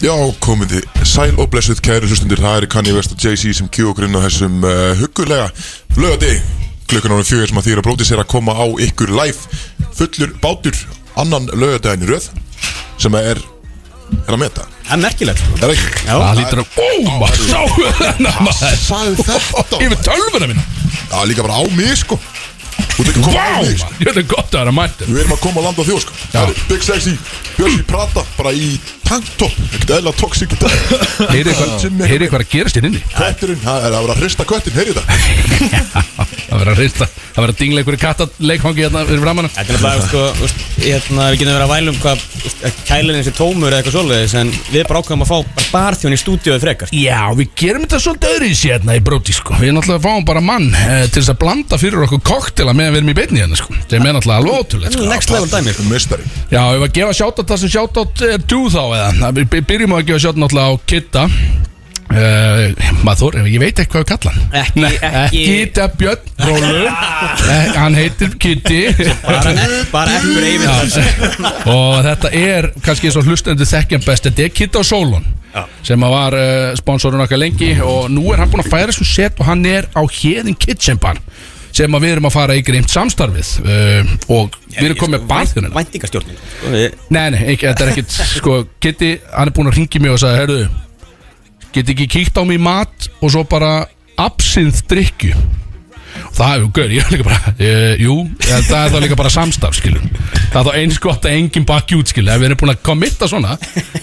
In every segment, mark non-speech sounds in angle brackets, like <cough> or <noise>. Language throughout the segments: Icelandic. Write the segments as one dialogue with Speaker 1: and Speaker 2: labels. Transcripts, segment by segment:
Speaker 1: Já, komið þið sæl og blessuð kæru hlustundir Það eru Kanye West og Jay-Z sem kjú okkur inn á þessum uh, huggulega lögadi Klukkan ánum fjögur sem að þýra brótis er að koma á ykkur live Fullur bátur annan lögadaginn í röð Sem að er, er að meta
Speaker 2: Það er merkilegt sko.
Speaker 1: Er ekki?
Speaker 2: Já.
Speaker 3: Það lítur að Ó, maður Sáu þennan maður
Speaker 1: Sæðu þetta
Speaker 3: Yfir tölvuna mín
Speaker 1: Já, líka bara á mig sko Þú ert ekki að koma á
Speaker 3: Vá
Speaker 1: mig sko
Speaker 3: Þetta er gott að vera mættur
Speaker 1: Við erum að koma að landa á þjóð sko Það er Big Sexy, Björsi Prata Bara í tanktop Ekkert eðla toxic í dag
Speaker 3: <laughs> Heyrið hvað Heyrið hvað er að gerast hér inni
Speaker 1: Kötturinn, það er að vera að hrista köttin, heyrðu þetta
Speaker 3: Það verður að reysta Það verður að dingla einhverju kattaleikhangi Hérna fyrir framann
Speaker 2: Þetta er bara, sko, úst, hérna, við getum verið að væla um hvað úst, að kælinn sé tómur eða eitthvað svoleiðis en við bara ákveðum að fá bara barþjón í stúdíóið frekar
Speaker 3: Já, við gerum þetta svolítið öðru í sérna í bróti sko. Við náttúrulega fáum bara mann eh, til þess að blanda fyrir okkur koktela meðan við erum í beinni hérna sko. Sem er náttúrulega alveg ótrúlegt sko.
Speaker 2: Next level dæmi sko.
Speaker 1: Mistari
Speaker 3: Já, ef að gefa sjátt það sem sjátt er þú þá eða Það- Við by- byrjum á að gefa sjátt náttúrulega á Kitta uh, Maður, ég veit um ekki hvað við kalla hann
Speaker 2: Ekki-
Speaker 3: Nei,
Speaker 2: ekki-
Speaker 3: Kitta Björn Rólur Eh, Hann heitir Kitti
Speaker 2: Bara, bara ekkur
Speaker 3: Já,
Speaker 2: eyfir
Speaker 3: og þetta er kannski eins og hlustendur þekkjan best þetta er Kitta og Solon sem að var uh, sponsorun okkar lengi og nú er hann búin að færa svo set og hann er á Heðin Kitchen Bar sem að við erum að fara í greimt samstarfið uh, og við erum komið
Speaker 2: sko.
Speaker 3: með barþjónina
Speaker 2: Væntingastjórnin sko. Við-
Speaker 3: Nei, nei, ekki, þetta er ekkit Sko, Kitty, hann er búinn að ringi mig og sagði Herðu, geti ekki kíkt á mig í mat Og svo bara absinth drikju Og Það hefur gaur, ég er líka bara e, Jú, en það er þá líka bara samstaf, skilur Það er þá eins gott að enginn bakki út, skilur Ef við erum búin að kommitta svona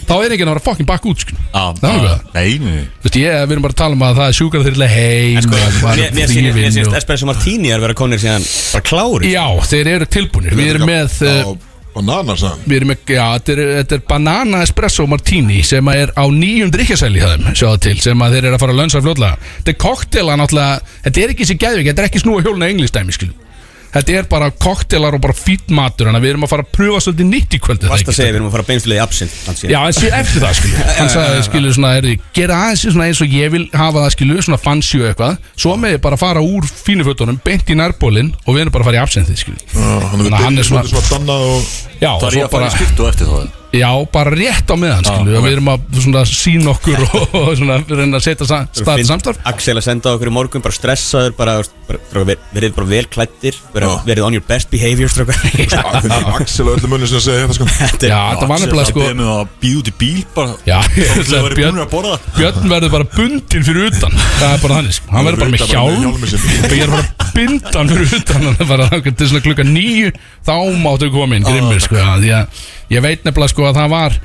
Speaker 3: Þá er enginn að vera fokkin bakki út, skilur
Speaker 2: Ah,
Speaker 3: Það er það
Speaker 4: Nei, nei
Speaker 3: Þú veist, ég, við erum bara að tala um að það er sjúkar þyrlega heim
Speaker 2: Sko,
Speaker 3: og
Speaker 2: mér-
Speaker 3: bara
Speaker 2: Mér sýnist- mér
Speaker 3: þrífinn
Speaker 2: sýnist
Speaker 3: og-
Speaker 2: Espresso Martini er verið að konir síðan bara klári
Speaker 3: Já, þeir eru tilbúinir Við erum með eh,
Speaker 1: Bananas hann
Speaker 3: Við erum ekki, já, þetta er, þetta er banana espresso martini sem að er á nýjum drikkjasæli hjá þeim, sjáðu til, sem að þeir eru að fara að lönsa fljóðlega. Þetta er koktela náttúrulega, þetta er ekki þessi gæðvik, þetta er ekki snúa hjóluna englistæmi, skiljum. Þetta er bara koktelar og bara fýtt matur, þannig að við erum að fara að pröfa svolítið nýtt í kvöld. er það
Speaker 2: Vast
Speaker 3: ekki?
Speaker 2: að segja við erum að fara beinslega í absint
Speaker 3: Já, en síðan eftir það, skiljum. Hann sagði, skiljum, svona, er gera aðeins svona eins og ég vil hafa það, skiljum, svona fancy og eitthvað, svo með bara fara úr fínufötunum, beint í nærbólinn og við erum bara að fara í absentið, skiljum.
Speaker 1: Hann
Speaker 3: Þannig að hann er
Speaker 1: er
Speaker 3: svona-
Speaker 1: svona Danna og
Speaker 3: Já, og
Speaker 4: Það er ég
Speaker 3: svo
Speaker 4: að fara
Speaker 3: bara...
Speaker 4: í skiptu eftir þá Ah,
Speaker 3: Já, bara rétt á meðan skilu,
Speaker 4: ok.
Speaker 3: Við erum að svona, sína
Speaker 4: <laughs>
Speaker 3: okkur og, og svona, reyna að setja sa- stað til samstarf
Speaker 2: Axel að senda okkur í morgun bara stressaður bara, úst, bara, bara ver- verið bara vel klættir verið,
Speaker 1: Já.
Speaker 2: verið on your best behavior strákar.
Speaker 1: Það finnir Axel og öllu munni sem að segja þetta sko
Speaker 2: <laughs> Þetta er-
Speaker 3: Já, þetta var nefnilega sko
Speaker 4: Það er með að býða út í bíl bara
Speaker 3: Já,
Speaker 4: Það var búin
Speaker 3: Björn,
Speaker 4: að borða það
Speaker 3: Björn verður bara bundin fyrir utan Það er bara þannig sko. Hann verður bara með
Speaker 1: Utan bara með hjálmi
Speaker 3: hjálm
Speaker 1: sínum.
Speaker 3: Og ég er bara að binda hann fyrir utan Hann er bara þannig til svona klukka nýju Þá máttu koma inn grimmir sko, já, Því að ég veit nefnilega sko að það var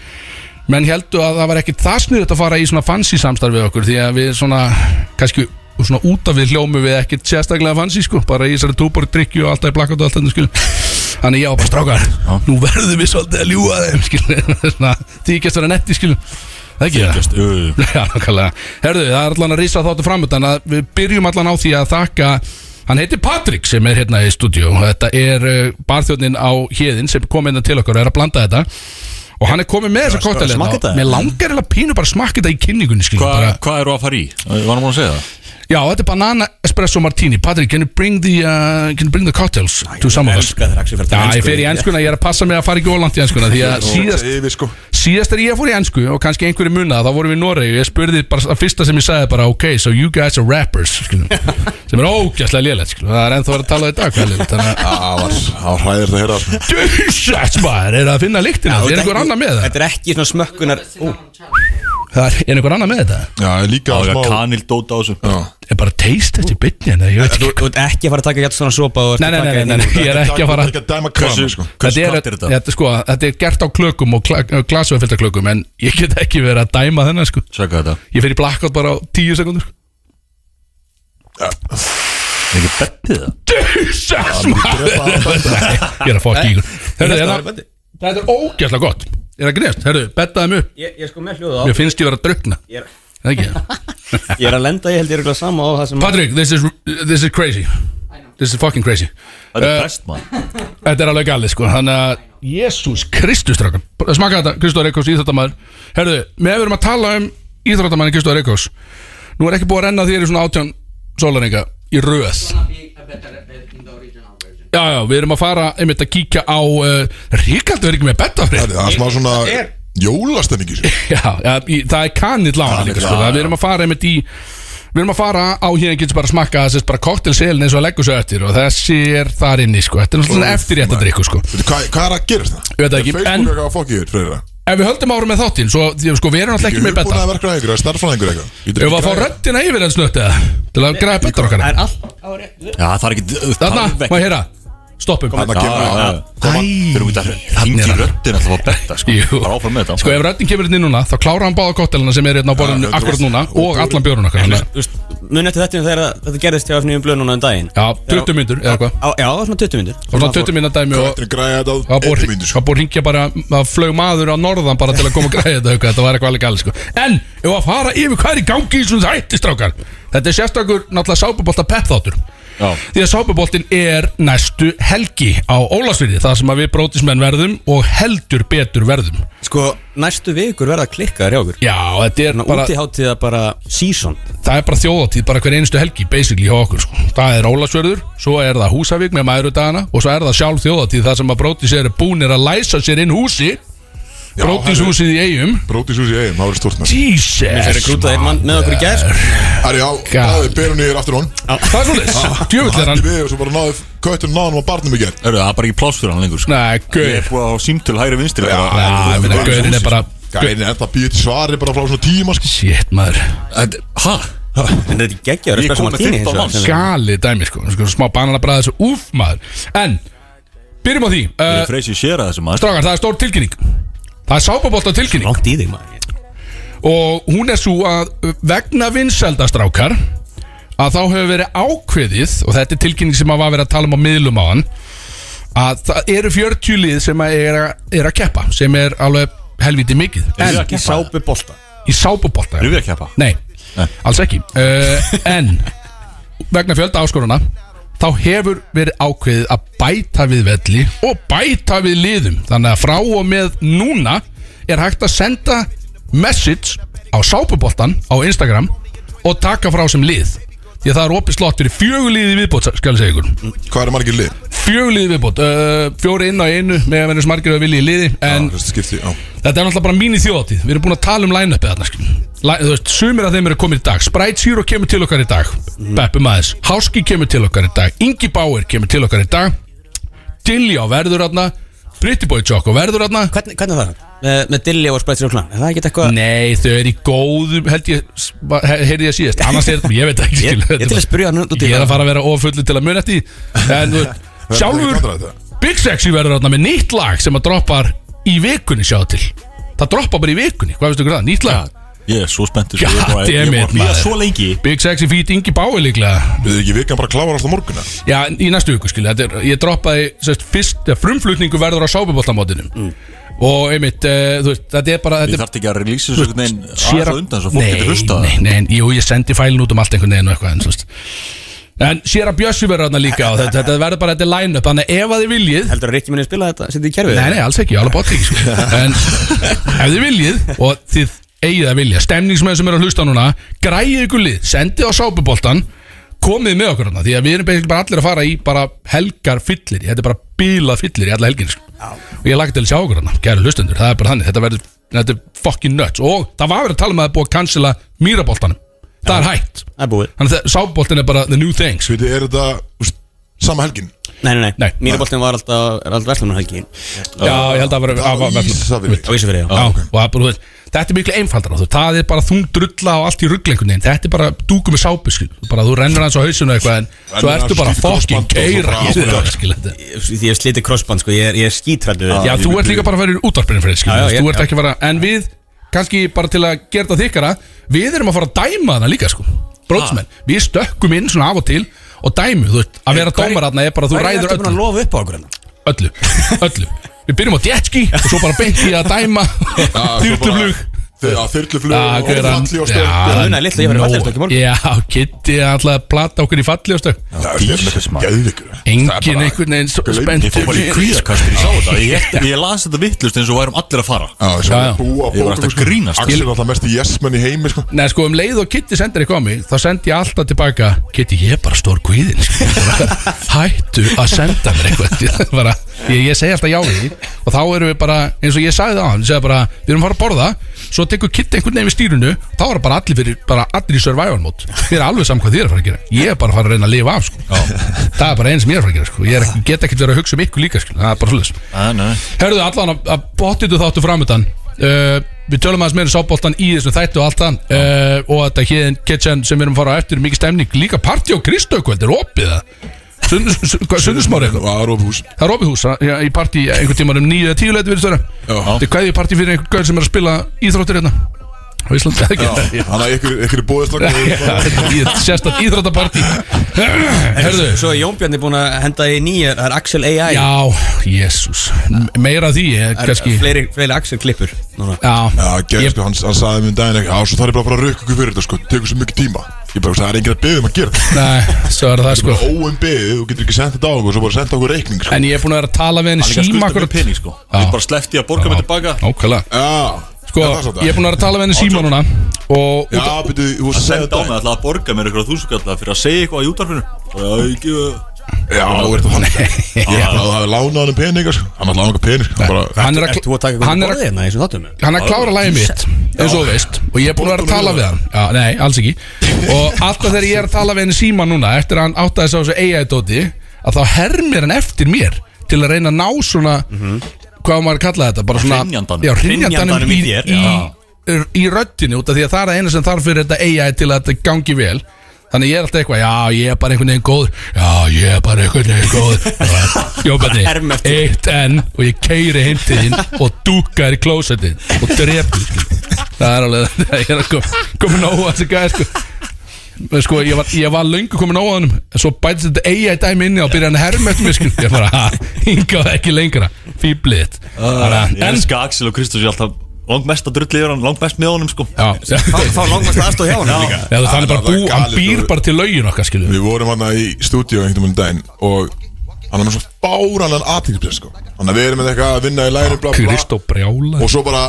Speaker 3: Menn heldur að það var ekkit það sniðut að fara í svona fancy samstarf við okkur Því að við svona, kannski svona út af við hljómi við ekkit sérstaklega fancy sko Bara í þessari túborg drikju og alltaf í blakkátt og allt þetta skilur Þannig já, bara strákar, nú verðum við svolítið að ljúga þeim <laughs> skilur Því ekki að vera netti skilur Það ekki það?
Speaker 4: Jú, jú, jú.
Speaker 3: <laughs> Já, nákvæmlega Herðu, það er allan að rísa þáttu framöndan að við byrjum allan á því að þakka Hann heitir Patrik sem er hérna í stúdíu og þetta er uh, barþjóðnin á hérðin sem kom inn til okkur og er að blanda þetta og hann er komið með þessa kóttel
Speaker 2: smakka þetta?
Speaker 3: Mér langar eða pínu bara að smakka þetta í kynningunni skilur,
Speaker 4: Hvað
Speaker 3: bara,
Speaker 4: hvað eru að fara í? Ég var nú búin að segja það
Speaker 3: Já, þetta er banana espresso martini Patrik, can you bring the, uh, can you bring the cocktails to some of us?
Speaker 2: elska þegar Axel fer til
Speaker 3: Já,
Speaker 2: ensku.
Speaker 3: ég fer í enskuna, ég er að passa mig að fara ekki ólant í enskuna
Speaker 2: <laughs>
Speaker 3: því að síðast
Speaker 1: Yfir sko
Speaker 3: Síðast er ég fór í ennsku og kannski einhverju munna þá vorum við í Noregi og ég spurði bara að fyrsta sem ég sagði bara ok, so you guys are rappers skulum, <laughs> sem er ógæslega lélegt skulum, það er ennþá verið að tala um í dag hvað er lélegt, þannig að
Speaker 1: Það var það var hræðilegt að heyra það sko
Speaker 3: <laughs> Jesus maður, er það að finna líktina
Speaker 2: Þetta
Speaker 3: er einhver annar með það?
Speaker 2: Þetta er ekki svona smökkunar Ó,
Speaker 3: Það er- er einhver annar með þetta?
Speaker 1: Já, en líka
Speaker 4: Það
Speaker 1: smá
Speaker 4: var kanil dót á þessu
Speaker 1: Já.
Speaker 3: Er bara taste þetta í bytni en ég veit
Speaker 2: Þú
Speaker 3: ekki
Speaker 2: þú ert ekki að fara að taka hjá svona sopa og ert
Speaker 3: Nei,
Speaker 2: að
Speaker 3: nei, nei,
Speaker 2: taka
Speaker 3: nei,
Speaker 2: hérna-
Speaker 3: nei, nei, ég er ekki að fara
Speaker 1: Ekki að dæma krana sko
Speaker 4: Hversu
Speaker 3: Þetta er,
Speaker 4: klárt er þetta?
Speaker 3: þetta, sko, þetta er gert á klökum og glasveifilda klökum en ég get ekki verið að dæma þennan sko.
Speaker 4: Sjaka þetta
Speaker 3: Ég fer í blackout bara á tíu sekundur
Speaker 4: Er ekki bettið það?
Speaker 3: Jesus maður Nei, Ég er að fokka í ykkur
Speaker 2: Ég
Speaker 3: Herru,
Speaker 2: er
Speaker 3: er
Speaker 2: að-
Speaker 3: það- Þetta er ógæslega gott Er það grefst? Herru, bettaði mig upp
Speaker 2: Ég ég er sko með hljóðu á
Speaker 3: Mér finnst ég vera að drukna
Speaker 2: Ég er-
Speaker 3: Er það ekki?
Speaker 2: Ég er að lenda, ég held ég er eitthvað sama á það sem
Speaker 3: Patrick, this is, this is crazy This is fucking crazy
Speaker 4: Það
Speaker 3: Eh,
Speaker 4: er best maður
Speaker 3: Þetta er alveg galið sko Þannig að Jésús Kristus drakkan Smaka þetta Kristóður Eikos íþróttamaður Herðu Með við erum að tala um Íþróttamaður Kristóður Eikos Nú er ekki búið að renna þér í svona átján Sólaringa Í röð Já já Við erum að fara Einmitt að kíkja á uh, Ríkaldur eh, er ekki með betafrið
Speaker 1: Það er smá svona sko.
Speaker 2: er-
Speaker 1: Jólastemmingi sér
Speaker 3: Já, ja, í- það er kanið lána líka sko. Það- Við erum að fara einmitt í Við erum að fara á hérna getur bara smakka þess bara koktelselin eins og að leggur svo eftir og þessi er þar inni sko. Þetta er náttúrulega eftirrétt að drikku sko.
Speaker 1: Veitu, Hvað hvað er að gerast það?
Speaker 3: Veit það ekki,
Speaker 1: Facebook
Speaker 3: en-
Speaker 1: er eitthvað að fokki yfir fyrir það
Speaker 3: Ef við höldum árum með þáttinn svo því, sko, við erum náttúrulega ekki
Speaker 1: Ég er
Speaker 3: með
Speaker 1: búin
Speaker 3: betta
Speaker 1: að verka einhverja, starffræðingur eitthvað Ég get
Speaker 3: Ef við að
Speaker 1: ekki
Speaker 3: fá
Speaker 1: græjað.
Speaker 3: röddina yfir en snötta til að græða betta okkar
Speaker 2: Það er allt á rétt
Speaker 4: Já, það er ekki
Speaker 3: Þarna, maður heyra Stoppum
Speaker 1: Þarna
Speaker 4: Já,
Speaker 1: kemur
Speaker 4: já, já.
Speaker 1: Koma.
Speaker 4: Þeir eru út að
Speaker 3: Þannig
Speaker 4: hringi
Speaker 3: er það.
Speaker 4: röddin alltaf að betta sko
Speaker 3: Jú.
Speaker 4: Bara áfram með þetta
Speaker 3: Sko ef röddin kemur inn í núna þá klára hann báða koktelina sem er hérna á borðinu
Speaker 1: Já,
Speaker 3: akkurat núna og allan björun okkar þannig að-
Speaker 2: Mun eftir þetta þegar að- þetta gerðist hjá FNU blöð núna um daginn
Speaker 3: Já, 20 myndur eða hvað
Speaker 2: Á- Já, svona 20 myndur
Speaker 3: Og svona 20 mynda dæmi og
Speaker 1: Þetta er græðið á sko.
Speaker 3: Það
Speaker 1: einni
Speaker 3: var búið
Speaker 1: myndu
Speaker 3: það var búið að hringja bara að flög maður á norðan bara til að koma að græða þetta eitthvað, þetta var eitthvað alveg galið sko en ef að fara yfir hvað er í gangi í svona þætti strákar þetta er sérstakur náttúrulega sápubolta pep þáttur
Speaker 4: Já.
Speaker 3: því að sápuboltin er næstu helgi á Ólasfyrði það sem að við brótismenn verðum og heldur betur verðum
Speaker 2: Sko, næstu vikur verða klikkaðar hjá okkur
Speaker 3: já þetta er
Speaker 2: Þannig
Speaker 3: bara
Speaker 2: að útiháttiða bara season
Speaker 3: það er bara þjóðatíð bara hver einustu helgi basically hjá okkur sko. það er Ólasfjörður, svo er það Húsavík með mæðurudagana og svo er það sjálf þjóðatíð það sem að brótis eru búnir að læsa sér inn húsi brótis húsið í eigum
Speaker 1: Brótis hús í eigum, það verður stórt með
Speaker 3: Jesus
Speaker 2: Þeir eru grútað einn mann með okkur í gær sko.
Speaker 1: Það er já,
Speaker 3: God.
Speaker 1: báði berunni er aftur hon
Speaker 3: Það er svolítið Djöfull er hann
Speaker 1: Hætti við og svo bara náðu Köttur náðum á barnum í gerð
Speaker 4: Eru það er bara ekki pláss fyrir hann lengur sko
Speaker 3: Nei,
Speaker 4: Ég
Speaker 3: gauð
Speaker 4: er búið að fá símtöl hægri vinstri
Speaker 1: Já,
Speaker 4: bara-
Speaker 3: Já, ég meina, gaurinn er bara
Speaker 1: Gæðin er enda að býja til svari bara frá svona tíma sko.
Speaker 3: Shit, maður
Speaker 4: En- Ha?
Speaker 2: <laughs> En þetta er geggjör
Speaker 4: Ég kom með 15 manns.
Speaker 3: Gali dæmi, sko Sko, Smá bananabræða þessu Úf, maður En Byrjum á því
Speaker 4: Ég
Speaker 3: uh,
Speaker 4: freysi sér að þessu maður
Speaker 3: Strákar, það er stór tilkynning Það er sápabolt tilkynning
Speaker 2: Langt í þig maður
Speaker 3: Og hún er svo að uh, Vegna vinselda, strákar Að þá hefur verið ákveðið Og þetta er tilkynning sem að var verið að tala um á miðlum á hann Að það eru 40 lið sem að er, að- er að keppa Sem er alveg helviti mikið
Speaker 4: Erum við
Speaker 3: En
Speaker 4: að keppa?
Speaker 2: Sápu bolta
Speaker 3: í sápubolta
Speaker 4: Erum við að keppa?
Speaker 3: Nei,
Speaker 4: Nei.
Speaker 3: alls ekki uh, En vegna fjölda áskoruna Þá hefur verið ákveðið að bæta við velli Og bæta við liðum Þannig að frá og með núna Er hægt að senda message Á sápuboltan á Instagram Og taka frá sem lið Því að það er opið slott fyrir fjöguliði viðbót Skal ég segja ykkur
Speaker 1: Hvað er margir lið?
Speaker 3: Fjöguliði viðbót, uh, fjóri inn á einu Með að vera smargir að vilja í liði En
Speaker 1: Það skipti, já
Speaker 3: Þetta er náttúrulega bara mín í þjóðatíð Við erum búin að tala um line-upið þarna skil. Læ- Þú veist, sumir af þeim eru komin í dag Sprite Zero kemur til okkar í dag
Speaker 2: Mm.
Speaker 3: Beppi Maðis, Háski kemur til okkar í dag Ingi Bauer kemur til okkar í dag Dilljá verður þarna Pretty Boy Choco verður þarna
Speaker 2: Hvernig, hvernig var það? Með, með Dilli og Sprætsir og Klan Er það ekki eitthvað
Speaker 3: Nei, þau eru í góðum Held ég, s- va- he- heyrði ég síðast Annars er ég veit ekki
Speaker 2: Ég-
Speaker 3: skil.
Speaker 2: ég er til að spyrja hann um út í
Speaker 3: Ég er
Speaker 2: það.
Speaker 3: að fara að vera ofullu til að muna eftir því.
Speaker 2: <laughs>
Speaker 3: En þú veist,
Speaker 1: Verður ekki vandræði
Speaker 3: sjálfur
Speaker 1: þetta?
Speaker 3: Big Sexy verður þarna með nýtt lag sem að droppar í vikunni sjá til Það droppar bara í vikunni, hvað veistu ykkur það? Nýtt lag?
Speaker 4: Ég er svo spenntur sko.
Speaker 3: God damn it,
Speaker 4: Ég er bara- Ég er búin að
Speaker 3: maður.
Speaker 4: býja svo lengi
Speaker 3: Big Sexy feat Ingi Bái líklega
Speaker 1: Við ekki vikan bara klára alltaf morguna
Speaker 3: Já, í næstu viku skilja Þetta er- Ég droppaði sérst, fyrst ja, Frumflutningu verður á sábubóltamótinu Og einmitt, uh, þú veist, þetta er bara
Speaker 4: Mm.
Speaker 3: þetta
Speaker 4: Ég
Speaker 3: er,
Speaker 4: þarf ekki að relýsa þessu einhvern veginn
Speaker 3: sér-
Speaker 4: aðeins á undan svo fólk
Speaker 3: Nei,
Speaker 4: getur hlusta
Speaker 3: Nei, nei, en, jú, ég sendi fælin út um allt einhvern veginn og eitthvað En, þú veist. en sér að Bjössi verður þarna líka og þetta, þetta verður bara þetta er line-up Þannig að ef að þið viljið
Speaker 2: Heldur að Rikki minni spila þetta? Sittu í kerfið?
Speaker 3: Nei, nei, alls ekki, alveg bótt ekki sko. En ef þið viljið og þið eigið að vilja, stemningsmenn sem eru að hlusta núna græið ykkur lið, sendið á sápuboltan komið með okkur hana því að við erum basically bara allir að fara í bara helgar fyllir, þetta er bara bílað fyllir í alla helgin sko. og ég lagt til að sjá okkur hana, kæru hlustendur, það er bara þannig þetta verður, þetta er fucking nuts og það var verið að tala um að það er búið að cancela mýraboltanum, það er hægt
Speaker 2: Það er búið
Speaker 3: þannig að sápuboltin er bara the new thing sko.
Speaker 1: Sviti, er þetta úst, sama helgin?
Speaker 2: Nei, nei,
Speaker 3: Nei.
Speaker 2: nei Mínaboltin var alltaf, er alltaf verslunarhelgi
Speaker 3: Já, ég held að vera
Speaker 1: Á Ísafirði.
Speaker 2: Á Ísafirði, já
Speaker 3: Já, og það er bara, þú veist, þetta er miklu einfaldara þú veist, það er bara þung drulla og allt í rugglengunni þetta er bara dúku með sápu skil Þú bara þú rennur hans á hausinu eitthvað en svo
Speaker 1: Rennir
Speaker 3: ertu
Speaker 1: aðeins
Speaker 3: bara
Speaker 1: í krossband og
Speaker 3: fokkin
Speaker 1: svo
Speaker 3: keira
Speaker 1: bara
Speaker 3: í þetta,
Speaker 1: áfram.
Speaker 3: skil, þetta.
Speaker 2: Ég, ég sliti krossband, sko Ég er, ég er skítrættu
Speaker 3: já, þú ert líka bara að fara í útvarpinu fyrir skil,
Speaker 2: Já, já,
Speaker 3: já,
Speaker 2: ég-
Speaker 3: já, þú ert
Speaker 2: já.
Speaker 3: ekki að fara en við, kannski bara til að gera það þykkara við erum að fara að dæma hana líka sko bróðsmenn, við stökkum inn svona af og til og dæmu, þú veist, að vera dómar hana er bara að þú ræður
Speaker 2: Þú ert
Speaker 3: öllu
Speaker 2: að lofa upp á okkur hérna
Speaker 3: öllu, öllu Við byrjum á jetski og svo bara beint í að dæma Þyrluflug Ah,
Speaker 1: Þe- Já, þyrluflug
Speaker 3: Já,
Speaker 1: og
Speaker 3: gauran-
Speaker 1: falli og
Speaker 3: Já,
Speaker 1: stöð
Speaker 2: Það munaði litlu, ég var í
Speaker 3: nóg.
Speaker 2: fallegastök í morgun.
Speaker 3: Já, Kitty er alltaf að plata okkur í fallegastök
Speaker 4: Jesus, maður.
Speaker 1: Gæðvikur
Speaker 3: Engin einhvern veginn svo
Speaker 1: Ég
Speaker 4: Ég fór bara í
Speaker 3: spenntur
Speaker 4: kvíðakastur, ég sá þetta Ég, ég, ég las þetta vittlust eins og værum allir að fara
Speaker 1: Já, þess
Speaker 3: Já, já.
Speaker 1: að búa
Speaker 4: Ég var alltaf að grínast.
Speaker 1: Axel er alltaf mest í jesmenn í heimi sko.
Speaker 3: Nei, sko, um leið og Kitty sendir eitthvað á mig Þá sendi ég alltaf tilbaka Kitty, ég er bara stór <laughs> kvíðin sko. Bara, Hættu að senda mér eitthvað Bara, ég, ég segi alltaf já við því og þá erum við bara, eins og ég sagði það á hann bara, við erum að fara að borða, svo tekur kitt einhvern veginn við stýrunu, þá er bara allir fyrir bara allir í survival mót, þér er alveg saman hvað þér er að fara að gera ég er bara að fara að reyna að lifa af sko. það er bara einn sem ég er að fara að gera sko. ég er ekki, get ekki verið að hugsa um ykkur líka sko. það er bara svolítið
Speaker 4: Nei, nei.
Speaker 3: Herðu allan að- að bóttitu þáttu framöndan uh, Við tölum aðeins meira um sáboltan í þessu þættu og allt það uh, Og þetta héðin kitchen sem við erum að fara á eftir er Mikið stemning, líka partí og kristökvöld Er opið það? Sunnusmári eitthvað
Speaker 1: Og Arópús
Speaker 3: Það er opið hús það- já, í partí einhvern tímann um 9 eða 10 leiti virðist vera
Speaker 1: Já.
Speaker 3: Þetta er kveðið partí fyrir einhvern gauð sem er að spila íþróttir hérna Á Íslandi eða ekki <laughs>
Speaker 1: Þannig að ykkur, ykkur er bóðist
Speaker 3: Já, þetta er í- Sérstætt íþróttapartí Herðu
Speaker 2: Svo er Jón Bjarni búin að henda í nýja Það er Axel AI
Speaker 3: Já, jésús Meira af því, eh,
Speaker 2: Það
Speaker 3: kannski
Speaker 2: er fleiri, fleiri Axel klippur núna.
Speaker 3: Já,
Speaker 1: Já, gerð,
Speaker 3: Ég-
Speaker 1: sko, hann, hann saði mér um daginn Já, svo þarf ég bara að fara að rukka ykkur fyrir þetta, sko Tekur svo mikið tíma Ég bara, það er enginn að beða um að gera þetta
Speaker 3: Nei, svo er það sko
Speaker 1: Óum beðið, þú getur ekki sendt þetta á okkur Svo bara senda okkur reikning, sko
Speaker 3: En ég er búin að vera að tala við henni
Speaker 4: Hann líka
Speaker 3: síma
Speaker 4: skulda
Speaker 3: akkurat
Speaker 4: mér pening sko
Speaker 3: Já.
Speaker 4: Ég bara sleppti að borga mig tilbaka
Speaker 3: Ókvæðlega
Speaker 1: Já,
Speaker 3: Sko, ég er búin að vera að tala við henni síma núna Og
Speaker 1: Já, betur, þú varst að segja
Speaker 4: Senda á mig
Speaker 1: þetta
Speaker 4: alltaf að borga mér ykkur á þúsugalla Fyrir að segja eitthvað í útarfinu Það er ekki
Speaker 1: Já, þú ert að
Speaker 3: <laughs>
Speaker 1: þannig Ég held að það hafi lánað hann um peninga, sko Hann hafði lánað hann pening, sko bara,
Speaker 3: hann er
Speaker 2: Ert þú að taka
Speaker 3: að
Speaker 2: hvernig
Speaker 3: hann er að
Speaker 2: borðið hérna í þessum þáttum?
Speaker 3: hann er að klára lagið mitt eins og þú veist og ég er búin að vera að tala við hann já, nei, alls ekki og alltaf þegar ég er að tala við henni síma núna eftir að hann áttaði sig á þessu AI-dóti að þá hermir hann eftir mér til að reyna að ná svona hvað á maður að kalla þetta bara svona
Speaker 4: Mhm. Hrynjandanum.
Speaker 3: já, hrynjandanum í,
Speaker 4: Hrynjandanum í þér,
Speaker 3: í,
Speaker 4: já.
Speaker 3: í, í röddinni út af því að það er að eina sem þarf fyrir þetta AI til að þetta gangi vel Þannig ég er alltaf eitthvað, já ég er bara einhvern veginn góður Já ég er bara einhvern veginn góður
Speaker 2: Herma
Speaker 3: Jóbarni,
Speaker 2: eftir.
Speaker 3: eitt enn og ég keiri heimtiðinn og dúka þér í klósetin og drepur það er alveg <laughs> það er að koma komin nóg að þessi gæði sko Men sko, ég var, ég var löngu komin á hann Svo bætist þetta eiga í dæmi inni og byrja hann að herma eftir mér sko Ég bara, ha, hingað ekki lengra Fýblið
Speaker 4: Ég
Speaker 3: En,
Speaker 4: elska Axel og Kristus Ég er alltaf langt mest að drulli yfir hann Langt mest með honum sko
Speaker 3: já, já,
Speaker 2: Fá langmest
Speaker 3: <laughs>
Speaker 2: aðstóð hjá hann líka
Speaker 3: já það er bara
Speaker 1: það
Speaker 3: bú
Speaker 1: er
Speaker 3: Hann
Speaker 1: galið,
Speaker 3: býr
Speaker 1: þú-
Speaker 3: bara til lögin okkar skilju
Speaker 1: Við vorum hann í stúdíu einhvern veginn daginn Og hann er með svo báranlegan aðtíkspjör, sko Þannig að við erum með eitthvað að vinna í læri, bla, bla, bla
Speaker 3: Kristó Brjála
Speaker 1: og svo bara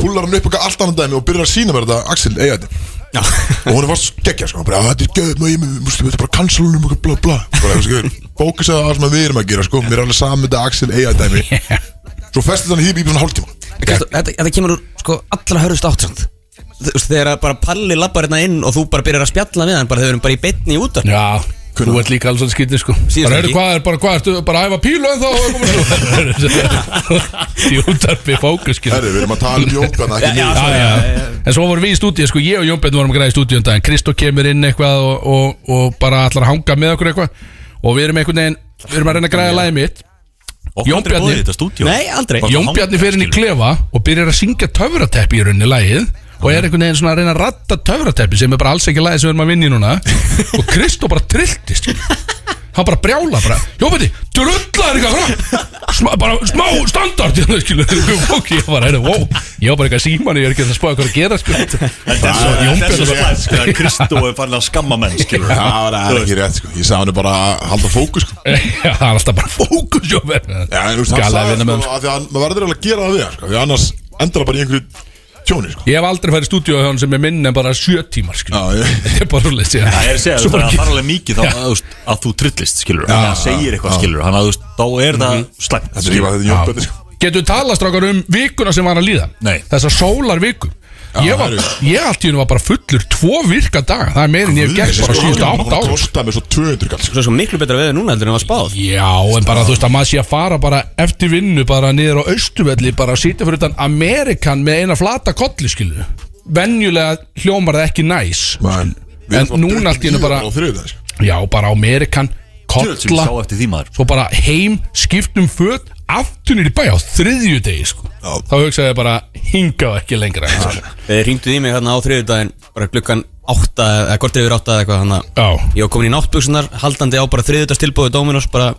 Speaker 1: pullar hann upp eitthvað allt annan dæmi og byrjar að sína mér þetta Axel eiga þetta og hún er fast geggja sko, bara "Ah, þetta er gæðið maður, ég mústu þetta er bara kansalunum og bla bla bara eitthvað skilur, fókusaði á það sem við erum að gera sko, mér er alveg saman þetta Axel eiga
Speaker 3: <laughs>
Speaker 1: dæmi svo festið hann hýp í svona hálftíma
Speaker 2: Kristó, Þetta þetta kemur úr sko, allra hörðust átt samt. Þú veist, Þegar að bara Palli labbar hérna inn og þú bara byrjar að spjalla við hann bara þau eru bara í beinni í útar
Speaker 3: Já, þú ert líka alveg svolítið skytið sko
Speaker 2: Síðast
Speaker 3: Bara heyrðu
Speaker 2: ekki.
Speaker 3: hvað er, bara hvað ertu, bara að æfa pílu en þá og koma svo <laughs> Því útarpi fókus skilur
Speaker 1: herri, við erum að tala um jókan ekki
Speaker 3: já,
Speaker 1: mig
Speaker 3: já, En svo vorum við í stúdíu, sko, ég og Jónbjörn vorum að græða í stúdíu um daginn Kristó kemur inn eitthvað og, og, og bara ætlar að hanga með okkur eitthvað Og við erum einhvern veginn, við erum að reyna að græða lagið mitt
Speaker 4: Og
Speaker 3: Jón
Speaker 4: hann er
Speaker 3: Bjarni.
Speaker 4: bóðið í þetta stúdíu
Speaker 2: Nei, aldrei
Speaker 4: Bara-
Speaker 3: Jónbjörni fer inn í klefa og byrjar að syngja töfrateppi í rauninni lagið Og er einhvern veginn svona að reyna að ratta töfrateppi sem er bara alls ekki lagið sem við erum að vinna í
Speaker 4: <laughs>
Speaker 3: núna Og Kristó bara trilltist Hann bara brjála bara Jónbjörni, drullar eitthvað frá Sma, bara smá standard <laughs> ég var, heyrðu, wow. ég var bara eitthvað síman ég er ekki að spá hvað er að gera sko.
Speaker 4: Þetta er svo- þetta er svo slæmsk að Kristó er farin að skamma menn skilur
Speaker 1: já, það er ekki rétt sko, ég sagði hann bara að halda fókus sko
Speaker 3: <laughs> Já, það er alltaf bara fókus Já,
Speaker 1: já, en þú veist, hann
Speaker 3: Gala að
Speaker 1: sagði sko,
Speaker 3: vinna með
Speaker 1: af því að hann- maður verður alveg að gera það við hann, sko, því annars endar það bara í einhverju tjóni sko
Speaker 3: Ég hef aldrei farið í stúdíu hjá hann sem er minn en bara sjö tímar skilur.
Speaker 1: Já, ég-
Speaker 3: <laughs> Þetta er bara rúlega síðan
Speaker 4: Það er að segja, þú
Speaker 3: Svo
Speaker 4: veist,
Speaker 3: bara
Speaker 4: það
Speaker 3: ekki-
Speaker 4: var alveg mikið þá að, þú veist, að þú trillist, skilur Þannig að það segir eitthvað, skilur Þannig að þú veist, þá er það slæmt
Speaker 1: þetta er
Speaker 4: skilurðu.
Speaker 1: ekki bara þetta jókan sko
Speaker 3: Getum við talað strákar um vikuna sem var að líða
Speaker 4: Nei.
Speaker 3: Þessar sólar viku Ég, var,
Speaker 1: það eru-
Speaker 3: ég allt í hennu var bara fullur tvo virka daga Það er meir en ég hef gert bara síðustu átt
Speaker 1: hún
Speaker 3: ára
Speaker 1: kostaði mig svo 200 kall sko.
Speaker 2: Svo, svo miklu betra veður núna heldur en var spáð
Speaker 3: Já, en bara þú veist að maður sé að fara bara eftir vinnu bara niður á austuvelli bara að sitja fyrir utan Amerikan með eina flata kolli skilu Venjulega hljómar það ekki næs
Speaker 1: Man, við
Speaker 3: En
Speaker 1: erum bara
Speaker 3: núna allt í hennu
Speaker 1: drukknir
Speaker 3: bara
Speaker 1: á þriðjudaginn, sko.
Speaker 3: Já, bara Amerikan,
Speaker 4: Djöfull sem ég
Speaker 3: kolla
Speaker 4: sá eftir því maður
Speaker 3: svo bara heim, skiptum föt aftunir í bæ á þriðju degi sko.
Speaker 1: Já.
Speaker 3: þá hugsaði ég bara hingað ekki lengra sko.
Speaker 2: Þeir hringdu í mig hérna á þriðudaginn bara glukkan átta eða kortir yfir átta eða eitthvað hann
Speaker 3: já,
Speaker 2: Ég var komin í náttbuksunar haldandi á bara þriðudags tilbúið Dominos bara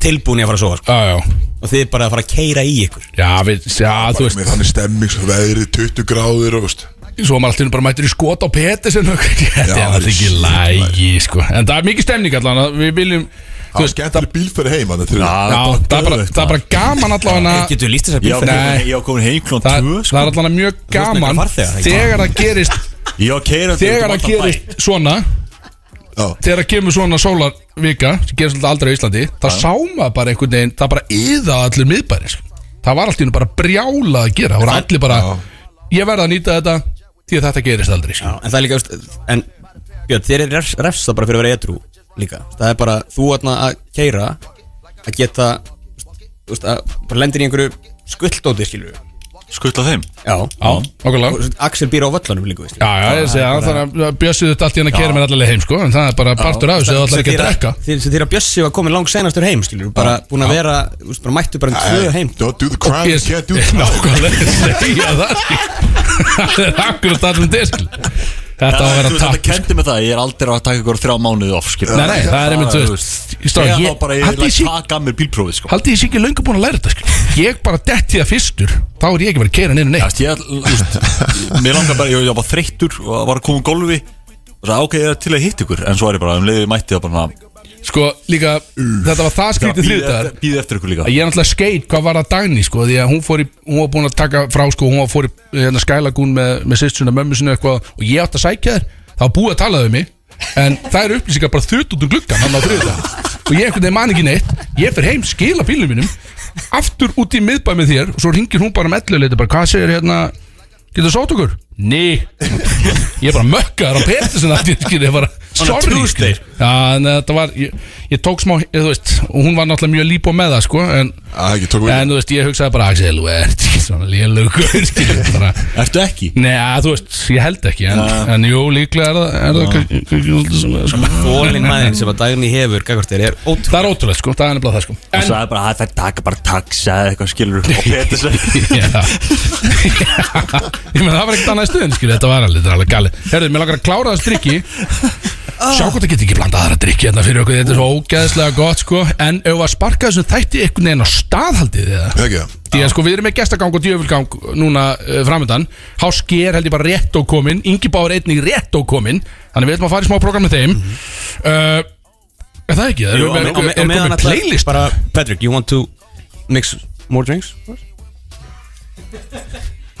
Speaker 2: tilbúin í að fara að sofa sko.
Speaker 3: já, já
Speaker 2: og þið bara að fara að keira í ykkur
Speaker 3: já, við, já þú
Speaker 1: Bara
Speaker 3: veist,
Speaker 1: með þannig stemming, svo veðrið 20 gráður og veist
Speaker 3: svo var maður alltaf bara mættur í skot á peti <laughs> sem þetta
Speaker 1: Já,
Speaker 3: er alltaf ekki
Speaker 1: það er
Speaker 3: lægi sko. en það er mikið stemning allan að við viljum
Speaker 1: Það var skemmtileg bílferð heim hann til
Speaker 4: Já,
Speaker 3: já, það, er bara, það er bara gaman allan að
Speaker 2: Getur við líst þess að
Speaker 4: Ég var
Speaker 2: bílferð?
Speaker 3: Nei.
Speaker 4: komin- ég var komin heim sko. klón
Speaker 3: Það,
Speaker 4: 2
Speaker 3: það er allan að mjög
Speaker 2: ert með
Speaker 3: gaman
Speaker 2: eitthvað farþega, ekki?
Speaker 3: þegar það gerist
Speaker 4: Ég var keirandi út um
Speaker 3: þegar það
Speaker 4: allan bæ.
Speaker 3: gerist svona
Speaker 5: Já.
Speaker 3: þegar kemur svona sólarvika sem gerist alltaf aldrei á Íslandi það sá maður bara einhvern veginn, það bara yða allir miðbæri sko. það var allt í hennu bara brjálað að gera það voru allir bara, ég verða að nýta þetta því að þetta gerist aldrei sko.
Speaker 2: En það er líka, veist, en Björn, þér er refs, refsa bara fyrir að vera edru líka Það er bara, þú ætna að keira Að geta, þú veist, að bara lendir í einhverju skulldóti, skilur við
Speaker 4: Skuttla þeim
Speaker 2: Já,
Speaker 3: Já, okkurlega
Speaker 2: Og svo Axel býr á völlanum líka, veist
Speaker 3: Já, já, ég segi að þannig að bjössið þetta allt í henni að kera mér allavega heim sko, en það er bara partur af þessu það ætlar ekki að drekka
Speaker 2: Þegar þegar Bjössi var komin langt senastur heim, skilur við Bara búin að vera, þú veist, bara mættu bara um tvö heim
Speaker 1: Don't do the crime,
Speaker 3: Ég
Speaker 1: yes. can't do the crime
Speaker 3: <laughs> nákvæmlega segja það <laughs> skil. Það er akkurat allir diskl Þetta á að vera
Speaker 4: Þetta
Speaker 3: takk sko.
Speaker 4: kendi með það, ég er aldrei að taka ykkur þrjá mánuði off skilur.
Speaker 3: Nei, nei, það er einmitt, þú veist, í stað-
Speaker 4: Ég
Speaker 3: ég-
Speaker 4: þá bara, ég
Speaker 3: haldið
Speaker 4: vil
Speaker 3: ég sé-
Speaker 4: að taka af mér bílprófið sko.
Speaker 3: Haldið ég sé ekki löngu búin að læra þetta skil. Ég bara detti það fyrstur Þá er ég ekki verið að kera neina
Speaker 4: Þú
Speaker 3: neitt
Speaker 4: veist, ég, þú veist, Mér langar bara, ég var bara þreyttur og var að koma um golfi og sagði "Ah, ok, ég er til að hitta ykkur en svo er ég bara, um leiði mætti það bara
Speaker 3: Sko, líka, þetta var það skrítið þriðdagar
Speaker 4: býði eftir ykkur líka
Speaker 3: Ég er náttúrulega skeit hvað var að dagni sko, því að hún, fór í, hún var búin að taka frá sko, hún var fór í hérna, skælagún með, með sýstuna, mömmu sinni eitthvað og ég átti að sækja þér, það var búið að tala um mig en það eru upplýsingar bara þutt út um gluggan hann á þriðdag og ég einhvern veginn man ekki neitt ég fer heim, skila bílum mínum aftur út í miðbæ með þér og svo ringir hún bara með elluleiti, bara hvað segir hérna getur það sót okkur? Ný <laughs> Ég er bara mökkaður á Petersen að ég skil, ég bara, sorry
Speaker 4: Tuesday.
Speaker 3: skil. Já, en eh, þetta var, ég, ég tók smá, ég, þú veist, og hún var náttúrulega mjög líbó með það, sko, en
Speaker 1: Það Ah, ekki, tók við
Speaker 3: En þú veist, ég hugsaði bara Axel, þú ert ekki svona lélugur <laughs> skilur, bara,
Speaker 4: Ertu ekki?
Speaker 3: Nei, að þú veist, ég held ekki En, en jú, líklega er það, er það kannski- kannski svolítið svona, sko.
Speaker 2: Þólinn maðurinn sem að Dagný hefur, gagvart þér, er ótrúlega
Speaker 3: Það er ótrúlega, sko, það er nefnilega það, sko
Speaker 4: En
Speaker 3: En,
Speaker 4: svo er bara, "Æ, það taka bara taxa eða eitthvað
Speaker 3: <laughs>
Speaker 4: skilur og Petur sagði-
Speaker 3: já, <laughs> Ég meina, það var ekkert annað í stuðin, skilur Þetta var alveg, þetta er alveg gali Herðu, mér langar að klára þess drikki
Speaker 2: Oh.
Speaker 3: Sjá hvort það getur ekki blandað aðra drikki hérna fyrir okkur Þetta er svo ógeðslega gott, sko En ef að sparka þessum þætti einhvern veginn á staðhaldið eða?
Speaker 1: Ekki það
Speaker 3: Því að sko við erum með gestagang og djöfulgang núna uh, framöndan Háski er held ég bara rétt og komin Ingi Báður einnig rétt og komin Þannig við ætlum að fara í smá program með þeim uh, Er það ekki?
Speaker 2: Mhm. Jú,
Speaker 3: Erum
Speaker 2: á
Speaker 3: við-
Speaker 2: me- á me-
Speaker 3: erum
Speaker 2: á
Speaker 3: við
Speaker 2: meðan
Speaker 3: komið
Speaker 2: ætlar-
Speaker 3: playlist?
Speaker 2: bara, Patrick, you want to mix more drinks?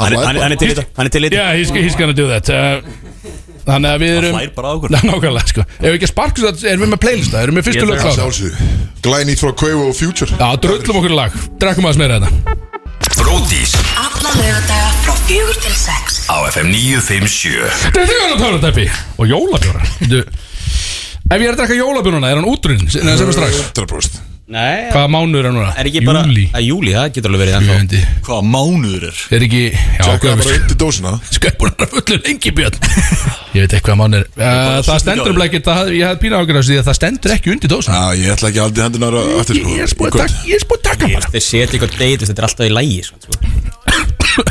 Speaker 2: Hann er- hann er hann er til í þetta Hann er til í
Speaker 3: Já,
Speaker 2: þetta
Speaker 3: he's, he's gonna do that uh, Þannig að við erum
Speaker 4: hlær bara að okkur.
Speaker 3: Ná, Nákvæmlega sko Ef við ekki sparkum þetta erum við með playlista Erum við fyrstu
Speaker 4: Ég
Speaker 3: lög
Speaker 4: þarf
Speaker 3: klára
Speaker 1: Sjálfsög Glænýtt frá Quavo og Future
Speaker 3: Já, drullum okkur í lag Drekkum aðeins meira hérna. þetta
Speaker 6: Bródís
Speaker 7: Alla lögadaga frá fjögur til sex
Speaker 6: á FM 957
Speaker 3: Þetta er jóla töfratæpi Og jólabjóra Þú- Ef ég er að drekka jólabjóruna er hann útrunn sem er strax
Speaker 1: 100%
Speaker 2: Nei,
Speaker 3: Hvaða mánuður er núna?
Speaker 2: er ekki bara
Speaker 3: Júli
Speaker 2: Að Júli, það getur alveg verið ennþá
Speaker 3: Jöndi
Speaker 4: Hvaða mánuður er?
Speaker 3: Er ekki Já,
Speaker 1: Takk það
Speaker 3: hvað
Speaker 1: bara
Speaker 3: veist
Speaker 1: undir dósina
Speaker 3: Sköpun er fullur lengi <laughs> björn Ég veit eitthvað að mann er uh, Það stendur um ekki það, Ég hafði pína ágjörð Því að það stendur ekki undir dósan
Speaker 1: Já, ég ætla ekki aldrei hendunar aftur sko
Speaker 3: Ég ég er spúið að taka- ég er spúið að taka bara
Speaker 2: Þeir setja eitthvað date, þetta er alltaf í lægi sko.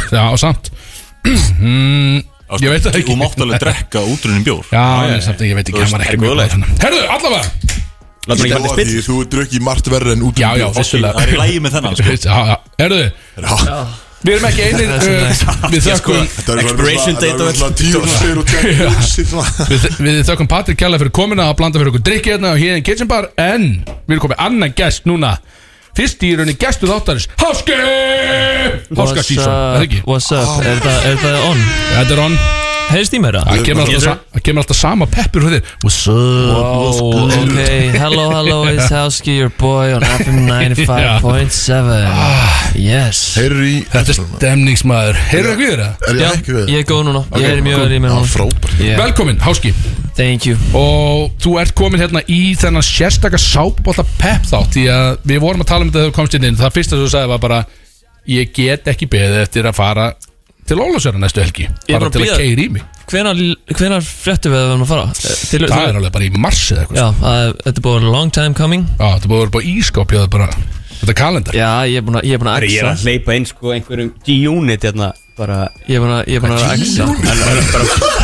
Speaker 3: Já, samt Mm, Ég veit það ekki
Speaker 4: Þú mátt alveg drekka útrunnin bjór
Speaker 3: Já, en samt ekki, ég veit ekki Hann var ekki mjög góð Herðu, allavega
Speaker 2: Látum ekki
Speaker 1: Ég
Speaker 2: bara
Speaker 1: lofa
Speaker 2: til spill
Speaker 1: því, Þú drukkið margt verri en út
Speaker 3: Já, já,
Speaker 4: Það er
Speaker 3: <laughs>
Speaker 4: í
Speaker 3: vissulega
Speaker 4: lægi með þennan sko.
Speaker 3: Já, já, herðu Við erum ekki einir uh, Við þökkum
Speaker 2: Expiration date
Speaker 1: Þetta
Speaker 2: á
Speaker 1: er svona
Speaker 2: öll-
Speaker 1: tíu sér og
Speaker 3: <laughs>
Speaker 1: tjá
Speaker 3: Við, við þökkum Patrik Kjalla fyrir komina að blanda fyrir okkur drikki hérna og hérna Kitchen Bar en við erum komið annan gest núna fyrst í rauninni gestu þáttarins Háski Háska Sísson, er það ekki? Ah.
Speaker 8: What's up, er það, er það on?
Speaker 3: Þetta er hann
Speaker 8: Heyrst í mér það?
Speaker 3: Það kemur alltaf, sa það kemur alltaf sama peppur fyrir þér What's up?
Speaker 8: Wow, ok, hello, <laughs> hello, it's Howski, your boy on FM <laughs> 95.7 Yes
Speaker 1: Herri
Speaker 3: Þetta er stemningsmaður Heyrðu ekki við þér það?
Speaker 1: Er
Speaker 8: Já,
Speaker 1: ég ekki við?
Speaker 8: ég er góð núna, ég er mjög verið með
Speaker 1: Já,
Speaker 8: hún
Speaker 1: frábært
Speaker 8: yeah.
Speaker 3: Velkomin Háski
Speaker 8: Thank you
Speaker 3: og þú ert komin hérna í þennan sérstaka sápbólla pepp þátt því að við vorum að tala um þetta þegar þú komst inn inn það fyrsta sem þú sagði var bara ég get ekki beðið eftir að fara til Ólafsjörn næstu helgi
Speaker 8: Ég er
Speaker 3: bara
Speaker 8: bara að
Speaker 3: til að
Speaker 8: bíða.
Speaker 3: keira í mig
Speaker 8: Hvenar, hvenar fréttum við að við erum að fara? Eh, Til,
Speaker 3: það er alveg bara í mars eða eitthvað
Speaker 8: Já, það er- þetta er búin long time coming
Speaker 3: Já, þetta búið að vera bara ískáp hjá það bara Þetta er kalendar
Speaker 8: Já, ég er búin að, ég er búin að
Speaker 2: Ég er
Speaker 8: axa
Speaker 2: að hleypa inn sko einhverjum G-unit hérna Bara
Speaker 8: Ég er búin að, ég er búin að axa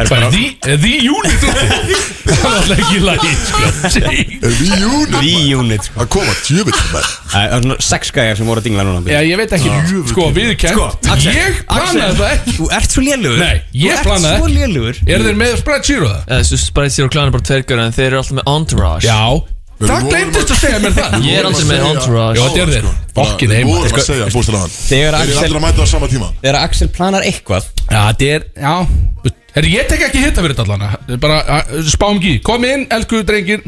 Speaker 3: Það er því, er því <laughs> júnit úti Það var alltaf ekki í lagi <laughs> sko.
Speaker 1: Er við júnum?
Speaker 2: G-unit sko
Speaker 1: Að koma tjöfitt maður
Speaker 2: Það er svona sex gæjar sem voru að dingla núna
Speaker 3: Já, ég veit ekki, sko, viðurkend Ég planaði það ekki
Speaker 2: Þú ert svo lélugur
Speaker 3: Nei, ég planaði
Speaker 2: Þú ert svo
Speaker 3: ekki.
Speaker 2: lélugur
Speaker 3: Er þeir með spreadsheet og það?
Speaker 8: Þessu Eh, Spicy og Klan er bara tvergur en þeir eru alltaf með entourage
Speaker 3: Já
Speaker 1: Við
Speaker 3: Það
Speaker 1: vorum
Speaker 3: glemtist að segja mér það
Speaker 8: Ég er aldrei með
Speaker 3: Já,
Speaker 8: entourage
Speaker 3: þetta er þeir Fokkin heima
Speaker 1: Við vorum að segja bústilega hann
Speaker 2: Þegar
Speaker 1: Er ég
Speaker 2: Axel,
Speaker 1: allir að mæta á sama tíma?
Speaker 2: þegar Axel planar eitthvað
Speaker 3: Já, þetta er, já Er ég tek ekki hitta fyrir þetta allana Bara að- spáum ekki í. Kom inn, elsku drengir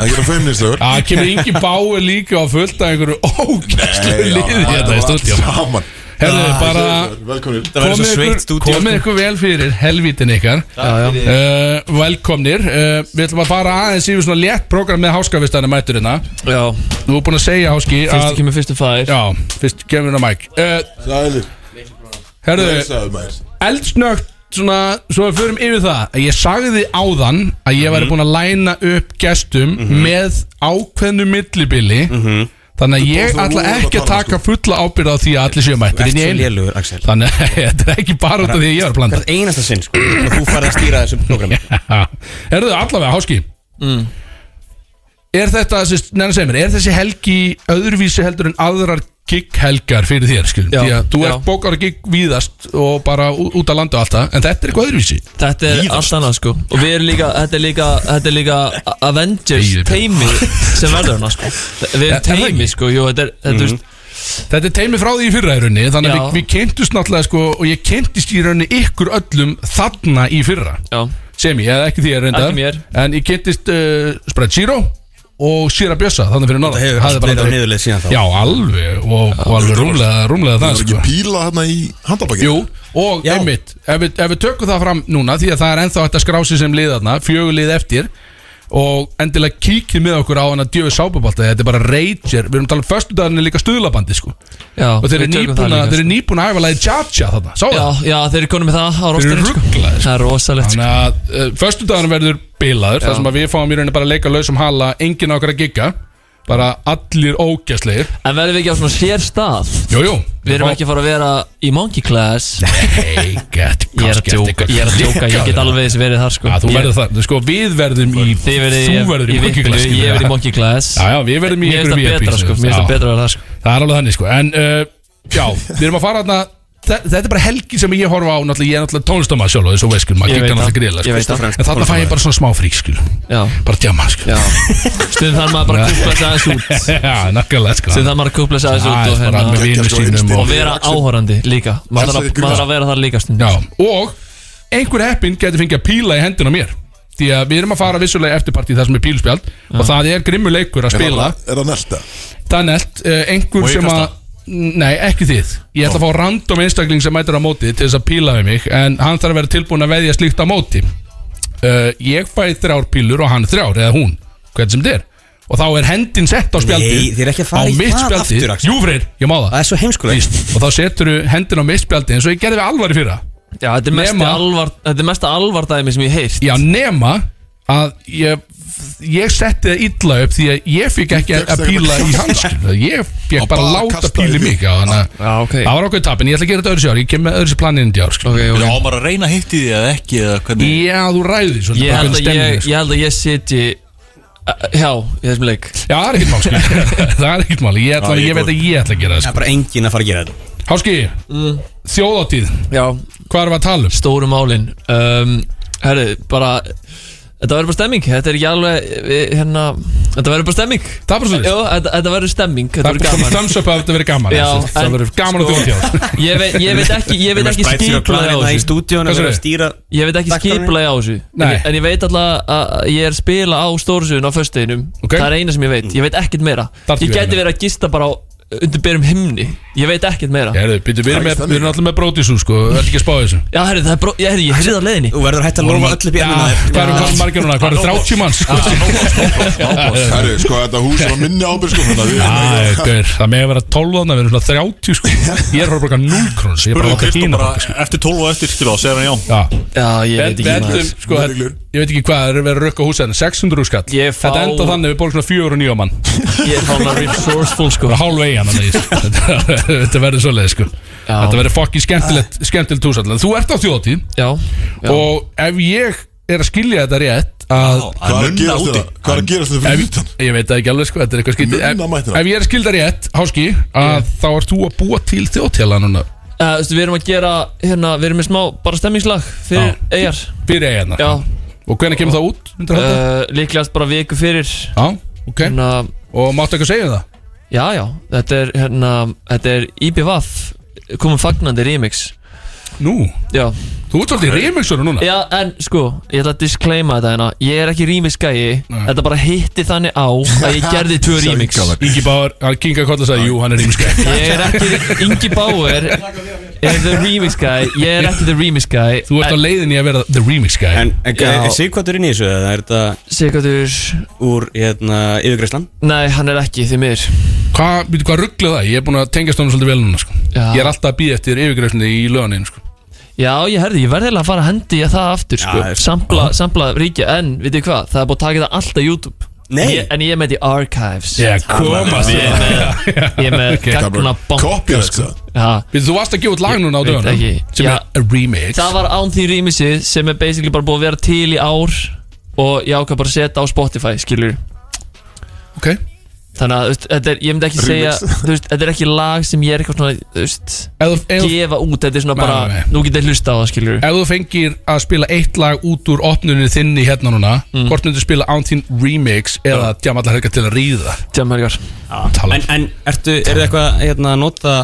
Speaker 1: Það er að feimnislegur
Speaker 3: Það kemur Ingi Báir líka á fullt af einhverju ógæslu liði hérna Þetta er stórt hjá
Speaker 1: Saman
Speaker 3: Herðu, bara
Speaker 1: Ah, Velkomin
Speaker 4: Það verður svo
Speaker 3: komið
Speaker 4: sveitt sko.
Speaker 3: ykkur,
Speaker 4: stúdíu
Speaker 3: komið ykkur vel fyrir helvítin ykkar uh, Velkomnir uh, Við ætlum að fara aðeins yfir svona létt program með háskafistæðanum mætturina
Speaker 8: Já,
Speaker 3: Þú er búin að segja háski
Speaker 8: fyrstu
Speaker 3: að
Speaker 8: kemur fyrstu fær
Speaker 3: Já, fyrst kemur hérna mæk uh,
Speaker 1: Sælir
Speaker 3: Herðu,
Speaker 1: Sælir mær
Speaker 3: eldsnögt svona, svo við förum yfir það að ég sagði áðan að ég
Speaker 1: Mhm.
Speaker 3: væri búin að læna upp gestum með ákveðnu millibili þannig að ég
Speaker 1: bóð-
Speaker 3: ætla
Speaker 1: Mhm. þú voru
Speaker 3: ekki
Speaker 1: að
Speaker 3: að
Speaker 1: tala,
Speaker 3: taka fulla ábyrð á því að allir séu mættir inn í
Speaker 2: Vertu
Speaker 3: einu
Speaker 2: lélugur, Axel
Speaker 3: þannig að <laughs> þetta er ekki bara út af því að ég var að blanda <laughs>
Speaker 2: Hvert einasta sinn, sko og Þú farið að stýra þessum program
Speaker 3: er þau allavega háski
Speaker 8: Mm.
Speaker 3: er þetta sérst, neina segir mér, er þessi helgi öðruvísi heldur en aðrar gighelgar fyrir þér skilum,
Speaker 8: Já,
Speaker 3: því að þú
Speaker 8: já.
Speaker 3: ert bókar gig víðast og bara ú- út að landa og allt það, en þetta er eitthvað öðruvísi
Speaker 8: Þetta er allt annað sko Og við erum líka, þetta er líka, þetta er líka A- Avengers
Speaker 3: Þegið, Björn.
Speaker 8: teimi sem verður hana sko Við
Speaker 3: Er- er
Speaker 8: erum
Speaker 3: það
Speaker 8: teimi
Speaker 3: ekki? Mhm.
Speaker 8: sko, jú, þetta er, þetta er
Speaker 3: Þetta er teimi frá því í fyrra í raunni Þannig að
Speaker 8: Já.
Speaker 3: við, við kynntust náttúrulega sko Og ég kynntist í raunni ykkur öllum þarna í fyrra
Speaker 8: Já,
Speaker 3: Sem ég, eða ekki því ég reyndar
Speaker 8: Ekki mér.
Speaker 3: En ég kynntist uh, Spread Zero Og Sýra Bjössa, þannig fyrir norðan
Speaker 2: Það hefur
Speaker 3: Hafði
Speaker 2: allt
Speaker 3: bara
Speaker 2: verið á
Speaker 3: aldrei-
Speaker 2: niðurleið síðan þá
Speaker 3: Já, alveg Og, og alveg rúmlega, rúmlega
Speaker 1: Það
Speaker 3: það
Speaker 1: er
Speaker 3: sko
Speaker 1: ekki píla hérna í handabakið
Speaker 3: Jú, og
Speaker 2: Já.
Speaker 3: einmitt ef við, ef við tökum það fram núna Því að það er ennþá hægt að skrá sig sem liðarna Fjögulið eftir Og endilega kíkið með okkur á hana djöðu sápubalta Þetta er bara rager Við erum að tala um föstudagarnir líka stuðlabandi sko
Speaker 8: já
Speaker 3: og þeir eru
Speaker 8: við tökum
Speaker 3: nýbúna
Speaker 8: það líka,
Speaker 3: þeir
Speaker 8: sko.
Speaker 3: eru nýbúna að æfa lagi Jaja þarna, sá
Speaker 8: Já,
Speaker 3: það?
Speaker 8: já, þeir eru konum með það á rostarinn sko
Speaker 3: ruglaðir, sko.
Speaker 8: Það er rosalegt sko
Speaker 3: Þannig að uh, föstudagarn verður bilaður þar sem að við fáum í rauninni bara að leika lausum hala enginn okkar að gigga bara allir ógæsleir
Speaker 8: En verðum við ekki á svona sér stað
Speaker 3: Jú, jú,
Speaker 8: Við erum ekki að fara að vera í monkey class
Speaker 3: Eigat,
Speaker 8: Ég er að djóka, ég er að djóka, ég get alveg verið þar sko
Speaker 3: Já, þú
Speaker 8: Ég-
Speaker 3: verður það, sko við verðum í
Speaker 8: Þið verðið
Speaker 3: Þú verður í monkey class,
Speaker 8: Ég
Speaker 3: skilur
Speaker 8: verður í
Speaker 3: við.
Speaker 8: monkey class
Speaker 3: Já, já, við verðum í
Speaker 8: Mér finnst
Speaker 3: ykkur
Speaker 8: það
Speaker 3: VIP,
Speaker 8: betra sko
Speaker 3: sem-
Speaker 8: Mér finnst það
Speaker 3: Já.
Speaker 8: betra að það sko
Speaker 3: Það er alveg þannig sko En uh, já, við erum að fara þarna þe- Þetta er bara helgi sem ég horfa á Náttúrulega ég er náttúrulega tónlistama sjálf Þessu veiskul, maður
Speaker 8: Ég
Speaker 3: gikk
Speaker 8: veit
Speaker 3: náttúrulega
Speaker 8: það.
Speaker 3: gríðlega
Speaker 8: Ég veit
Speaker 3: sko.
Speaker 8: það.
Speaker 3: En þarna fæ ég bara svona smá frík skil
Speaker 8: Já,
Speaker 3: Bara djama skil
Speaker 8: já Stundum þarf maður bara að kúpla sig aðeins út
Speaker 3: <laughs> Já, nakkarlega sko
Speaker 8: Stundum þarf maður að kúpla sig aðeins
Speaker 3: Það
Speaker 8: út
Speaker 3: er
Speaker 8: og,
Speaker 3: bara með
Speaker 8: hérna,
Speaker 1: Geggjað,
Speaker 3: vinnu
Speaker 1: sko,
Speaker 3: sínum
Speaker 1: innstyrk.
Speaker 8: og vera áhorandi líka Maður þarf
Speaker 1: Þetta
Speaker 8: að-
Speaker 1: er
Speaker 8: maður þarf að vera þar líka stundum
Speaker 3: Já, og einhver heppin getur fengið að píla í hendina á mér Því að við erum að fara vissulega eftirparti Það sem er pílspjald Og það er grimmur leikur að
Speaker 1: Er
Speaker 3: spila
Speaker 1: það- Er það nelta?
Speaker 3: Danelt, uh, einhver
Speaker 4: Og ég
Speaker 3: sem að
Speaker 4: kasta?
Speaker 3: Nei, ekki þið Ég ætla að fá random einstakling sem mætir á móti til þess að píla við mig En hann þarf að vera tilbúin að veðja slíkt á móti uh, Ég fæ þrjár pílur og hann þrjár Eða hún, hvern sem þið er Og þá er hendin sett á spjaldið
Speaker 2: Nei, þið er ekki að fara
Speaker 3: á
Speaker 2: í
Speaker 3: mitt
Speaker 2: það
Speaker 3: spjaldið.
Speaker 2: aftur, Axel.
Speaker 3: Jú, Freyr, ég má það
Speaker 2: Það er svo heimskulegt
Speaker 3: Víst. Og þá setur þú hendin á mitt spjaldið eins og ég gerði við alvar í fyrra
Speaker 8: Já, þetta er mesta
Speaker 3: Nema-
Speaker 8: alvar Þetta er mesta alvardæmi sem ég heilt
Speaker 3: Já, nema að ég, ég setti það illa upp því að ég fikk ekki
Speaker 1: fékkst
Speaker 3: að
Speaker 1: ekki
Speaker 3: píla
Speaker 1: að
Speaker 3: í
Speaker 1: kasta.
Speaker 3: hans skilur. Ég
Speaker 1: Og
Speaker 3: fikk bara að
Speaker 1: bara
Speaker 3: láta
Speaker 1: kastaði
Speaker 3: píli
Speaker 1: því.
Speaker 3: mig Já, þannig að
Speaker 8: Já, ok
Speaker 3: Það var okkur tap, en ég ætla að gera þetta öðru sér Ég kem með öðru sér planin í ár sko.
Speaker 8: Ok,
Speaker 4: Já,
Speaker 8: ok
Speaker 4: maður að reyna að hitti því eða ekki eða hvernig
Speaker 3: Já, þú ræði svolítið
Speaker 8: Ég
Speaker 3: bara
Speaker 8: held
Speaker 3: hvernig
Speaker 8: að ég,
Speaker 3: stemningin er, sko.
Speaker 8: ég, held að ég sitji eh, Já, í þessum leik
Speaker 3: Já, það er ekkert mál sko.
Speaker 8: <laughs>
Speaker 3: Það er ekkert mál, ég, ætla,
Speaker 4: Já,
Speaker 3: ég,
Speaker 4: ég
Speaker 3: veit að ég ætla að gera það
Speaker 2: Það
Speaker 3: sko.
Speaker 2: er bara enginn að fara að gera þetta
Speaker 3: Háski,
Speaker 8: Uh.
Speaker 3: þjóðáttíð
Speaker 8: Já
Speaker 3: Hvað erum við að tala um?
Speaker 8: Stóru málin um, Herri, bara Þetta verður bara stemming Þetta er ekki alveg eh, hérna, Þetta verður bara stemming
Speaker 3: Það er bara
Speaker 8: Jó,
Speaker 3: svolítið
Speaker 8: þetta, þetta verður stemming Þetta
Speaker 3: Það er
Speaker 8: verður
Speaker 3: bara komið
Speaker 8: gaman
Speaker 3: thumbs up að þetta verið gaman
Speaker 8: Já,
Speaker 3: þessu. Það
Speaker 8: en-
Speaker 3: verður gaman að
Speaker 8: sko-
Speaker 3: þjóðáttíð
Speaker 8: Ég veit, ég veit ekki, ég veit ekki hérna skipulagi á
Speaker 2: Það í
Speaker 8: þessu
Speaker 2: stúdíónu
Speaker 3: Hvað
Speaker 2: að vera
Speaker 3: segirðu?
Speaker 2: að stýra
Speaker 8: Ég veit ekki
Speaker 2: Dagskránni?
Speaker 8: skipulagi á þessu en
Speaker 3: Nei.
Speaker 8: ég, en ég veit alltaf að að ég er spila á stórsuðun á föstuðinum
Speaker 3: Ok.
Speaker 8: Það er eina sem ég veit, ég veit ekkert meira
Speaker 3: Þarftu
Speaker 8: Ég
Speaker 3: ekki
Speaker 8: geti
Speaker 3: meira.
Speaker 8: verið að gista bara á undir berum himni Ég veit ekkert meira
Speaker 3: Herðu, býttu, Við erum með- við erum alltaf með brótisú sko. Það er ekki að spá í þessu
Speaker 8: Já, herri, það er bró, ég, herri, ég heyrði það á leiðinni
Speaker 2: Þú verður að hætta að lófa öll upp í hérna ennuna
Speaker 3: Já,
Speaker 2: þér.
Speaker 3: Hvað eru hvað margir núna? Hvað eru 30 manns? sko?
Speaker 1: Herru, sko þetta hús var minni ábyrg sko Þannig að við
Speaker 3: Já, gaur, Það með að vera 12 þannig að við erum svona 30 sko. Ég er bara að borga 0 króns Ég er bara að
Speaker 4: Spurðu
Speaker 3: láta
Speaker 4: Kristó
Speaker 3: hína
Speaker 4: bara
Speaker 3: borga sko.
Speaker 4: eftir 12 og eftir skilá, segir hann já
Speaker 3: Já,
Speaker 8: Já, ég
Speaker 3: bet,
Speaker 8: veit ekki
Speaker 3: betum,
Speaker 8: maður
Speaker 3: sko, það- ég veit ekki hvað, það er verið að rökka húsæðin 600 skall,
Speaker 8: Ég fá-
Speaker 3: þetta enda þannig að við borgum svona 4 og 9 mann,
Speaker 8: Ég er fána resourceful, sko
Speaker 3: bara hálfa eigin hann í þessu. Þetta- þetta verður svoleið sko
Speaker 8: Já.
Speaker 3: þetta verður fokkin skemmtilegt skemmtilegt hús allan, þú ert á þjóðtíð
Speaker 8: Já, já
Speaker 3: og ef ég er að skilja þetta rétt að
Speaker 1: Hvað er
Speaker 4: Að
Speaker 1: að
Speaker 4: nunna
Speaker 1: gerast
Speaker 4: úti.
Speaker 1: þetta? Hvað er að gerast þetta fyrir utan?
Speaker 3: Ef, ég veit það ekki alveg sko, þetta er eitthvað skytið ef,
Speaker 1: Munna mættina.
Speaker 3: ef ég er skildar rétt, háski að þá ert þú að búa til þjóttjala núna
Speaker 8: Uh, veistu, Við erum að gera, hérna, við erum með smá bara stemmingslag fyrir
Speaker 3: Já.
Speaker 8: eigar
Speaker 3: fyrir eiginar
Speaker 8: Já,
Speaker 3: og hvernig kemur það út? myndirðu halda?
Speaker 8: uh, líklegast bara viku fyrir
Speaker 3: já, ok,
Speaker 8: Hérna,
Speaker 3: og máttu ekki að segja um það?
Speaker 8: já, já, þetta er, hérna, þetta er IBVAF komum fagnandi remix
Speaker 3: Nú,
Speaker 8: Já,
Speaker 3: þú ert svolítið remixur núna
Speaker 8: já en sko, ég ætla að disclaima þetta hérna Ég er ekki remix-gæi Þetta bara hitti þannig á að
Speaker 2: <laughs>
Speaker 8: ég gerði tvö remix
Speaker 3: Ingi Báður, hann kinga kolla og sagði Jú, hann er remixgæði
Speaker 8: <laughs> Ég er ekki, Ingi Bauer er the remix-gæi Ég er ekki the remix-gæi
Speaker 3: Þú ert á leiðinni að vera the remixgæði
Speaker 2: En, en
Speaker 8: Já.
Speaker 2: er Sigvartur inn í þessu eða er þetta
Speaker 8: Sigurður,
Speaker 2: úr hérna, yfirgreyslan?
Speaker 8: nei hann er ekki því mér
Speaker 3: Hvað, býtu hvað ruggla það? Ég er búin að tengjast honum svolítið vel núna sko.
Speaker 8: Já.
Speaker 3: Ég er alltaf að býja eftir yfirgreifsni í löganin sko.
Speaker 8: Já, ég herði, ég verði eiginlega að fara að hendi ég það aftur sko.
Speaker 2: það er-
Speaker 8: sampla, sampla ríkja, en veit þið hvað það er búið að taka það alltaf YouTube
Speaker 2: Nei.
Speaker 8: En ég, En ég er með því archives
Speaker 3: koma sér
Speaker 8: Ég er með gagna bank
Speaker 1: Kopja þetta
Speaker 8: ja,
Speaker 3: Býtu, þú varst að gefa út lag núna á
Speaker 8: Veit
Speaker 3: dögunum
Speaker 8: ekki.
Speaker 3: Sem
Speaker 8: Já.
Speaker 3: er a remix
Speaker 8: Það var án því rýmisið sem er basically bara búið að vera til í ár og ég ákvað bara að setja á Spotify skilur
Speaker 3: Ok.
Speaker 8: Þannig að þú veist, þetta er, ég myndi ekki segja þú veist, Þetta er ekki lag sem ég er eitthvað svona þú veist,
Speaker 3: Ef þú- Ef þú-
Speaker 8: gefa út, þetta er svona
Speaker 3: Nei,
Speaker 8: bara
Speaker 3: nei, nei.
Speaker 8: nú getið hlusta á það skilur
Speaker 3: ef þú fengir að spila eitt lag út úr opnunni þinni hérna núna
Speaker 8: Mm.
Speaker 3: Hvort myndir spila án þín remix Eða djamallar helga til að ríða
Speaker 8: Tjámörgar
Speaker 3: Tala.
Speaker 2: En, en ertu, er það eitthvað hérna, að nota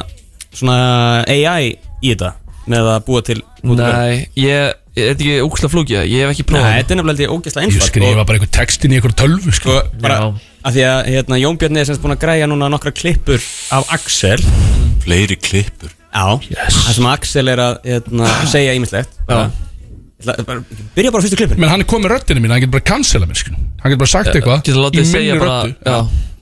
Speaker 2: svona AI í þetta með að búa til útgáfu?
Speaker 8: Nei, ég, ég- er þetta ekki úksla flókja? Ég hef ekki
Speaker 2: Nei,
Speaker 8: prófað
Speaker 2: þetta er nefnilega held ég ógeðslega
Speaker 3: Ég
Speaker 8: sko-
Speaker 2: einfalt
Speaker 3: skrifa bara einhver textin í einhver tölvu sko.
Speaker 2: og bara
Speaker 8: Já.
Speaker 2: að því að hérna, Jón Björn er semst búin að græja núna nokkra klippur af Axel
Speaker 4: Fleiri klippur
Speaker 2: Já, það sem Axel er að hérna, segja ímislegt bara, Ég ætla- bara, Byrja bara á fyrstu klippinu
Speaker 3: Men hann er komið röddina mín, hann getur bara að cancela mér sko. Hann getur bara sagt eitthvað
Speaker 8: Eh, Getur látið að segja bara
Speaker 3: röddu.
Speaker 8: já,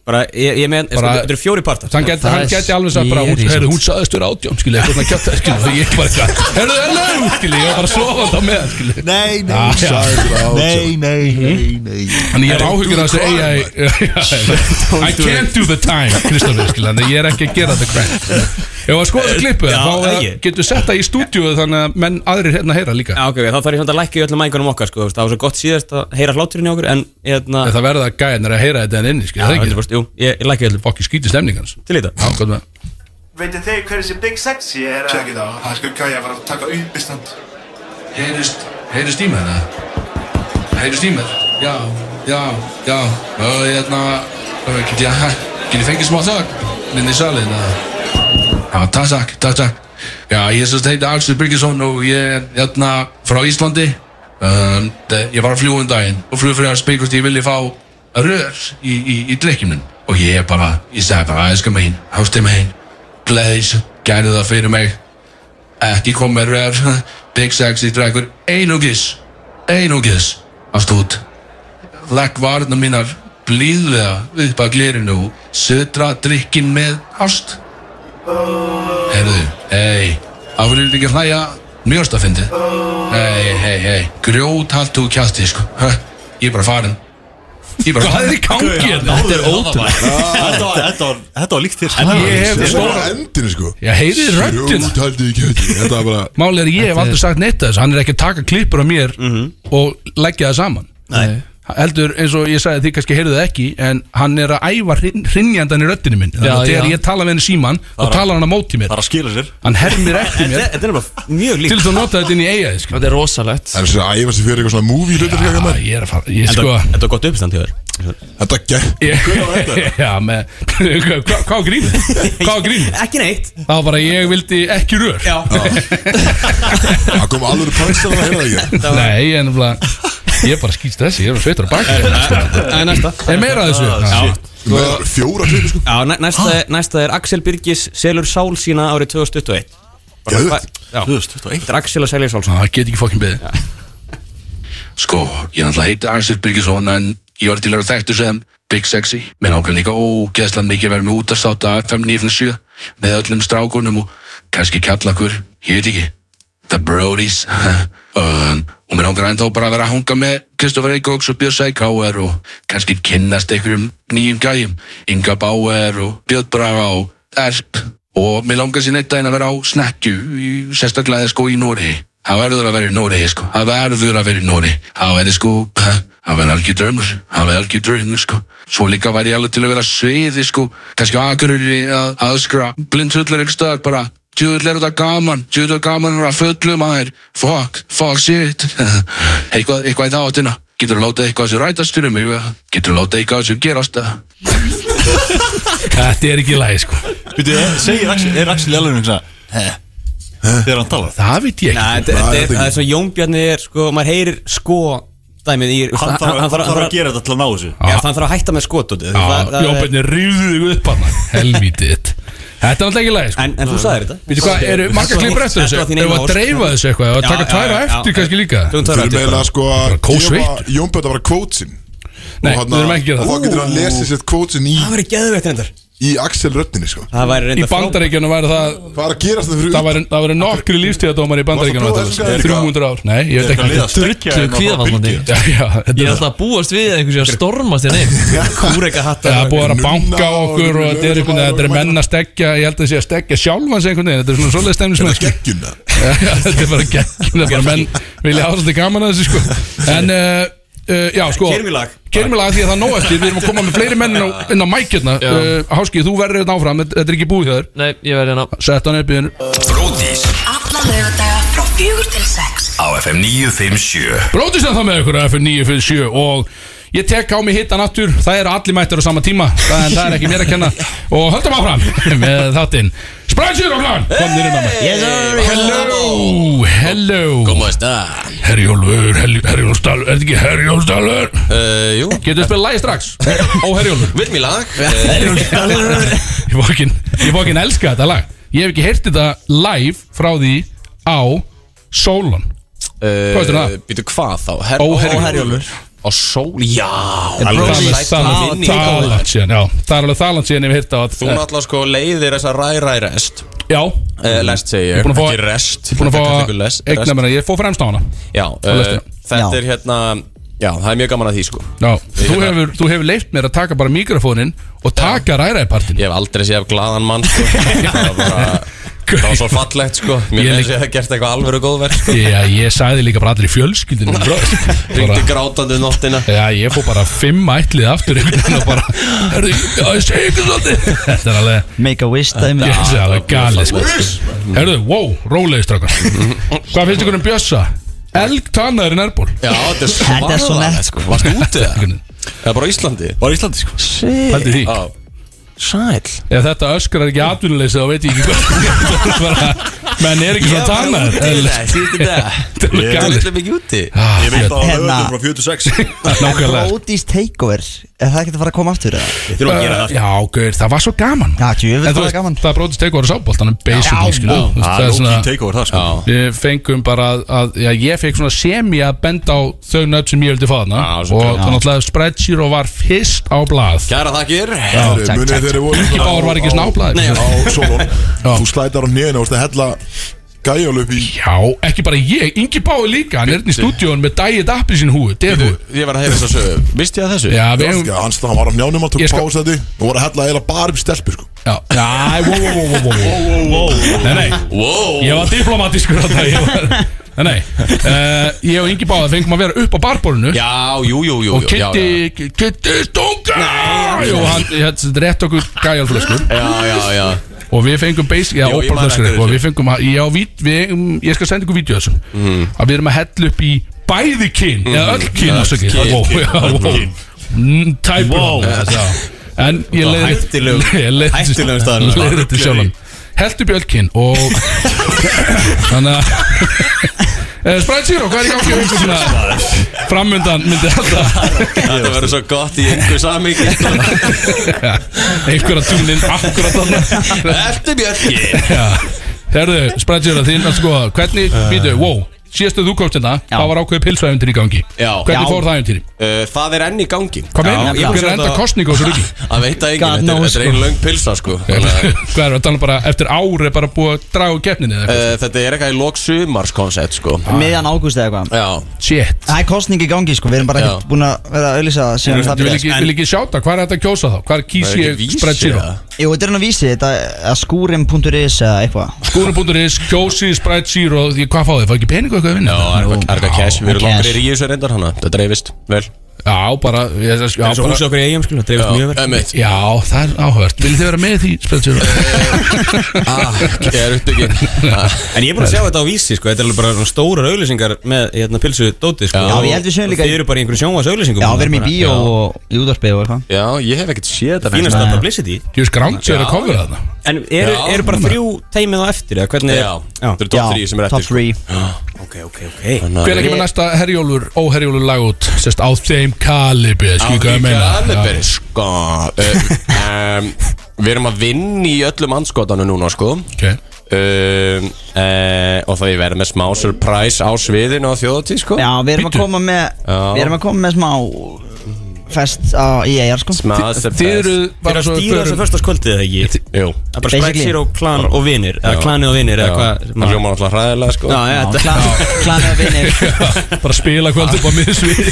Speaker 2: bara, ég, ég með,
Speaker 3: Bara-
Speaker 2: bara, þetta eru fjóri partar
Speaker 3: Hann geti,
Speaker 8: Það sko."
Speaker 3: hann
Speaker 8: er
Speaker 3: geti alveg sagt bara hún,
Speaker 8: skýrið
Speaker 3: heyrðu,
Speaker 8: samt.
Speaker 3: hún saðist vera átjón skilja, eitthvað svona kjátt skilja, því ég bara <laughs> eitthvað heyrðu, heyrðu, skilja, ég var bara svofand á meðan skilja
Speaker 5: Nei, nei,
Speaker 3: Ah, já.
Speaker 5: nei, nei, nei, nei
Speaker 3: Þannig ég er áhyggjur að þessu AI <laughs> I can't do the time Kristoffer, skilja, þannig ég er ekki að gera the crap Ef að skoða þessu klippu
Speaker 2: Já,
Speaker 3: þá eh,
Speaker 2: ekki.
Speaker 3: getur sett það í stúdíu þannig að menn aðrir hérna heyra líka
Speaker 2: Já, ok, ok, þá þarf ég samt að lækka í öllum mækunum okkar sko, þú veist, það var svo gott síðast að heyra hláturinn í okkur en hérna,
Speaker 3: En það verða gæðnir að heyra þetta en inni skilja, það er
Speaker 2: 100%,
Speaker 3: ekki
Speaker 2: jú, ég, ég lækka í öllum
Speaker 3: fokki skíti stemningans
Speaker 2: til í þetta
Speaker 3: Já, gott með
Speaker 9: Veitir þeir hver þessi Big Sexy er að... Check it out, hann skal kæja að fara að taka uppistand.
Speaker 3: Heyrist, heyrist í mér það? Heyrist í mér? Já, já, já Og hérna, uh, get ég, ha, get ég fengið smá þögn inn í salin? Uh. Já, takk, takk, takk, takk Já, ég sérst heiti Axel Birgisson og ég er hérna frá Íslandi um, de, Ég var að fljúa um daginn og flug fyrir að spilkust ég vilja fá rör í, í, í drikkjumnum og ég er bara, ég sagði bara, elskar mig hinn, hásti mig hinn, glæðis, gæði það fyrir mig ekki kom með rör Big Sexy Dragur einugis einugis af stúd legg varna mínar blíðlega upp að glirinu og södra drikkin með ást Herðu, hei af hverju er ekki að hlæja mjörstafindi hei, hei, hei grjót haldt og kjátti sko Hæ, ég er bara farin ég er bara hvað er í gangi hérna?
Speaker 8: Þetta er ótrúlega
Speaker 4: Þetta var- þetta var- þetta var líkt þér sko.
Speaker 1: Þetta er bara endinu sko
Speaker 3: ég heyri
Speaker 1: Grjót haldið í kjöti Þetta er bara
Speaker 3: Málið er að ég hef aldrei sagt neitt að þessu Hann er ekki að taka klippur af mér og leggja það saman
Speaker 8: Nei.
Speaker 3: Heldur eins og ég sagði því kannski heyrðu það ekki En hann er að æfa hryn- hrynjandan í röddinu minn Þannig að
Speaker 8: Já,
Speaker 3: þegar
Speaker 8: já.
Speaker 3: ég tala við henni síman Þá talar hann á móti mér
Speaker 4: Það er að skila sér
Speaker 3: Hann hermir eftir
Speaker 4: <laughs>
Speaker 3: mér
Speaker 2: Þetta er bara mjög
Speaker 3: Til
Speaker 2: líkt
Speaker 3: þess að nota þetta inn í eiga sko.
Speaker 8: Þetta er rosalegt
Speaker 1: Það er svona að æfa sig fyrir eitthvað svona movie hlutur
Speaker 3: Já,
Speaker 1: ja.
Speaker 3: Ég er að fara ég,
Speaker 2: Þetta
Speaker 3: sko,
Speaker 2: þetta var gott uppstand hjá þér
Speaker 1: Þetta gekk
Speaker 3: ég, <laughs> Já, með hva- hva- Hvað á grínið? Hvað á
Speaker 4: <laughs>
Speaker 3: grínið?
Speaker 2: Ekki neitt
Speaker 3: Það var bara ég vildi ekki rör
Speaker 2: Já,
Speaker 3: <laughs>
Speaker 1: Það kom alveg præstar að heyra það
Speaker 3: <laughs>
Speaker 1: ekki
Speaker 3: Nei, en bara Ég er bara skýst þessi, ég er bara sveitur á baki
Speaker 2: það er næsta
Speaker 3: Er meira að þessu? Já,
Speaker 1: Með Fjóra hlutur sko
Speaker 2: Já, næ- næsta, er- næsta er Axel Birgis selur sál sína árið 2021 Bara
Speaker 1: Geðveikt.
Speaker 2: hvað- Já,
Speaker 4: Þú veist, þetta var eitt
Speaker 2: þetta er Axel að selja sál sína
Speaker 3: Já, það get ekki fokkin beðið <laughs> Sko, ég ætla að heita Axel Birgisson en ég var til að vera þekktur sem Big Sexy með ákveðan líka ógeðslan mikið að vera með útastátt að FM 957 með öllum strákunum og kannski kallakur, ég veit ekki The Brodies <laughs> um, og mér ákveðan ennþá bara að vera að hanga með Kristoffer Eikóks og Björn Sækáer og kannski kynnast einhverjum nýjum gæjum Inga Bauer og Björn Braga og Erp og mér langar sér neitt daginn að vera á snekju í- sérstaklega sko í Nóri Það verður að vera í Nóri, sko. Það verður að vera í Nóri. Það verður sko, það verður algjör draumur. Það verður algjör draumur, sko. Svo líka væri ég alveg til að vera á sviði, sko. Kannski á Akureyri að aðskra blindhullar einhver stöðar bara. Djúðull er þetta gaman, djúðull er gaman að vera fullum maður. Fuck, fuck shit. <laughs> eitthvað, eitthvað í þá áttina. Getur að láta eitthvað sem rætast fyrir mig, eða? getur að láta eitthvað sem gerast það. Þetta er ekki læg, sko.
Speaker 4: Býtu, segir Axel, er Axel í alveg einhvern veginn þegar hann talar
Speaker 3: Það veit ég
Speaker 2: Nei,
Speaker 3: ekki sko.
Speaker 2: þetta-
Speaker 1: það
Speaker 2: þetta
Speaker 1: er
Speaker 2: er-
Speaker 1: þetta
Speaker 2: það er svo Jónbjarni er sko, maður heyrir sko dæmið í veist,
Speaker 4: Hann þarf hann þarf að
Speaker 2: Já,
Speaker 4: gera þetta til að ná þessu
Speaker 2: hann þarf að hætta með skotut
Speaker 3: Jópenni rýðu þig upp hann Helvítið Þetta er alltaf ekki læg sko.
Speaker 2: En en þú sagðir þetta
Speaker 3: Veitu hvað, eru margar klippur eftir þessu? Ef að dreifa þessu eitthvað, ef að taka tæra eftir kannski líka
Speaker 2: Tökum
Speaker 1: Við
Speaker 2: tæra
Speaker 1: erum
Speaker 2: eftir
Speaker 1: eiginlega
Speaker 2: bara.
Speaker 1: sko að
Speaker 3: bara kósveitt.
Speaker 1: gefa Jónbjörn að vera kvótsinn
Speaker 3: Nei, við erum ekki að gera
Speaker 1: Og þá
Speaker 3: það
Speaker 1: getur hann lesið sér kvótsinn í,
Speaker 2: Það væri geðveitt reyndar
Speaker 1: í Axel Röttinni sko
Speaker 2: Það væri
Speaker 3: Í
Speaker 2: reyndar
Speaker 3: bandaríkjunum væri það
Speaker 1: Hvað er að gerast þetta fyrir
Speaker 3: Það væri, það væri nokkri lífstíðadómar í bandaríkjunum
Speaker 1: Varstu að prófa
Speaker 3: að tala
Speaker 1: þessu
Speaker 3: um. 300 ár Nei, ég veit
Speaker 4: Þetta
Speaker 3: ekki
Speaker 4: liða strekkja
Speaker 8: Drullu kvíðavaldandi
Speaker 3: Já, já,
Speaker 8: Ég
Speaker 3: þetta er
Speaker 8: er
Speaker 3: það
Speaker 8: alltaf að búast við að einhversu að stormast hérna
Speaker 4: <laughs>
Speaker 8: inn
Speaker 2: Kúreka hattar
Speaker 4: um
Speaker 3: Það er búið að vera að banka
Speaker 1: Nunna
Speaker 3: á
Speaker 1: og
Speaker 3: okkur og þetta er einhvern veginn, þetta er
Speaker 1: lögreglumaður
Speaker 3: menn að stekja, ég held að það sé að stekja sjálfans einhvern veginn, þetta er svona svoleið stemnismenn sko.
Speaker 1: geggjuna?
Speaker 3: Já, já, þetta er bara gegn bara menn vilja hafa svolítið gaman að þessu sko en uh, uh, já sko
Speaker 2: Keyrum í lag.
Speaker 3: keirum í lag því að það er nóg eftir við erum að koma með fleiri menn inn á, inn á mækjörna uh, Háski þú verður þetta áfram þetta þetta er ekki búið hjá þér
Speaker 8: Nei, ég verði hérna
Speaker 3: sett hann upp í hennu
Speaker 6: Bródís
Speaker 7: Alla laugardaga frá fjögur til sex
Speaker 6: á FM 957
Speaker 3: brótist það með ykkur á F9 fyrir 7 og ég tek á mig hitta nattur það eru allir mættir á sama tíma það, en það er ekki mér að kenna og höldum áfram <laughs> með þáttinn Sprænsjögur á klan kom þér inn á mig hello hello
Speaker 10: Góma stað
Speaker 3: Herjólfur Herj- Herjólfsdalur er þetta ekki Herjólfsdalur
Speaker 10: uh, Jú,
Speaker 3: Getur við spilað lagi strax? Ó, Herjólfur
Speaker 2: <laughs>
Speaker 10: vill mér lag Eh,
Speaker 3: Ég fokkin, ég fokkin elska þetta lag Ég hef ekki heyrt þetta live frá því á Solon Hvað veistu það?
Speaker 10: Býtu eh, hvað þá? Her
Speaker 3: Ó, Herjólfur.
Speaker 10: Á sól, já
Speaker 3: Það er alveg
Speaker 10: Sæll,
Speaker 3: þalant- þalant síðan, já Það er alveg þalant síðan ef ég hef heyrt á að
Speaker 10: Þú náttúrulega sko leiðir þessa ræræ rest
Speaker 3: Já,
Speaker 10: Uh, lest segi ég,
Speaker 3: Mm. Ég er búinn að fá-
Speaker 10: ekki rest
Speaker 3: búin að
Speaker 10: Þetta kallar ykkur
Speaker 3: fá
Speaker 10: lest, rest.
Speaker 3: eigna mér að ég fór fremst á hana
Speaker 10: Já, uh,
Speaker 3: lestina.
Speaker 10: þetta er hérna Já, það er mjög gaman að því sko
Speaker 3: Já, þú hefur, þú hefur leift mér að taka bara mikrofónin og taka ræræðpartin
Speaker 10: Ég hef aldrei séð af glaðan mann sko Það var bara Það var svo fallegt sko Mér
Speaker 3: Ég
Speaker 10: hefði
Speaker 3: líka.
Speaker 10: séð að gert eitthvað alvöru góðverk sko
Speaker 3: Já, ég sagði líka bara allir í
Speaker 10: <laughs>
Speaker 3: fjölskyldinu
Speaker 10: Ringdi
Speaker 3: Bara-
Speaker 10: grátandi um nóttina
Speaker 3: Já, ég fór bara fimm ætlið aftur einhvern veginn og bara, herðu, já, ég segi ykkur svolítið <laughs> Þetta er alveg
Speaker 11: Make a wish dæmi
Speaker 3: Ég
Speaker 4: Ah,
Speaker 3: sé alveg galið sko Herðu, wow, rólegið strakkar Hvað finnst ykkur um Bjössa? Elg tannaður í nærból
Speaker 10: Já, þetta er
Speaker 11: Þetta er svo
Speaker 10: svaðalegt
Speaker 11: nett.
Speaker 10: sko Varstu úti það? Eða bara á Íslandi?
Speaker 4: Var í Íslandi sko
Speaker 3: Pældi því
Speaker 10: Já Sæl
Speaker 3: Ef þetta öskrar ekki atvinnuleysi þá veit ég ekki hvað <laughs> Þetta er bara, Menn er ekki svona tannaður eðlilega.
Speaker 10: Sýtti það
Speaker 3: Þetta er alveg
Speaker 10: Þú
Speaker 3: galið
Speaker 10: villum ekki úti
Speaker 3: Ah,
Speaker 4: Ég veit
Speaker 3: fjöld.
Speaker 4: að hann
Speaker 11: Hérna.
Speaker 4: höfðum frá 46
Speaker 3: Nákvæmlega sko.
Speaker 11: Brótis takeover Er það ekki að fara að koma aftur? eða?
Speaker 4: Þurfum að gera það
Speaker 3: Já, gaur, það var svo gaman
Speaker 11: Já, Ah, djöfull
Speaker 3: En þú
Speaker 11: var
Speaker 3: veist,
Speaker 11: gaman.
Speaker 3: Það brótist tegur á sáboltanum Basically, skilur þú? Þú veist,
Speaker 4: Það
Speaker 3: Það
Speaker 4: er
Speaker 3: er svona
Speaker 4: lókið take over það sko
Speaker 3: Við fengum bara að, að já, ég fekk svona semi að benda á þau nöfn sem ég vildi fá þarna og þannig að spreadsheet og var fyrst á blað
Speaker 10: Kæra þakkir
Speaker 1: Herru, munið þegar þið voru
Speaker 3: Rikki Bár var ekki svona á blaði.
Speaker 1: Nei, á Solon
Speaker 3: Já.
Speaker 1: Þú slætar á nýðina og það hella gæjál upp í
Speaker 3: Já, ekki bara ég, Ingi Báði líka hann er hérna í stúdíón með Diet Appi sín húi Defu,
Speaker 10: Ég var að heyra þess að sögu Visti ég að þessu?
Speaker 3: já, við hefum
Speaker 1: Þannig að Hann stað- hann var á njánum að
Speaker 3: Ég
Speaker 1: tók
Speaker 3: skal-
Speaker 1: pása þetta og voru að hella eila bara upp í stelpur sko
Speaker 3: Já, já, wow, wow, wow, wow, wow. Nei, nei, ég var diplomatískur á það Nei, nei, uh, ég og Ingi Báði fengum að vera upp á barborinu
Speaker 10: Já, jú, jú, jú
Speaker 3: og
Speaker 10: jú, já, já.
Speaker 3: Kitty, Kitty Stunga og hann, þetta er rétt okkur gæjálflöskur
Speaker 10: Já, já, já
Speaker 3: og við fengum basic, já,
Speaker 10: Jó, ég man
Speaker 3: opalflöskur
Speaker 10: eftir
Speaker 3: eitthvað,
Speaker 10: þessu.
Speaker 3: við fengum að, já, við, við, ég skal senda ykkur vídeo þessu,
Speaker 10: Mm.
Speaker 3: að við erum að hella upp í bæði kyn, eða öll kyn, afsakið,
Speaker 10: kyn,
Speaker 3: wow,
Speaker 10: kyn,
Speaker 3: já, wow, Mm, tæpur wow. en <laughs> ég leiði
Speaker 10: hættulegum- hættulegum staðnum.
Speaker 3: leiði þetta sjálfan held upp í öll kyn og þannig að Eh, Sprite Zero, hvað er í gangi á ykkur svona framundan myndi alltaf
Speaker 10: Þetta verður svo gott í einhver samíki <laughs>
Speaker 3: einhver að tún inn akkurat þannig
Speaker 10: Ertu Björki
Speaker 3: Herðu, Sprætsjóra, þín að sko Hvernig, býtu, wow Síðastu þú komst hérna,
Speaker 11: Já.
Speaker 3: það var ákveðið pilsvæfundir í gangi
Speaker 10: Já.
Speaker 3: Hvernig
Speaker 11: Já.
Speaker 3: fór það æfundir?
Speaker 10: Uh, Það er enn í gangi
Speaker 3: Hvað meina?
Speaker 10: Já,
Speaker 3: Hver er enda kostning á þessu ruggi?
Speaker 10: Það veit það
Speaker 11: God
Speaker 10: enginn Þetta er-
Speaker 11: knows,
Speaker 10: þetta er einn löng pilsa sko Þannig að-
Speaker 3: Hvað er það, tala bara eftir ári bara búið að draga úr keppninni eða eitthvað?
Speaker 10: Eh, Þetta er eitthvað í lok sumarskoncept sko
Speaker 11: Miðjan ágúst eða eitthvað
Speaker 10: Já
Speaker 3: Shit
Speaker 11: Það er kostning í gangi sko Við erum bara
Speaker 10: Já.
Speaker 11: ekkert búin að vera að auðlýsa síðan Eh, það
Speaker 3: Ég vil
Speaker 11: byrjaði
Speaker 3: ekki, vil ekki sjáta, hvað er þetta að kjósa þá? Hvað er kýs
Speaker 10: Það er
Speaker 3: ég
Speaker 10: ekki vísir,
Speaker 3: Sprætsjóra?
Speaker 10: eða?
Speaker 11: sko. Jú, þetta er hann að vísi Þetta er skúrim.is eða eitthvað
Speaker 3: Skúri.is, kjósið Sprætsjóra Hvað fá þið, fá ekki peningu eitthvað að vinna?
Speaker 10: Já, er eitthvað- er eitthvað oh, cash Við erum
Speaker 11: cash.
Speaker 10: langri í þessu reyndar hana Þetta dreifist vel
Speaker 3: Já, bara ég- já,
Speaker 4: eins og
Speaker 3: bara-
Speaker 4: húsið okkur í eigum skilur, það dreifist
Speaker 3: Já,
Speaker 4: sko, mjög vel
Speaker 2: einmitt.
Speaker 3: Já, það er áhört Viljið þið vera með í því spjöldsjóru?
Speaker 4: <laughs>
Speaker 2: Ah, ég er uppbygginn
Speaker 4: En ég er búin að sjá þetta á vísi sko, þetta er alveg bara svona stórar auglýsingar með hérna, pilsu dóti sko,
Speaker 11: Já, ég held við séum líka-
Speaker 4: og Þið eru bara í einhverjum sjónvars auglýsingum
Speaker 11: Já, við erum í bíó og í útvarpi og eitthvað
Speaker 2: Já, ég hef ekkert séð þetta
Speaker 4: Fínast
Speaker 11: Nei.
Speaker 4: að publicity
Speaker 3: Jús Gránt sér
Speaker 2: Já.
Speaker 3: að kofra þarna
Speaker 4: En eru,
Speaker 2: Já,
Speaker 4: eru bara
Speaker 2: númer.
Speaker 4: þrjú teimið á eftir eða hvernig
Speaker 2: Já, þetta
Speaker 4: já.
Speaker 2: eru top 3 sem er
Speaker 11: top
Speaker 2: eftir sko.
Speaker 11: 3
Speaker 4: Ok, ok, ok
Speaker 2: Þannig að-
Speaker 3: Hvenær kemur næsta herjólfur, óherjólfur lag út Sérst á þeim kalibri
Speaker 2: Á
Speaker 3: skilur Sko, hvað
Speaker 2: því
Speaker 3: ég meina.
Speaker 2: kaliberi,
Speaker 3: Já.
Speaker 2: sko uh, um, Við erum að vinna í öllum anskotanum núna sko
Speaker 3: Ok.
Speaker 2: um, uh, Og þá ég verði með smá surprise á sviðinu á þjóðatí sko
Speaker 11: Já, við erum að koma með
Speaker 2: Já.
Speaker 11: Við erum að koma með smá Fest á IAR sko
Speaker 2: Smá surprise
Speaker 3: Þið eru
Speaker 4: Þeir eru
Speaker 3: bara
Speaker 4: að
Speaker 3: svo
Speaker 4: stýra þessu förstaskvöldið eða ekki
Speaker 2: Jú
Speaker 4: Það er bara
Speaker 11: Basically.
Speaker 4: Spræksir og klan og vinir Eða klanið og vinir eða hvað sem
Speaker 2: Það
Speaker 4: að-
Speaker 2: hljóma alltaf hræðilega sko
Speaker 4: Já, já, þetta
Speaker 11: Klan eða vinir
Speaker 3: <laughs> Bara spila kvöld upp á
Speaker 2: <laughs>
Speaker 3: miðsvið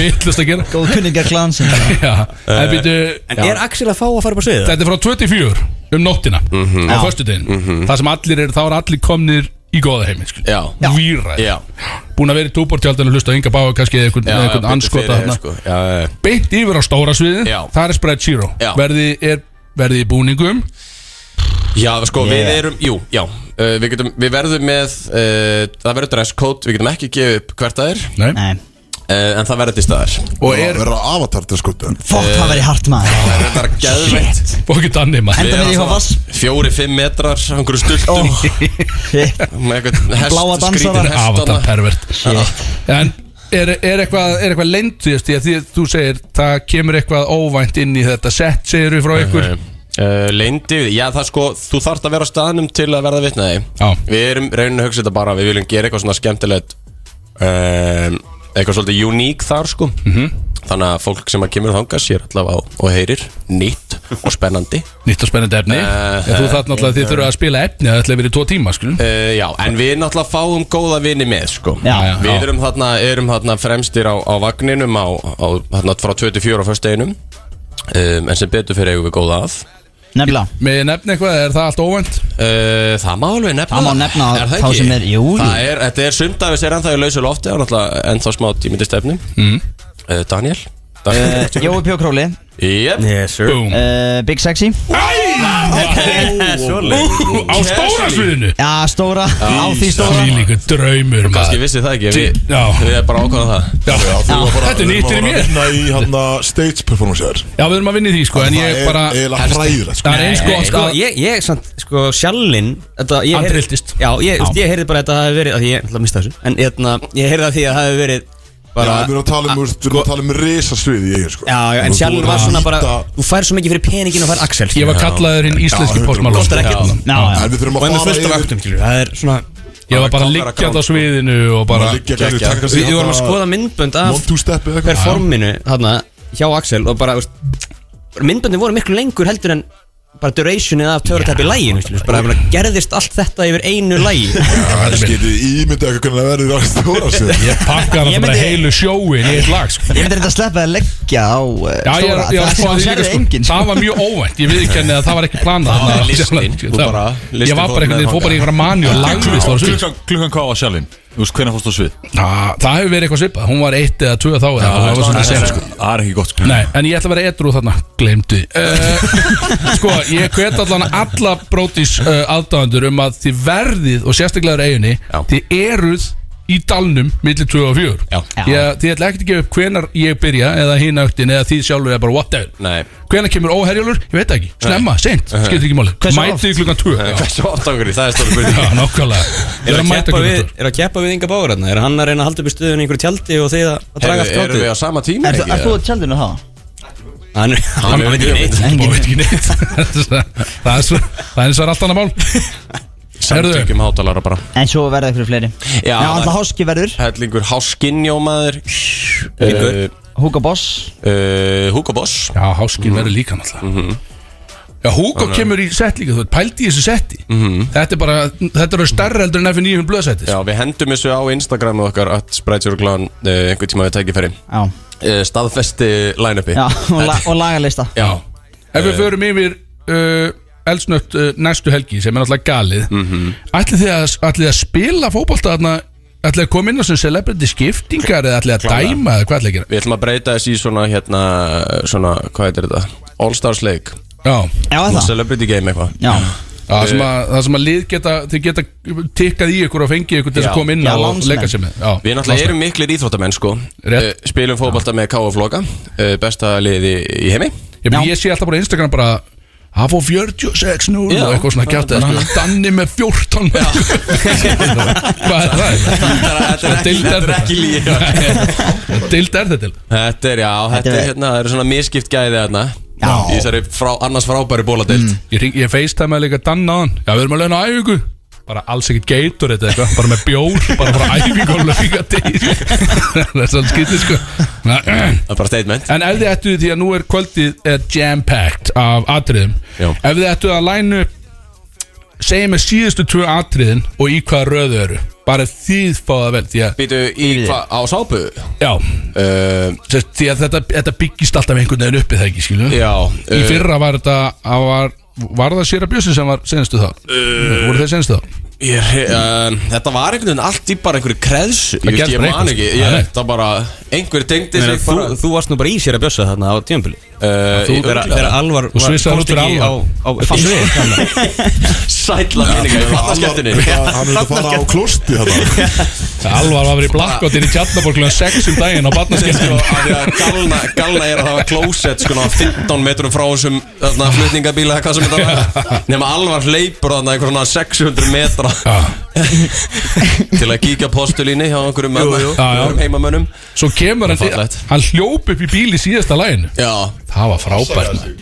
Speaker 3: Vittlust að gera
Speaker 11: Góð kunningar klan sem
Speaker 3: Já,
Speaker 2: Eh,
Speaker 3: það býtu
Speaker 4: En er Axel að fá að fara upp á sviðið?
Speaker 3: Þetta er frá 24 um nóttina
Speaker 2: Mhm.
Speaker 3: á
Speaker 11: Já.
Speaker 3: föstudegin Það sem allir eru, þá eru allir komnir í góða heimi
Speaker 2: Já.
Speaker 3: Výræð
Speaker 2: Já.
Speaker 3: Búin að vera í túbortjaldinu hlusta á Inga Báa kannski eða einhvern-
Speaker 2: Já,
Speaker 3: eða
Speaker 2: já,
Speaker 3: einhvern
Speaker 2: betur fyrir
Speaker 3: anskota
Speaker 2: þér,
Speaker 3: þarna
Speaker 2: sko. Já, já, já.
Speaker 3: Beint yfir á stóra sviðið
Speaker 2: Já.
Speaker 3: Það er Spread Zero
Speaker 2: Já.
Speaker 3: Verði, er, verði í búningum
Speaker 2: Já, sko, við erum, jú, já uh, við, getum, við verðum með, uh, það verður dress code Við getum ekki gefið upp hvert það er
Speaker 3: Nei.
Speaker 11: Nei
Speaker 2: uh, En það verður til staðar
Speaker 1: Og er Það verður avatar til skotu
Speaker 11: Fokk, það væri hart maður
Speaker 2: Það er geðveitt
Speaker 3: Bókið danni maður
Speaker 11: Enda með því hvað vass
Speaker 2: Fjóri-fimm metrar, einhverju stultum oh.
Speaker 11: Shit
Speaker 2: <laughs> Með einhvern hest,
Speaker 11: Bláa dansara.
Speaker 2: skrítin hestana
Speaker 3: Avatar pervert
Speaker 11: Shit
Speaker 3: En er, er eitthvað, er eitthvað leynd því að því að því- þú segir það kemur eitthvað óvænt inn í þetta sett segir við frá ykkur
Speaker 2: uh, Leindi, já það sko Þú þarft að vera á staðnum til að verða vitnaði
Speaker 3: Já.
Speaker 2: Við erum raunin að hugsa þetta bara Við viljum gera eitthvað svona skemmtilegt um, Eitthvað svolítið uník þar sko
Speaker 11: Mhm.
Speaker 2: Þannig að fólk sem að kemur þangað sér allavega á, og heyrir nýtt og
Speaker 11: <laughs>
Speaker 2: spennandi
Speaker 3: Nýtt og spennandi efni
Speaker 2: Eh,
Speaker 3: En þú þarf náttúrulega að þið þurfa að spila efni Það ætla að vera í tvo tíma skilum
Speaker 2: uh, Já, en við náttúrulega fáum góða vini með sko
Speaker 11: Já, já,
Speaker 2: Við erum þarna, erum þarna fremstir á, á vagninum á, á, þarna frá 24 á föstudeginum um, En sem betur fyrir eigum við góða að
Speaker 11: Nefnilega
Speaker 3: Með nefni eitthvað, er það allt óvænt?
Speaker 2: Uh, það má alveg nefna
Speaker 11: Það má nefna
Speaker 2: það
Speaker 11: þá
Speaker 2: ekki?
Speaker 11: sem er- jú, jú.
Speaker 2: Það er, þetta er sumdæfis er ennþá í lausu lofti Það er náttúrulega ennþá smá tímið til stefni uh, Daniel
Speaker 11: Eh, Jói Pjókróli
Speaker 2: Jep
Speaker 4: Yes, sir
Speaker 3: Búm
Speaker 11: uh, Big Sexy
Speaker 3: Á stóra sviðinu
Speaker 11: Já, stóra Á því stóra
Speaker 3: Því líka draumur
Speaker 2: Kanski
Speaker 3: maður
Speaker 2: vissi það ekki Við,
Speaker 3: Já.
Speaker 2: við erum bara ákvæðan það
Speaker 3: Já, Þetta er nýtt fyrir mér
Speaker 1: Vinna í hann stage performance þér
Speaker 3: Já, við erum að vinna í því sko En
Speaker 1: Það
Speaker 3: ég
Speaker 1: er
Speaker 3: bara
Speaker 1: eiginlega hræðilegt sko.
Speaker 3: Það er eins gott
Speaker 4: Sko,
Speaker 3: sko
Speaker 4: ég, ég, samt, sko, sjallinn þetta- ég
Speaker 3: Hann
Speaker 4: heyrði-
Speaker 3: trylltist.
Speaker 4: Já, ég, þú veist, ég heyrði bara að þetta hafi verið af Því ég, ætla að mista þessu En hérna, ég heyrði að því að það hafi verið
Speaker 1: Já,
Speaker 4: bara sko-
Speaker 1: Við erum að tala um, þú veist, við erum að tala um risasvið í eigin sko
Speaker 4: Já, já, en
Speaker 1: Þú- þú
Speaker 4: sjallinn
Speaker 1: erum
Speaker 4: var
Speaker 1: að
Speaker 4: svona bara
Speaker 1: nýta-
Speaker 4: Þú fær svo mikið fyrir peningin og fær Axel
Speaker 3: Ég var kallaður hinn íslenski
Speaker 1: Já,
Speaker 3: postmálón
Speaker 4: Kostar ekkert
Speaker 11: Já, já
Speaker 1: En við þurfum
Speaker 4: Og
Speaker 1: að
Speaker 4: er með
Speaker 1: fara
Speaker 4: fullt af
Speaker 1: yfir
Speaker 4: öktum, skilur Það er svona
Speaker 3: Ég var bara liggjand á sviðinu Og bara
Speaker 1: Bara sko. liggja kannski, taka sig
Speaker 4: Við við vorum að
Speaker 1: þarna
Speaker 4: skoða myndbönd af
Speaker 1: One two step eða eitthvað
Speaker 4: performinu þarna hjá Axel og bara, veist, myndböndin voru miklu lengur heldur en bara durationið af töratæpi læginu, skilur bara, bara gerðist allt þetta yfir einu lægi
Speaker 1: Já, það er skitið ímyndið eitthvað hvernig það verður á stóra
Speaker 4: <laughs>
Speaker 1: svið
Speaker 3: Ég pakkar
Speaker 4: Ég
Speaker 3: hann bara
Speaker 4: myndi-
Speaker 3: heilu sjóin í eitt lag sko
Speaker 11: Ég myndi reynda að sleppa að leggja á uh,
Speaker 3: Já, ég,
Speaker 11: stóra
Speaker 3: ég, ég,
Speaker 11: Það
Speaker 3: sko,
Speaker 11: sem hún
Speaker 3: að því líka,
Speaker 11: gerði
Speaker 3: sko,
Speaker 11: enginn
Speaker 3: það var mjög óvænt, ég viðkenni að það var ekki
Speaker 2: Það
Speaker 3: planað
Speaker 2: var
Speaker 3: Þannig að- <laughs>
Speaker 2: listin, þú
Speaker 3: Það-
Speaker 2: bara-
Speaker 3: Ég
Speaker 2: listin
Speaker 3: var
Speaker 2: fór
Speaker 3: bara einhvern
Speaker 2: með
Speaker 3: veginn, fór bara
Speaker 2: þangað.
Speaker 3: í einhverja mani og lagðist á svið
Speaker 12: Klukkan, klukkan hvað á sjálfinn? Þú veist hvernig fórst á svið?
Speaker 3: Á, Það hefur verið eitthvað svipað, hún var eitt eða tvö þá eða eitthvað, það var svona sen sko
Speaker 12: Það er ekki gott sko
Speaker 3: Nei, en ég ætla að vera edru þarna, glemdi uh, <laughs> Sko, ég hvet allan alla brótis uh, aðdáðandur um að þið verðið og sérstaklegaður eiginni
Speaker 2: Já.
Speaker 3: Þið eruð í dalnum millir 2 og 4
Speaker 2: Já.
Speaker 3: Ég, Þið ætla ekki að gefa upp hvenar ég byrja eða hinn öktin eða þið sjálfur eða bara whatever
Speaker 2: Nei.
Speaker 3: Hvenar kemur óherjólur? Ég veit það ekki, snemma, seint, skiptir ekki máli
Speaker 11: Hversu oft?
Speaker 3: Mætið klukkan 2 Já,
Speaker 2: Hversu oft okkur í það er stóra
Speaker 3: Já,
Speaker 2: byrjun
Speaker 3: nákvæmlega Ég
Speaker 4: Er
Speaker 3: er
Speaker 4: að,
Speaker 3: að mæta klukkan
Speaker 4: keppa við,
Speaker 3: 2
Speaker 4: er að keppa við Inga Báur hérna? Er hann að reyna að halda upp í stöðun í einhverju tjaldi og þið að að draga allt
Speaker 2: Erum við á
Speaker 4: gátið?
Speaker 2: sama tíma?
Speaker 11: Er
Speaker 2: ekki?
Speaker 11: er þú að tjaldinu það?
Speaker 4: Hann hann veit ekki neitt
Speaker 3: Ég veit ekki neitt <laughs> Það er svo- það er eins og er allt annað mál Herðu.
Speaker 2: Samtökjum hátalara bara
Speaker 11: En svo verða ykkur fleiri Já,
Speaker 2: það-
Speaker 11: alltaf háski verður
Speaker 2: Hellingur Háskinjómaður
Speaker 13: Eh,
Speaker 4: Liggur.
Speaker 11: Hugo Boss
Speaker 2: Eh, Hugo Boss
Speaker 3: Já, háskin verður líka náttúrulega Já, Hugo kemur í sett líka, þú veit, pældi í þessu setti Þetta er bara, þetta eru starra heldur en F9 blöðsetti
Speaker 2: Já, við hendum þessu á Instagramu okkar að Sprætsjörglan eh, einhvern tíma við tækifæri
Speaker 11: Já,
Speaker 2: Eh, staðfesti line-upi
Speaker 11: já og, la og lagalista
Speaker 2: Já.
Speaker 3: Ef
Speaker 2: Eh.
Speaker 3: við förum yfir uh, elsnött uh, næstu helgi sem er náttúrulega galið mm -hmm. Ætlið þið að, ætlið þið að spila fótbolta þarna ætlaði að koma inn á sem celebrity skiptingar eða ætlaði að
Speaker 2: Klárlega.
Speaker 3: dæma eða hvað ætlaði að gera
Speaker 2: Við ætlum að breyta þessi í svona hérna Svona, hvað heitir þetta? All Stars leik
Speaker 3: Já,
Speaker 2: Svona Celebrity game eitthvað
Speaker 11: Já
Speaker 3: Það sem, að, það sem að lið geta, þið geta tikkað í ykkur og fengið ykkur til þess að koma inn á og leika sér með Já,
Speaker 2: Við náttúrulega erum
Speaker 3: landsmenn.
Speaker 2: miklir íþróttamenn sko Eh, Spilum fótbolta með K.O. Floka eh, Besta liði í heimi
Speaker 3: Ég, meina, ég sé alltaf bara á Instagram bara Hafó 46 nú
Speaker 2: Já.
Speaker 3: og eitthvað svona kjátt Danni með 14 <laughs> Hvað er það?
Speaker 2: Þetta er ekki- þetta er ekki líð
Speaker 3: Dild er þetta til
Speaker 2: Þetta er, já, þetta er hérna Það eru svona miskipt gæði þarna Í þessari frá, annars frábæri bóladeild
Speaker 3: Ég, hring- ég facetimeði líka Danna á hann Já, við erum að launa æfingu Bara alls ekkert geitur þetta eitthvað Bara með bjór, bara frá æfingu og lauga deild <laughs> Það er svolítið skytið sko Það
Speaker 2: er bara statement
Speaker 3: En ef þið ættu því að nú er kvöldið er jam-packed af atriðum
Speaker 2: Já.
Speaker 3: Ef þið ættu að læna upp segjum við síðustu tvö atriðin og í hvaða röðu eru bara þið fá það vel því að
Speaker 2: Býtu í hvað, á sápu?
Speaker 3: Já
Speaker 2: uh,
Speaker 3: Því að þetta, þetta byggist alltaf einhvern veginn uppi það ekki skilju
Speaker 2: Já eh,
Speaker 4: Eh.
Speaker 3: Í fyrra var þetta að var, var það Sýra Bjössi sem var senastu það
Speaker 2: Eh,
Speaker 3: Voru þeir senastu það?
Speaker 2: Ég, uh, þetta var einhvern veginn allt í bara einhverju kreðsu Ég,
Speaker 4: Það
Speaker 2: veist,
Speaker 4: gerðist
Speaker 2: ég
Speaker 4: bara
Speaker 2: man
Speaker 4: eitthvað,
Speaker 2: ekki,
Speaker 4: sko.
Speaker 2: ég,
Speaker 4: Nei, nei.
Speaker 2: þetta bara einhver tengdi
Speaker 4: Meina,
Speaker 2: sig
Speaker 4: þú,
Speaker 2: bara
Speaker 4: þú varst nú bara í sér að bjössa þarna á tímpili
Speaker 2: uh,
Speaker 4: Þú þegar þegar Alvar
Speaker 2: Þú svissaðir út fyrir
Speaker 4: ekki á,
Speaker 2: Alvar.
Speaker 4: á, upp á svið
Speaker 2: Sætla minninga í fattarskeptinni
Speaker 1: Hann er að fara á klosti
Speaker 4: <laughs>
Speaker 1: þetta
Speaker 3: Alvar var verið í blakkottir í Tjarnaborglega 6 um daginn á barnaskjöldum
Speaker 2: Galna, galna er að það var klósett sko, ná 15 metrum frá þessum þarna, flutningabíla eða hvað sem þetta var nema alvar hleypur þarna einhver svona 600 metra til að kíkja á postulínu hjá einhverjum mömmu- einhverjum heimamönnum
Speaker 3: Svo kemur hann
Speaker 2: Það er
Speaker 3: til-
Speaker 2: fallegt.
Speaker 3: Hann hljóp upp í bíl í síðasta læginu
Speaker 2: Já
Speaker 3: Það var frábært maður.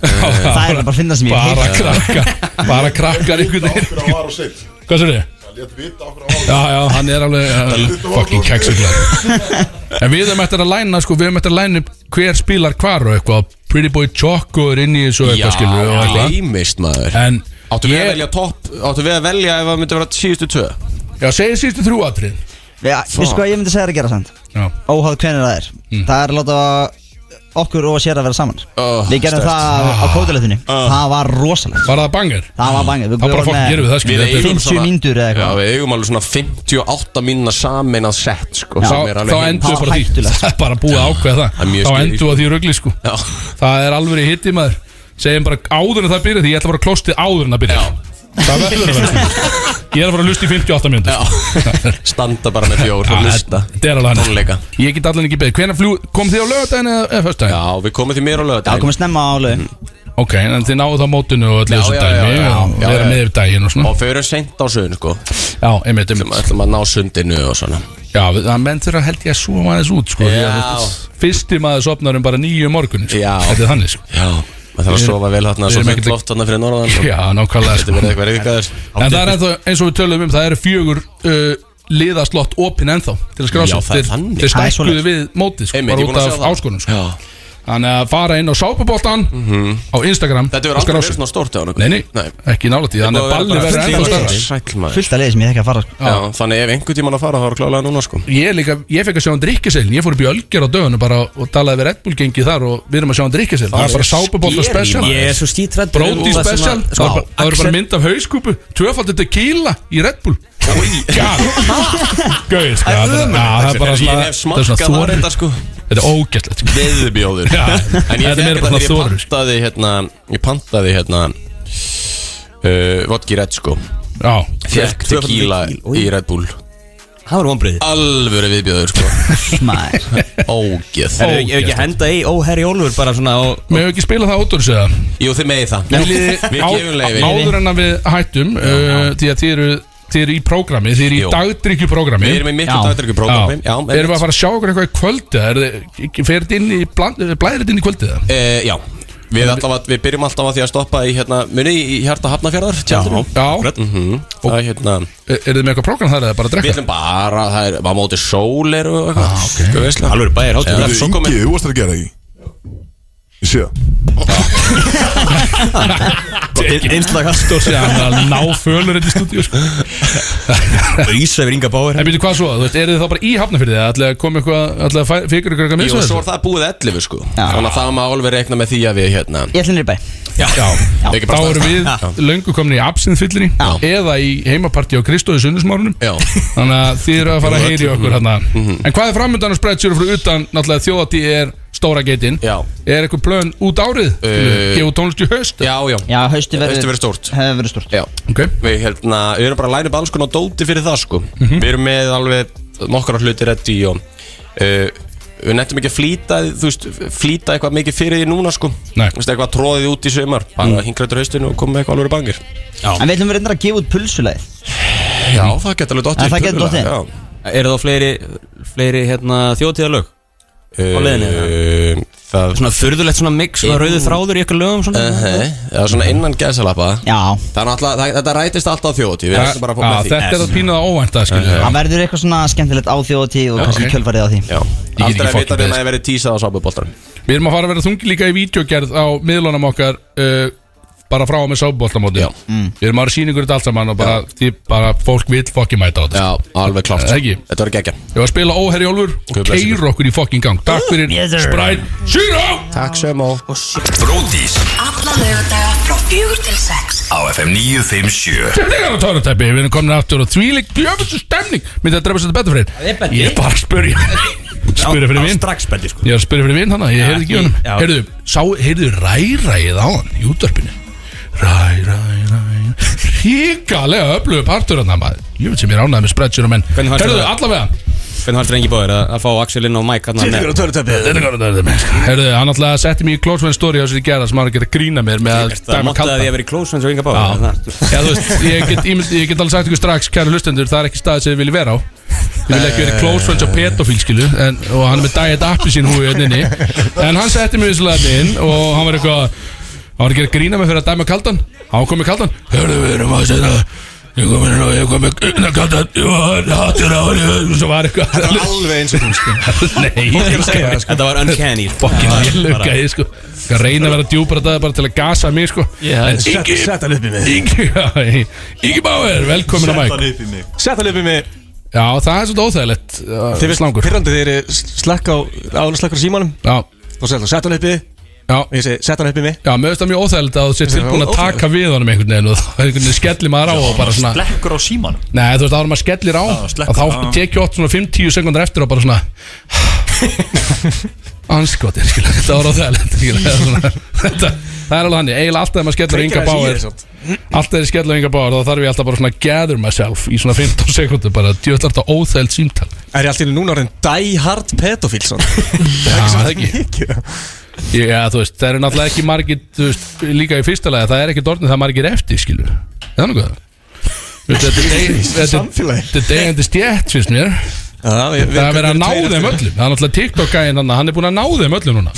Speaker 11: Það er bara að finna sem ég
Speaker 3: Bara
Speaker 11: heyrt.
Speaker 3: krakkar Bara krakkar einhvern veginn
Speaker 1: Það var á sitt
Speaker 3: Hvað sér þið? Já, já, hann er alveg uh, fucking keksuglega En við höfum eftir að læna, sko, við höfum eftir að læna upp hver spilar hvar og eitthvað Pretty Boy Choco er inn í þessu og eitthvað skilur og eitthvað
Speaker 2: gleymist maður
Speaker 3: En
Speaker 2: Áttu við að velja topp, áttu við að velja ef það myndi vera síðustu tvö
Speaker 3: Já, segið síðustu þrjú atrið
Speaker 11: Já, veistu hvað ég myndi segja þér að gera samt
Speaker 3: Já. Mm.
Speaker 11: Óháð hvernig það er Það er að láta okkur og sér að vera saman Við gerum
Speaker 3: sterkt.
Speaker 11: það á kótilegðinni
Speaker 2: Ah.
Speaker 11: Það var rosalegt
Speaker 3: Ah. Var það banger?
Speaker 11: Það var banger
Speaker 2: Það bara
Speaker 11: vorum
Speaker 2: fokk
Speaker 11: með
Speaker 2: gerum við það, skilur. Þetta er
Speaker 11: 50
Speaker 2: svona-
Speaker 11: mínútur eða
Speaker 2: Já,
Speaker 11: eitthvað
Speaker 2: við eigum alveg svona 58 mínuna samin að sett sko,
Speaker 3: Þá,
Speaker 2: sem er alveg
Speaker 3: þá
Speaker 2: heim-
Speaker 3: endur við bara því Það er bara búið að ákveða
Speaker 2: Það er
Speaker 3: það
Speaker 2: mjög
Speaker 3: Þá
Speaker 2: skeri,
Speaker 3: endur við
Speaker 2: sko.
Speaker 3: að því rugli sko
Speaker 2: Já.
Speaker 3: Það er alveg hitti maður Segjum bara áður en það byrja því ég ætla að fara að klostið áður en það byrja Það verður að vera
Speaker 2: <laughs>
Speaker 3: sko. Ég er að fara að lusta í 58 mínútur
Speaker 2: Standa bara með bjór og
Speaker 3: Ah,
Speaker 2: lusta
Speaker 3: þetta er alveg hann.
Speaker 2: Tónleika
Speaker 3: Ég get allan ekki beðið Hvenær fljú, kom þið á lögadaginn eða, eða föstudaginn?
Speaker 2: Já, við komum því mér á lögadaginn
Speaker 11: Það komið snemma á lög
Speaker 3: Ok, en þið náðu þá mótinu og öllu
Speaker 2: Já,
Speaker 3: þessu
Speaker 2: já, já,
Speaker 3: dæmi
Speaker 2: já,
Speaker 3: og
Speaker 2: já,
Speaker 3: vera
Speaker 2: já.
Speaker 3: með yfir daginn og svona
Speaker 2: Og förum seint á sögn sko
Speaker 3: Já, einmitt, einmitt
Speaker 2: Ætlum að ná sundinu og svona
Speaker 3: Já, við- það menn þurfa held ég að súa maður út sko, því að
Speaker 2: Já.
Speaker 3: Fyrsti maður sopnar um bara nýju morgun sko.
Speaker 2: Já.
Speaker 3: Þetta er þannig sko.
Speaker 2: Já, maður þarf að
Speaker 3: Við-
Speaker 2: sofa vel hérna
Speaker 3: við
Speaker 2: Svo
Speaker 3: erum
Speaker 2: fengt
Speaker 3: ekkert-
Speaker 2: loft hérna fyrir norðan svo-
Speaker 3: Já, nákvæmlega sko.
Speaker 2: Þetta verður eitthvað reyðgæðis
Speaker 3: En það er ennþá, eins og við tölum um, það eru fjögur uh, liðaslott opinn ennþá til að skrá
Speaker 2: Já,
Speaker 3: sig
Speaker 2: það er
Speaker 3: Þeir-
Speaker 2: þannig. Það
Speaker 3: Þeir
Speaker 2: er
Speaker 3: stækkuðu
Speaker 2: svoleiðis.
Speaker 3: við mótið sko,
Speaker 2: Einmitt, ég
Speaker 3: bara
Speaker 2: er
Speaker 3: út
Speaker 2: búinn að
Speaker 3: af
Speaker 2: sjá það.
Speaker 3: áskonum sko. Þannig að fara inn á sápuboltan á Instagram
Speaker 2: Mhm. Þetta
Speaker 3: og
Speaker 2: verður
Speaker 3: skrá
Speaker 2: aldrei
Speaker 3: sig.
Speaker 2: verið svona stórt hjá
Speaker 3: Nei,
Speaker 2: okkur
Speaker 3: nei, ekki nálægt í, þannig að balli verður ennþá starra
Speaker 2: Sæl maður
Speaker 11: Fullt af leiði sem ég þekki að fara sko.
Speaker 2: Já, þannig ef einhvern tíman að fara þá er klálega núna sko
Speaker 3: Ég, líka, ég fekk að sjá hann drikkjaseilin, ég fór upp í Ölger á dögunu bara og talaði við Red Bull gengi þar og við erum að sjá hann drikkjaseilin Það er bara sápubolta special
Speaker 4: Ég er svo skítrætt
Speaker 3: Brody special,
Speaker 2: Sko,
Speaker 3: það var bara- það var bara mynd af hauskúpu Tvöfaldur tequila í Red Bull
Speaker 2: <laughs>
Speaker 3: God Gauð, sko, það er bara- já, það er bara
Speaker 2: Ég hef
Speaker 3: svona það er svona
Speaker 2: smakkað það
Speaker 3: þorir.
Speaker 2: reynda sko
Speaker 3: Þetta er ógætlegt
Speaker 2: Veðubjóður
Speaker 3: <laughs> Já,
Speaker 2: En ég
Speaker 3: þetta er meira
Speaker 2: fekk
Speaker 3: bara
Speaker 2: þetta þegar ég
Speaker 3: þorir, sko.
Speaker 2: pantaði hérna Ég pantaði hérna uh, Vodki Red sko
Speaker 3: Já
Speaker 2: Fekk tequila í Red Bull
Speaker 4: Það var vonbreiði
Speaker 2: Alvöru viðbjóður sko
Speaker 11: Smær
Speaker 2: <laughs> Ógeð
Speaker 4: Ef ef ekki henda í óherri Ólfur bara svona á
Speaker 3: Mér hefur ekki spilað það átur segja
Speaker 2: Jú þið megið það Við gefum leiði
Speaker 3: Áður en að við hættum uh, Því að þið eru Þið eru í prógrami, þið eru í
Speaker 2: Jú.
Speaker 3: dagdryggjuprogrammi
Speaker 2: Við erum í miklu dagdrykkjuprógrammi, já,
Speaker 3: Erum við að fara að sjá okkur eitthvað í kvöldi Er þið, fer þetta inn í, blæðir þetta inn í kvöldi það?
Speaker 2: Eh, Já Við, alltaf, að- við byrjum alltaf að því að stoppa í hérna Muni í hjarta hafnafjörðar tjaldinu
Speaker 3: Já,
Speaker 2: mm Það er hérna
Speaker 3: er þið með eitthvað prógram þar eða bara að
Speaker 2: Við
Speaker 3: drekka?
Speaker 2: ætlum bara, það er bara mótið sólir og eitthvað ah, okay.
Speaker 4: Alveg bæjar hátíð
Speaker 2: Já,
Speaker 1: Það
Speaker 2: svo
Speaker 1: er
Speaker 2: komið-
Speaker 1: yngið, þú varst að gera það ekki Ég sé það
Speaker 4: Einslag
Speaker 3: Stór sé að hann ná fölur þetta í stúdíu sko.
Speaker 4: Ísa yfir Inga Báir
Speaker 3: En byrju hvað svo, þú veist, eru þið þá bara í hafnafyrði eða ætlaði að koma eitthvað, ætlaði að fæ- fikra ykkur eitthvað með
Speaker 2: Jú,
Speaker 3: þessu?
Speaker 2: svo er það búið 11 sko Þannig að það má alveg rekna með því að við hérna
Speaker 11: Ég ætlum nýri bæ
Speaker 2: Þið
Speaker 3: Já,
Speaker 13: Ekki
Speaker 3: þá
Speaker 13: bara
Speaker 3: erum við
Speaker 13: Já.
Speaker 3: löngu komin í absinþfyllinni eða í heimapartí á Kristóði sunnusmárunum þannig að þið eru að fara að heyri okkur hérna
Speaker 10: Mm-hmm.
Speaker 3: en hvað er framöndan og spreadsjóru frá utan náttúrulega þjóðatí er stóra geitin já. er eitthvað plön út árið
Speaker 10: Eh,
Speaker 3: gefa tónlist í haust
Speaker 10: já, já,
Speaker 11: já hausti
Speaker 10: verður Hausti verður stórt
Speaker 11: Hefur verið stórt
Speaker 10: Já
Speaker 3: okay.
Speaker 10: Við hérna, við erum bara að læna upp alls konar dóti fyrir það sko Við erum með alveg nokkra hluti reddi og uh, Við nettum ekki að flýta, þú veist, flýta eitthvað mikið fyrir því núna sko
Speaker 3: Nei.
Speaker 10: Þú veist, eitthvað tróðið út í sömar Bara mm. hingrættur haustinu og komum með eitthvað alveg bangir
Speaker 11: Já. En við ætlum verið að gefa út pulsuleið
Speaker 10: Já, það getur alveg dottið
Speaker 11: En það
Speaker 10: í
Speaker 11: getur
Speaker 10: puluna,
Speaker 11: dottið
Speaker 10: já.
Speaker 2: Eru þá fleiri, fleiri hérna, þjóðtíðalög? Á leiðinni
Speaker 10: eða? Uh, Það
Speaker 2: Svona furðulegt svona mix Svona rauðið þráður í eitthvað lögum svona
Speaker 10: Nei, það er svona innan gæsalappa
Speaker 11: Já
Speaker 10: Það er náttúrulega, það- þetta rætist alltaf þjóti Við erum bara að fá
Speaker 3: Já,
Speaker 10: með því
Speaker 3: Ah, þetta er að pína það óvænt að
Speaker 11: Það verður eitthvað svona skemmtilegt á þjóti og
Speaker 10: Já,
Speaker 11: kannski
Speaker 10: ok.
Speaker 11: kjölfarið á því
Speaker 10: Já
Speaker 3: get ekki um
Speaker 10: Aldrei að vita
Speaker 3: fucking
Speaker 10: nema
Speaker 3: beðist.
Speaker 10: að verið tísað á sábuboltar
Speaker 3: Við erum að fara að vera þungi líka í vídeogerð á miðlunum okkar uh, bara frá og með sábóltamóti
Speaker 10: mm.
Speaker 3: Við erum að vera síningur þetta allt saman og bara, því, bara fólk vil fokkin mæta á þetta
Speaker 10: Já, alveg klárt.
Speaker 3: Ekki
Speaker 10: Þetta var geggja
Speaker 3: Ég var að spila óherri Olfur og
Speaker 10: blessi
Speaker 3: keir okkur í fokkin gang Takk fyrir
Speaker 10: Yes, sir.
Speaker 3: Sprite Zero
Speaker 10: Takk sem og
Speaker 6: Bródís
Speaker 7: Alla lögadaga frá fjögur til sex
Speaker 6: á FM 957
Speaker 3: Þetta er að tóra tæpi, við erum komin aftur og þvílík djöfustu stemning Myndi að drefa sér þetta betur
Speaker 2: Það er
Speaker 3: fyrir
Speaker 2: betur.
Speaker 3: Ég er bara að
Speaker 10: <laughs>
Speaker 3: spyrja Spyrja fyrir vinn
Speaker 2: Strax betur sko
Speaker 3: Ég er að spyrja fyrir vinn hana, ég
Speaker 2: Já,
Speaker 3: heyrði ekki í
Speaker 2: ég-
Speaker 3: honum
Speaker 2: já.
Speaker 3: Heyrðu, sá, heyrðu ræræið á hann í útvarpinu Ræ, ræ, ræ Ríkalega öflugur partur hann maður Ég veit sem ég ránaði með spreadsjónum en
Speaker 2: Hvernig fannst
Speaker 3: Heyrðu,
Speaker 2: þér það?
Speaker 3: allavega
Speaker 2: Hvernig fannst rengi bóðir að að fá Axel inn á mæk hann
Speaker 3: Þetta er að töru tæpi Þetta er að töru tæpi Heyrðu, hann alltaf setti mér í Close Friends story á sér í gerða sem hann er að geta grína mér með að
Speaker 2: Það
Speaker 3: dæma
Speaker 2: mátti að
Speaker 3: kalda
Speaker 2: ég að vera í close friends og yngar bóðir
Speaker 3: Já, þú veist, ég get, ég, mynd, ég get alveg sagt ykkur strax, kæru hlustendur, það er ekki staðið sem þið viljið vera á Þið viljið ekki verið close friends á pedofíl, skilu en, Og hann er með diet appi sín húi hérna inni En hann setti mig vissulega hérna inn Og hann var eitthvað Hann var ekki að grína mig fyrir að dæma kaldan Hann kom með kaldan Hörðu, við erum að segja Ég kom inn og ég kom með grína kaldan Ég var hattur á henni Svo var eitthvað Þetta var
Speaker 10: alveg eins og hún,
Speaker 3: sko <laughs> Nei,
Speaker 2: Fólk er að segja það, sko. Þetta var uncanny, sko.
Speaker 3: Fokkin
Speaker 2: Já, bara-
Speaker 3: vélugæði, sko Ég reyna að vera djúpar þetta bara til að gasa mig, sko
Speaker 13: Já,
Speaker 3: En
Speaker 13: set-
Speaker 3: Ingi-
Speaker 13: set hann upp í mig.
Speaker 3: Ingi, já, Ingi Bauer, velkomin að mæk
Speaker 13: upp í mig Sett hann upp í mig
Speaker 3: Já, það er svolítið óþægilegt uh,
Speaker 13: Þið veist
Speaker 3: slangur.
Speaker 13: Pirrandi þeir eru slakka á Áður slakka á símanum
Speaker 3: Já
Speaker 13: Þá segir það Sett hann upp í
Speaker 3: Já
Speaker 13: Og ég segi Sett hann upp í mig
Speaker 3: Já, mér finnst það mjög óþægilegt að þú sér tilbúin að taka við honum einhvern veginn og það er einhvern veginn skellir maður á og bara svona
Speaker 4: Slekkur á símanum
Speaker 3: Nei, þú veist, áður en maður skellir á
Speaker 4: Já, slekkur,
Speaker 3: að þá
Speaker 4: já.
Speaker 3: tekið ótt svona 5-10 sekundar eftir og bara <laughs> svona anskotir, skilja, þetta var óþægilegt skilja, það er svona, <laughs> þetta, það er alveg hann eiginlega alltaf þegar maður skellir á
Speaker 13: Kveikir
Speaker 3: ynga
Speaker 13: aðeins í
Speaker 3: báir
Speaker 13: þér samt.
Speaker 3: alltaf þegar ég skellir á ynga báir þá þarf ég alltaf bara svona að gather myself í svona 15 sekundur bara, djöðlar þetta óþægilegt símtal
Speaker 13: Er ég alltaf núna orðin Die hard pedofíl svona
Speaker 2: <laughs>
Speaker 3: Já, það er ekki <laughs> Já, þú veist, það eru náttúrulega ekki margir þú veist, líka í fyrsta lagi, það er ekki dornið það er margir eftir, skilur Það er <laughs> nokkuð Þú veist, Þetta er deg- þetta er-
Speaker 13: Samfélagi.
Speaker 3: þetta er degjandi stjætt, finnst mér
Speaker 13: Það
Speaker 3: Það er að vera að ná þeim öllum Það er náttúrulega TikTok-gæðin hann Hann er búin að ná þeim öllum núna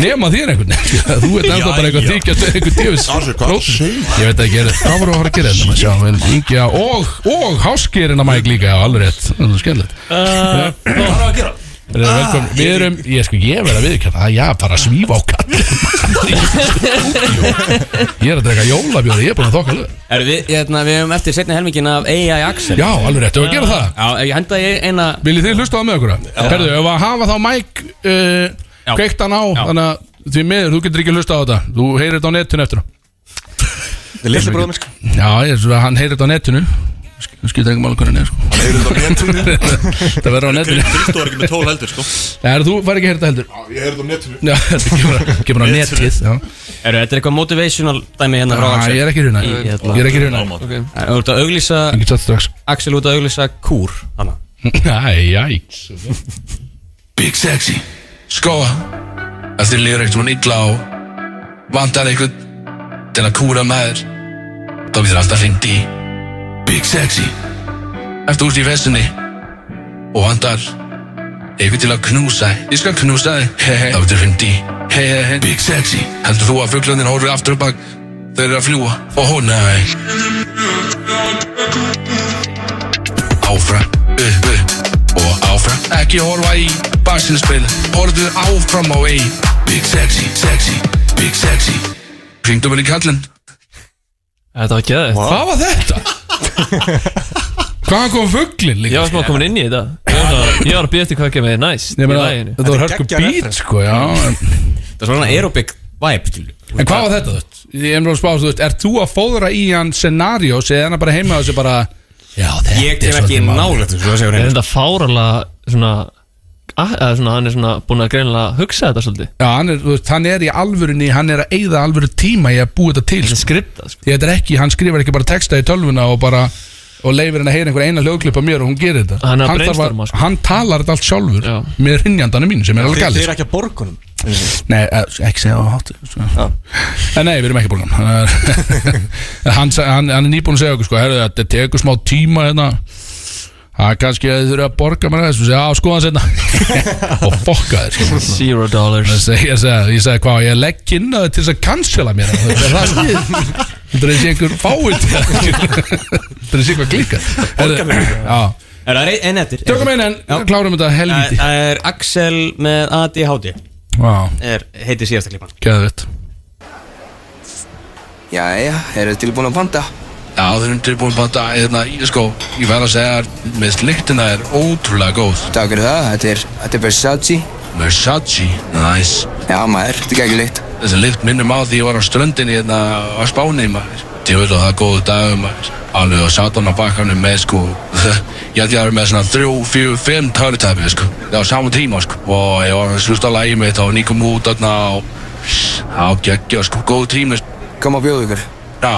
Speaker 3: Nema þér einhvern veginn <laughs> Þú ert ennþá bara eitthvað
Speaker 13: Jæja.
Speaker 3: þykjast eða einhver djöfis Ég veit ekki, er- hvað voru að fara að gera þetta maður? Sjá, en Ingi að- Og, og háskerina mæk líka, já, alveg rétt Það er skemmtilegt
Speaker 13: Hvað
Speaker 4: var að gera?
Speaker 3: Við erum velkomin, við erum, ég sko, ég verð að viðkjöna að ég bara svífa á kallin <laughs> Ég er að drega jólabjóri, ég er búin að þokka lög
Speaker 2: Er við, hérna, við hefum eftir setna helmingin af AI Axel
Speaker 3: Já, alveg rétt, ef við gerum það.
Speaker 2: Já, ég henda ég eina
Speaker 3: Viljið þið hlusta á það með okkur? Herðu, ef að hafa þá mæk uh,
Speaker 2: Já.
Speaker 3: kveikt hann á,
Speaker 2: Já.
Speaker 3: þannig að því miður, þú getur ekki hlusta á þetta Þú heyrir þetta á netinu eftir á
Speaker 13: Það er litli bróðum sko
Speaker 3: Já, ég, svo að hann heyrir þetta á netinu Sk- Skiptir ekki mála hvernig hann er, sko <laughs> Það verður á netinu
Speaker 4: Kristó er ekki með tól heldur sko
Speaker 3: Nei, þú fær ekki að heyra þetta heldur
Speaker 1: Ég heyrði á netinu
Speaker 3: Já, <laughs> þetta kemur- kemur á netið já.
Speaker 2: Er þetta eitthvað motivational dæmi hérna frá
Speaker 3: Já,
Speaker 2: Axel?
Speaker 3: ég er ekki hrifinn af því. Ég er ekki hrifinn af því.
Speaker 2: okay. Þú ert að auglýsa Axel út að auglýsa kúr hana.
Speaker 3: Æ, jæks
Speaker 14: Big Sexy Sko að þér líður eitthvað illa og vantar eitthvað til að kúra með þér þá getur alltaf hringt í Big Sexy Ertu út í vesinni og vantar eitthvað til að knúsa þig. Ég skal knúsa þig He, he. þá getur hringt í he, he, he. Big Sexy Heldur þú að fugglöndin horfir aftur á bak þau eru að fljúa og hún nei Áfram upp upp og áfram ekki horfa í baksinspil horfðu áfram á eigin Big Sexy, Sexy, Big Sexy Hringdu mér í kallinn
Speaker 8: Þetta var gæðið
Speaker 3: Hvað var
Speaker 8: <laughs>
Speaker 3: þetta? Hvaðan kom fugglin líka?
Speaker 8: Ég var smá komin inn í þetta Ég var að- Ég var að býja eftir hvað kemur þið næst
Speaker 3: Ég
Speaker 8: í
Speaker 3: meina,
Speaker 8: laginu.
Speaker 3: þetta var hörku beat sko, já en-
Speaker 2: Það er svona aerobic vibe skilur.
Speaker 3: En hvað var þetta þútt? Ég er mér að spá þú veist, er þú að fóðra í hann scenariós eða er hann bara heima á þessu bara Já, þetta
Speaker 2: Ég kem ekki nálægt þessu, það
Speaker 8: Það
Speaker 2: segir
Speaker 8: er
Speaker 2: Reynir.
Speaker 8: þetta fáralega svona, að, eða svona Hann er svona búin að greinilega hugsa þetta svolítið
Speaker 3: Já, hann er, þú veist, hann er í alvörunni, hann er að eigða alvöru tíma í að búa þetta til Þetta
Speaker 8: er skripta sko.
Speaker 3: Þetta er ekki, hann skrifar ekki bara texta í tölvuna og bara og leifir henni að heyra einhver eina hljóðklipp af mér og hún gerir þetta
Speaker 8: Hann er að
Speaker 3: þarf
Speaker 8: brainstorma, sko.
Speaker 3: hann talar þetta allt sjálfur Já. með rinjandana mín sem er alveg
Speaker 13: Þeir
Speaker 3: galið sko.
Speaker 13: eru ekki að borga honum
Speaker 3: Nei, eh, ekki segja á hátu En nei, við erum ekki borgan hann, sa- hann, hann er nýbúin að segja okkur sko, herrðu, Þetta tekur smá tíma hérna Það er kannski að þið þurfa að borga mér þessu Já, skoðan seinna <laughs> Og fokka þér sko.
Speaker 8: Zero dollars
Speaker 3: Ég segi, ég segi, ég segi hvað, ég legg inn að til þess að cancela mér Það er það snið Það er þessi einhver fáið Það er þessi einhver klíka Borga mér Já
Speaker 15: Er það ein- einn eftir?
Speaker 3: Tökum einn en klárum þetta
Speaker 15: Það
Speaker 3: helvíti.
Speaker 15: það er Axel með ADHD
Speaker 3: Vá.
Speaker 15: er, Heitir síðasta klippan
Speaker 3: Geðvitt
Speaker 14: Jæja, eru þið tilbúin að panta? Já, þið erum tilbúin að panta hérna í sko Ég verð að segja að mest lyktina er ótrúlega góð Takk fyrir það, þetta er, þetta er Versace Versace, nice Já maður, þetta er ekki lykt Þessi lykt minnum á því ég var á ströndinni hérna á Spáni maður Djöfull og það er góðu dagum maður Alveg og satan á bakkanum með sko <laughs> Ég held ég að vera með svona 3, 4, 5 törnutæpi sko Það var saman tíma sko Og ég var að slusta að lægi mitt og nýgum út þarna og Já, geggja, sko, góð tími Kom að bjóða ykkur Já,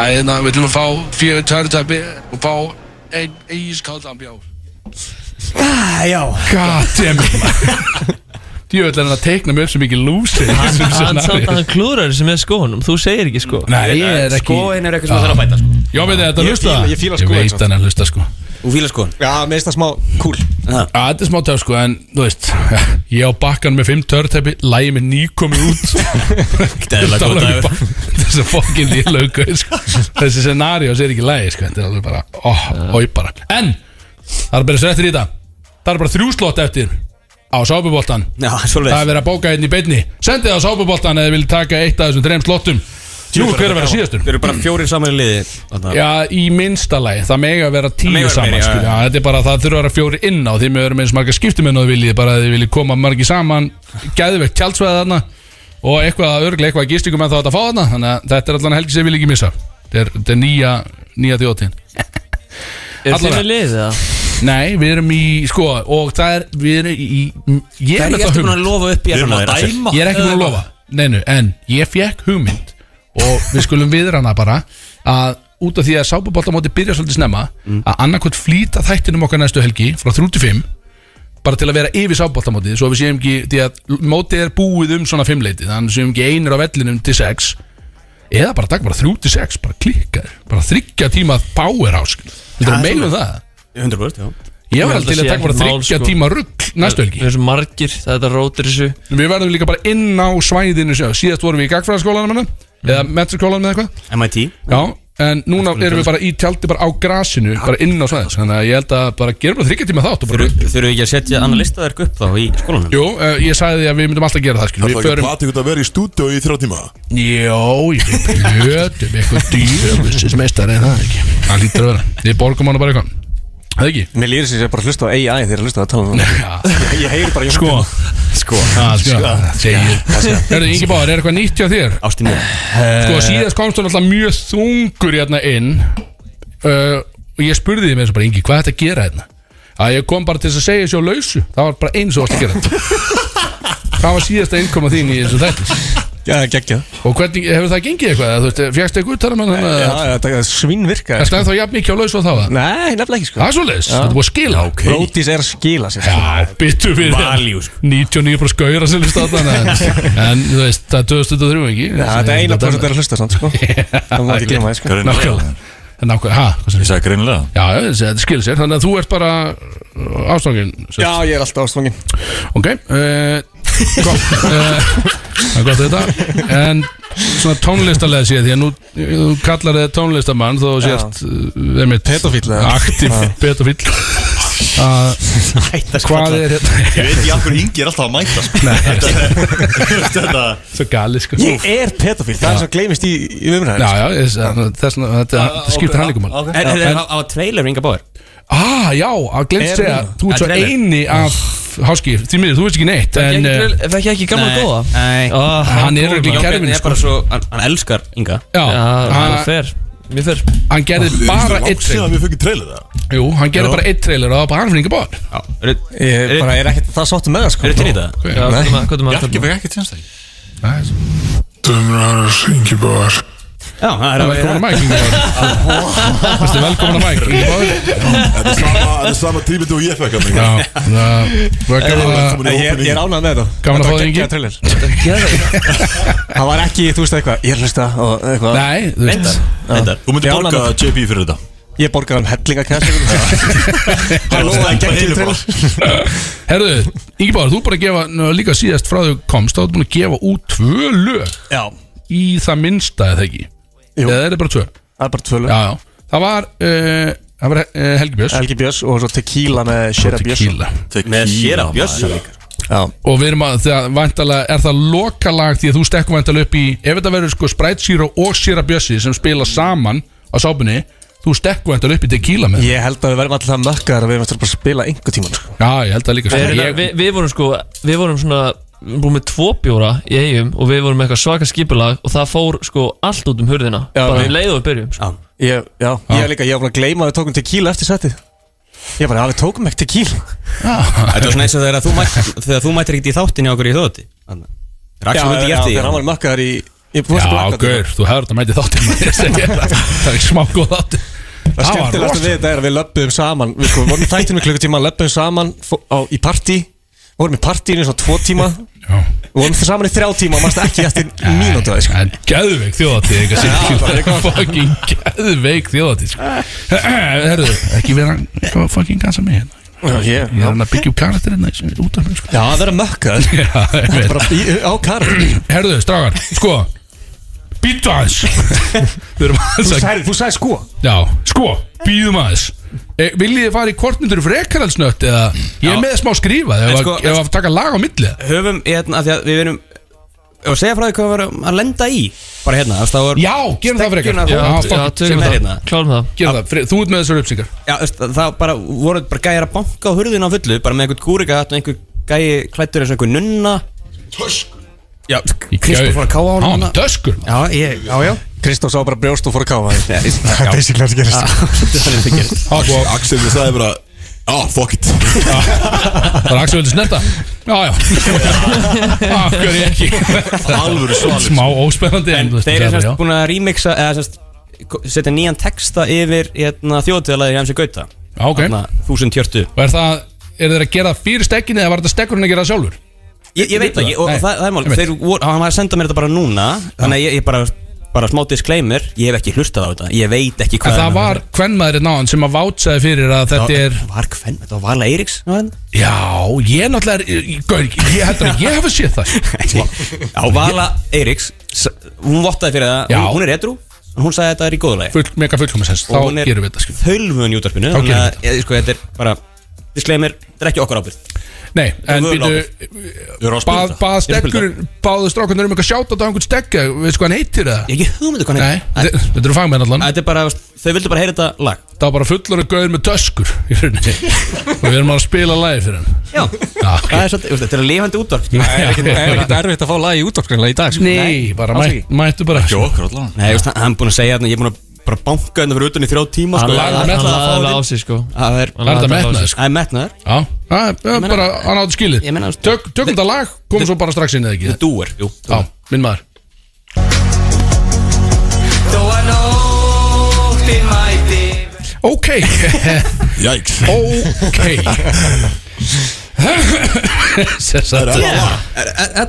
Speaker 14: að hérna, við ætlum að fá fjögur törnutæpi og fá einn ískaldan bjór
Speaker 3: ah, Já Goddammit Djöfull er hann að teikna mig upp sem ekki lúsi
Speaker 8: Hann, hann samt að hann klúrar þessu með skónum Þú segir ekki sko
Speaker 3: Nei, ég er ekki Já. Já, veit þið, þetta
Speaker 8: Ég
Speaker 3: hlusta
Speaker 8: fíla- ég fíla skoðun,
Speaker 3: Ég
Speaker 8: samt.
Speaker 3: veit hann að hlusta sko
Speaker 15: Þú fílar skoðan?
Speaker 13: Já, mér finnst það smá cool
Speaker 3: Já, þetta er smá töf sko En, þú veist <laughs> Ég á bakkan með fimm törtæpi Lægi með nýkomi
Speaker 8: <laughs>
Speaker 3: út
Speaker 4: eðlilega góð dagur.
Speaker 3: Þessi fokkin lélögu sko. Þessi scenariós er ekki lægi sko. Þetta er alveg bara oh, Hói bara En Það er bara svo eftir í þetta Það er bara þrjú slott eftir Á sápuboltan
Speaker 15: Já,
Speaker 3: Það er verið að bóka einn í beinni Sendið á sápuboltan Eða vil taka eitt af þessum þreim slottum Jú, hver er að vera síðastur?
Speaker 15: Þeir eru bara fjórir saman í liði þarna.
Speaker 3: Já, í minnsta lagi, það mega vera
Speaker 15: mega
Speaker 3: tíu
Speaker 15: vera
Speaker 3: saman
Speaker 15: meira, já,
Speaker 3: skilja.
Speaker 15: já.
Speaker 3: Já, Þetta er bara að það þurfa að vera fjóri inn á því með verðum eins marga skiptumenn og þið viljið bara að þið viljið koma margi saman gæðvegt tjaldsvæði þarna og eitthvað að örglega eitthvað að gistingum en þá þetta fá þarna þannig að þetta er allan helgi sem ég vil ekki missa þetta er, þetta er nýja, nýja þjóttíðin
Speaker 8: Er þið með liðið það?
Speaker 3: Nei, við erum í, sko, og það er, við erum í Ég
Speaker 8: Hverju
Speaker 3: er með
Speaker 8: ertu
Speaker 3: það
Speaker 8: búin að
Speaker 3: hugmynd
Speaker 8: lofa upp í Við erum að allan, dæma. Axel?
Speaker 3: Ég er ekki búin að
Speaker 8: Eða
Speaker 3: lofa, neinu, en ég fekk hugmynd Og við skulum viðrana bara Að út af því að sápuboltamóti byrja svolítið snemma Að annarkvæmt flýta þættinum okkar næstu helgi Frá 35 Bara til að vera yfir sápuboltamótið Svo við séum ekki, því að mótið er búið um svona fimmleiti Þannig séum ekki einir á vellinum til 6 Eða bara dag, bara 3 til 6 Bara klikkar, bara þryggja tíma Power house, þetta er meilum það
Speaker 15: 100% já
Speaker 3: Ég var alveg til að taka bara þryggja tíma rugg næstu helgi
Speaker 8: Við erum margir, þetta rótir þessu
Speaker 3: Við verðum líka bara inn á svæðinu sjá. Síðast vorum við í gagfræðaskólanum hennar Eða metrikólanum eða eitthvað
Speaker 15: MIT
Speaker 3: Já, en núna erum við bara í tjaldi bara á grasinu Bara inn á svæðinu Þannig að ég held að bara gerum bara þryggja tíma þátt og bara
Speaker 15: Þurfum við ekki að setja annar listaverk upp þá í skólanum?
Speaker 3: Jú, eh, ég sagði því að við myndum alltaf gera það skilur.
Speaker 1: Það er
Speaker 3: Við
Speaker 1: ekki að
Speaker 3: förum
Speaker 1: plati út að vera í stúdíu í þrjá tíma
Speaker 3: Jó, ég <laughs> blötum eitthvað dýrfusins meistari en það ekki Það lítur að vera Við borgum hana bara eitthvað Það <laughs> ekki
Speaker 13: Mér lýðir sem ég bara hlusta á AI þegar ég hlusta á að tala um það Ég- Ég heyri bara
Speaker 3: Sko
Speaker 13: Sko
Speaker 3: Ah, sko, segir
Speaker 13: Já, segir.
Speaker 3: Hörðu, Ingi Báður, er eitthvað nýtt hjá þér?
Speaker 15: Ástin mér
Speaker 13: Eh.
Speaker 3: Sko síðast komst hún alltaf mjög þungur hérna inn uh, og ég spurði því með þessu bara Ingi, hvað er þetta að gera hérna? Að ég kom bara til þess að segja þessu á lausu það var bara eins og allt að gera
Speaker 13: <laughs>
Speaker 3: þetta Hvað var síðasta innkoma þín í þessu þætti?
Speaker 13: Já, geggjað
Speaker 3: Og hvernig, hefur það gengið eitthvað? eða Þú veist, fjækst eitthvað út þar með hann
Speaker 13: Já,
Speaker 3: að
Speaker 13: já, þetta svinvirka
Speaker 3: Það stæði þá jafn mikið á lausu og það var?
Speaker 13: Nei, nefnilega ekki sko
Speaker 3: Það er svoleiðis, þetta er búið að skila okay.
Speaker 13: Brótis er að skila sér
Speaker 3: Já, byttu við Valjú
Speaker 13: sko.
Speaker 3: 99 bara skauðra sem list þarna en-
Speaker 13: <laughs>
Speaker 3: En þú veist, það er 2003 ekki
Speaker 13: Já, þetta er eina prosent að hlusta samt sko Það má ekki glema því sko
Speaker 3: Nákvæmlega Nákvæmlega, ha, hvað sem
Speaker 4: Ég sagði greinilega
Speaker 3: Já, já, þessi- þetta skilur sér, þannig að þú ert bara uh, ástangin
Speaker 13: Já, ég er alltaf ástfangin
Speaker 3: Ok, uh, gott uh, Það er gott þetta En svona tónlistarlega séð Því að nú eh, þú kallar þið tónlistamann Þó
Speaker 13: Já.
Speaker 3: sért uh,
Speaker 13: Pedófíll, eða?
Speaker 3: Aktiv
Speaker 13: Já.
Speaker 3: petofíl að
Speaker 13: sko.
Speaker 3: hvað er
Speaker 4: Ég veit ekki af hverju Ingi er alltaf að mæta sko. <laughs>
Speaker 3: Nei.
Speaker 4: Þetta- Þetta
Speaker 3: <laughs> Svo gali sko
Speaker 13: Ég er pedofíl, það er
Speaker 3: Já.
Speaker 13: svo gleymist í, í umræðin
Speaker 3: Já, já, ég- þess vegna þetta þetta skiptir hann líka mál
Speaker 13: ok. Er- er- er-
Speaker 3: á trailer Inga Báður? Ah, já, að glemt
Speaker 8: Er-
Speaker 3: segja Þú ert
Speaker 8: Að
Speaker 3: svo
Speaker 8: trailer.
Speaker 3: eini af Háski, því miður, þú veist ekki neitt
Speaker 8: Fekk ég
Speaker 3: En
Speaker 8: ekki
Speaker 3: eh,
Speaker 8: trail- Fekk ég ekki gamla
Speaker 3: Nei,
Speaker 8: góða?
Speaker 3: nei.
Speaker 8: Ah,
Speaker 3: Hann er
Speaker 8: cool,
Speaker 3: örugglega í
Speaker 8: man.
Speaker 3: kerfinu, sko.
Speaker 8: Björn er bara
Speaker 2: bara svo, hann, hann elskar Inga
Speaker 3: Já,
Speaker 8: Ah, hann
Speaker 3: hann-
Speaker 8: fer Mér fer
Speaker 3: Hann gerði bara eitt trailer
Speaker 4: Við fengið trailer það
Speaker 3: Jú, hann gerði
Speaker 8: Jú.
Speaker 3: bara eitt trailer og það var bara hann fyrir Inga Báður
Speaker 13: Ég bara er ekkert það sáttu með það sko
Speaker 2: Er þetta í þetta?
Speaker 13: Nei.
Speaker 8: Já, hvað er maður- hvað er maður að
Speaker 4: Bjarki fekk ekki tjenstæk
Speaker 16: Dömrar Ingeborg
Speaker 2: Já, það er
Speaker 3: Velkomin að mæk Ingi Báður Veistu, Velkomin að mæk Ingi Báður
Speaker 1: Þetta er sama- þetta er sama tímið og ég fekk hérna, hann
Speaker 3: Já, það var gaman að
Speaker 13: Nei, Ég ég er ánað með það
Speaker 3: Gaman að fá þig, Ingi.
Speaker 13: Það var ekki, þú veist eitthvað, ég er að hlusta og eitthvað
Speaker 3: Nei, þú veist. Reyndar,
Speaker 13: Já.
Speaker 4: reyndar. Þú myndir
Speaker 13: Ég er ánægður
Speaker 4: borga
Speaker 13: með það.
Speaker 4: JP fyrir þetta
Speaker 13: Ég borgaði um hellingakennslu Hann lofaði
Speaker 4: Bara
Speaker 13: geggjum
Speaker 4: heilu bara.
Speaker 13: trailer
Speaker 3: Herðu, Ingi Báður, þú er búin að gefa nú, Líka síðast frá þau komst, þá er búin að gefa út tvö lög
Speaker 13: Já
Speaker 3: Í það minnsta, eða ekki? Jú Eða er það bara tvö?
Speaker 13: Það er bara tvö lög
Speaker 3: Já, já Það var, uh, það var uh, Helgi Björns
Speaker 13: Helgi Björns og svo Tequila með Shira Björns
Speaker 3: Tequila
Speaker 4: Með
Speaker 2: Shera Björns
Speaker 13: Já
Speaker 3: Og við erum að, þegar væntalega, er það lokalag því að þú stekkum væntalega upp í Ef þetta verður sko Sprite Zero og Shira Bjössi sem spila saman á sápunni Þú stekkum væntalega upp í tequila með
Speaker 13: Ég held að við verðum alltaf mökkaðar að við verðum eftir að bara spila einhver tíman sko.
Speaker 3: Já, ég held að líka sko.
Speaker 8: Við, erum-
Speaker 3: ég,
Speaker 8: við, við vorum sko Við vorum svona við vorum Búið með tvo bjóra í eigum Og við vorum með eitthvað svaka skipulag Og það fór sko allt út um hurðina
Speaker 13: Já,
Speaker 8: Bara
Speaker 13: við-
Speaker 8: um leið og við byrjum sko.
Speaker 13: Ég, já, ég er líka, ég var búin að gleyma að við tókum tequila eftir settið Ég bara, að við tókum ekki tequila
Speaker 2: Þetta var svona eins og þegar þú mætt- þegar þú mættir ekkert í þáttinni á okkur í þótti Raksum
Speaker 13: Já,
Speaker 2: hundi
Speaker 13: já,
Speaker 2: gert því
Speaker 13: þegar
Speaker 4: hérna.
Speaker 13: hann var mökkaðar í Ég búin að spila
Speaker 3: Já, gaur, þú hefur þetta mætið þáttir Það er ekki smá góð þáttir
Speaker 13: Það
Speaker 3: var
Speaker 13: skemmtilegast
Speaker 3: rosa.
Speaker 13: við þetta er að við löpum saman Við sko, vorum í þættinu klukkutíma, löpum saman fó- á, í partí Vorum í partíinu í svona tvo tíma Vorum þið saman í þrjá tíma og mannst ekki eftir mínútu
Speaker 2: sko.
Speaker 13: að
Speaker 3: En geðveik þjóðatíð
Speaker 13: Já, það
Speaker 3: <laughs>
Speaker 13: er
Speaker 3: eitthvað
Speaker 13: gott.
Speaker 3: Fucking geðveik þjóðatíð sko. <clears throat> Herðu, ekki vera Hvað var fucking gasa mig hérna
Speaker 13: Já, ég-
Speaker 3: Ég er hann að byggja upp karakterina sem er út af sko. mig sko.
Speaker 13: Já, það er að mökka
Speaker 3: Það
Speaker 2: <laughs>
Speaker 13: er bara í- á karakter
Speaker 3: Herðu, strágar, sko Býttu aðeins
Speaker 13: <laughs>
Speaker 3: Við erum aðeins
Speaker 13: Þú
Speaker 3: að-
Speaker 13: sagði, þú sagði sko
Speaker 3: Já, sko, býðum aðeins e, Viljið þið fara í um kortmyndur frekarhalsnött eða ég er
Speaker 2: Já.
Speaker 3: með smá skrifa
Speaker 2: En
Speaker 3: ef
Speaker 2: sko,
Speaker 3: sko, að ef að taka lag á milli
Speaker 2: Höfum, hérna, af því að við erum Ef að segja frá því hvað við varum að lenda í Bara hérna, þess að það var
Speaker 3: Já, gerum það frekar
Speaker 2: Steggjuna-
Speaker 3: Já, Ah, fuck,
Speaker 2: Já, tökum
Speaker 3: sem
Speaker 2: það.
Speaker 3: er hérna.
Speaker 8: Klárum það
Speaker 3: Gerum það, fre- þú ert með þessar upplýsingar
Speaker 2: Já, þú veist, það bara voru bara gæjar að banka á hurðina á fullu Bara með einhvern kúrika og einhver gæi klættur eins og einhver nunna Já, Kristóf fór að káa á
Speaker 3: Hann var
Speaker 2: hana
Speaker 3: með töskur
Speaker 2: Já, ég, já, já
Speaker 13: Kristóf sá bara brjóst og fór að káfa Það er basically að gerist
Speaker 3: sko,
Speaker 1: Axel, ég sagði bara Já,
Speaker 4: "Ah,
Speaker 1: fuck
Speaker 13: <laughs>
Speaker 1: it
Speaker 3: Það er Axel Völdur snetta Já,
Speaker 2: <laughs>
Speaker 3: já Af hverju ekki
Speaker 4: Alvöru svalir.
Speaker 3: Smá óspennandi En þú veist,
Speaker 2: sko. Þeir eru
Speaker 3: það er- já.
Speaker 2: semst búin að remixa eða semst ko- setja nýjan texta yfir hérna, þjóðtíðalagi Hansi Gauta
Speaker 3: Já, ok.
Speaker 2: Þúsund hjörtu
Speaker 3: Og er það Er þeir að gera það fyrir stekkinni Eða var þetta stekkurinn að gera það sjálfur
Speaker 2: Ég, ég veit það, ég, og
Speaker 3: Nei,
Speaker 2: það, það er mál
Speaker 3: einmitt.
Speaker 2: Þeir voru, hann var að senda mér þetta bara núna Þannig að ég, ég bara, bara smá disclaimer Ég hef ekki hlustað á þetta, ég veit ekki
Speaker 3: En
Speaker 2: hvað
Speaker 3: það var kvennmaðurinn náðan sem að vátsaði fyrir að þetta er
Speaker 2: Var hvern, þetta var varlega Eiríks sem <laughs> var hérna.
Speaker 3: Já, ég náttúrulega er- ég- Gaur, ég heldur að ég hef að sé það
Speaker 2: Já, Vala Eiríks s- Hún vottaði fyrir það,
Speaker 3: Já.
Speaker 2: hún, hún er edru En hún sagði að þetta er í góðulegi
Speaker 3: Full, Mega fullkomisens, þá
Speaker 2: Og hún er-
Speaker 3: gerum við þetta sko. skil.
Speaker 2: Þölvun í útvarpinu
Speaker 3: Þá
Speaker 2: Þannig
Speaker 3: gerum
Speaker 2: að, ég, sko, þetta er bara Disclaimer, þetta er ekki okkar ábyrgð
Speaker 3: Nei, en
Speaker 2: Völ
Speaker 3: býtu
Speaker 4: Ég
Speaker 3: Bað, bað
Speaker 2: Ég er að spila
Speaker 3: stekkur, báðu strákunar um eitthvað sjátt á einhvern stekka, veist hvað hann heitir það?
Speaker 2: Ég hef ekki hugmyndu hvað
Speaker 3: Nei, þe- þetta eru fagmenn allan
Speaker 2: Þetta er bara, þau vildu bara heyra þetta lag
Speaker 3: Það var bara fullur að gauður með töskur í rauninni og við erum að spila lagi fyrir hann
Speaker 2: Já, það er svolítið, þetta er lifandi útvarp sko. <laughs>
Speaker 3: Nei, það er ekkert- það er ekkert
Speaker 13: erfitt að fá lagi útvarpsgreinlega í dag
Speaker 3: sko. Nei, bara
Speaker 2: alls
Speaker 3: mæ-
Speaker 2: ekki.
Speaker 3: mættu bara
Speaker 4: Jó, okkur allan
Speaker 2: Nei, veist, hann er búin að segja þarna, ég er búin að bara banka hennar fyrir utan í þrjá tíma
Speaker 8: Hann
Speaker 2: sko.
Speaker 8: lagði
Speaker 2: Hann
Speaker 8: metnað.
Speaker 2: ætlaði að fá
Speaker 8: Hann lagði
Speaker 2: þig.
Speaker 8: á sig, sko.
Speaker 3: Ah.
Speaker 2: Það er
Speaker 8: Hann lagði
Speaker 3: þetta metnaður, sko.
Speaker 2: Það er metnaður
Speaker 3: Já, það er- það er bara, hann áttu skilið
Speaker 2: Ég meina, þú veist-
Speaker 3: Tök, Tökum þetta lag, komum svo bara strax inn eða ekki
Speaker 2: The doer, jú
Speaker 3: Já, minn maður
Speaker 7: Þó að nóttin mæti
Speaker 3: Ok,
Speaker 1: Jæks
Speaker 3: <laughs> ok Sem sagt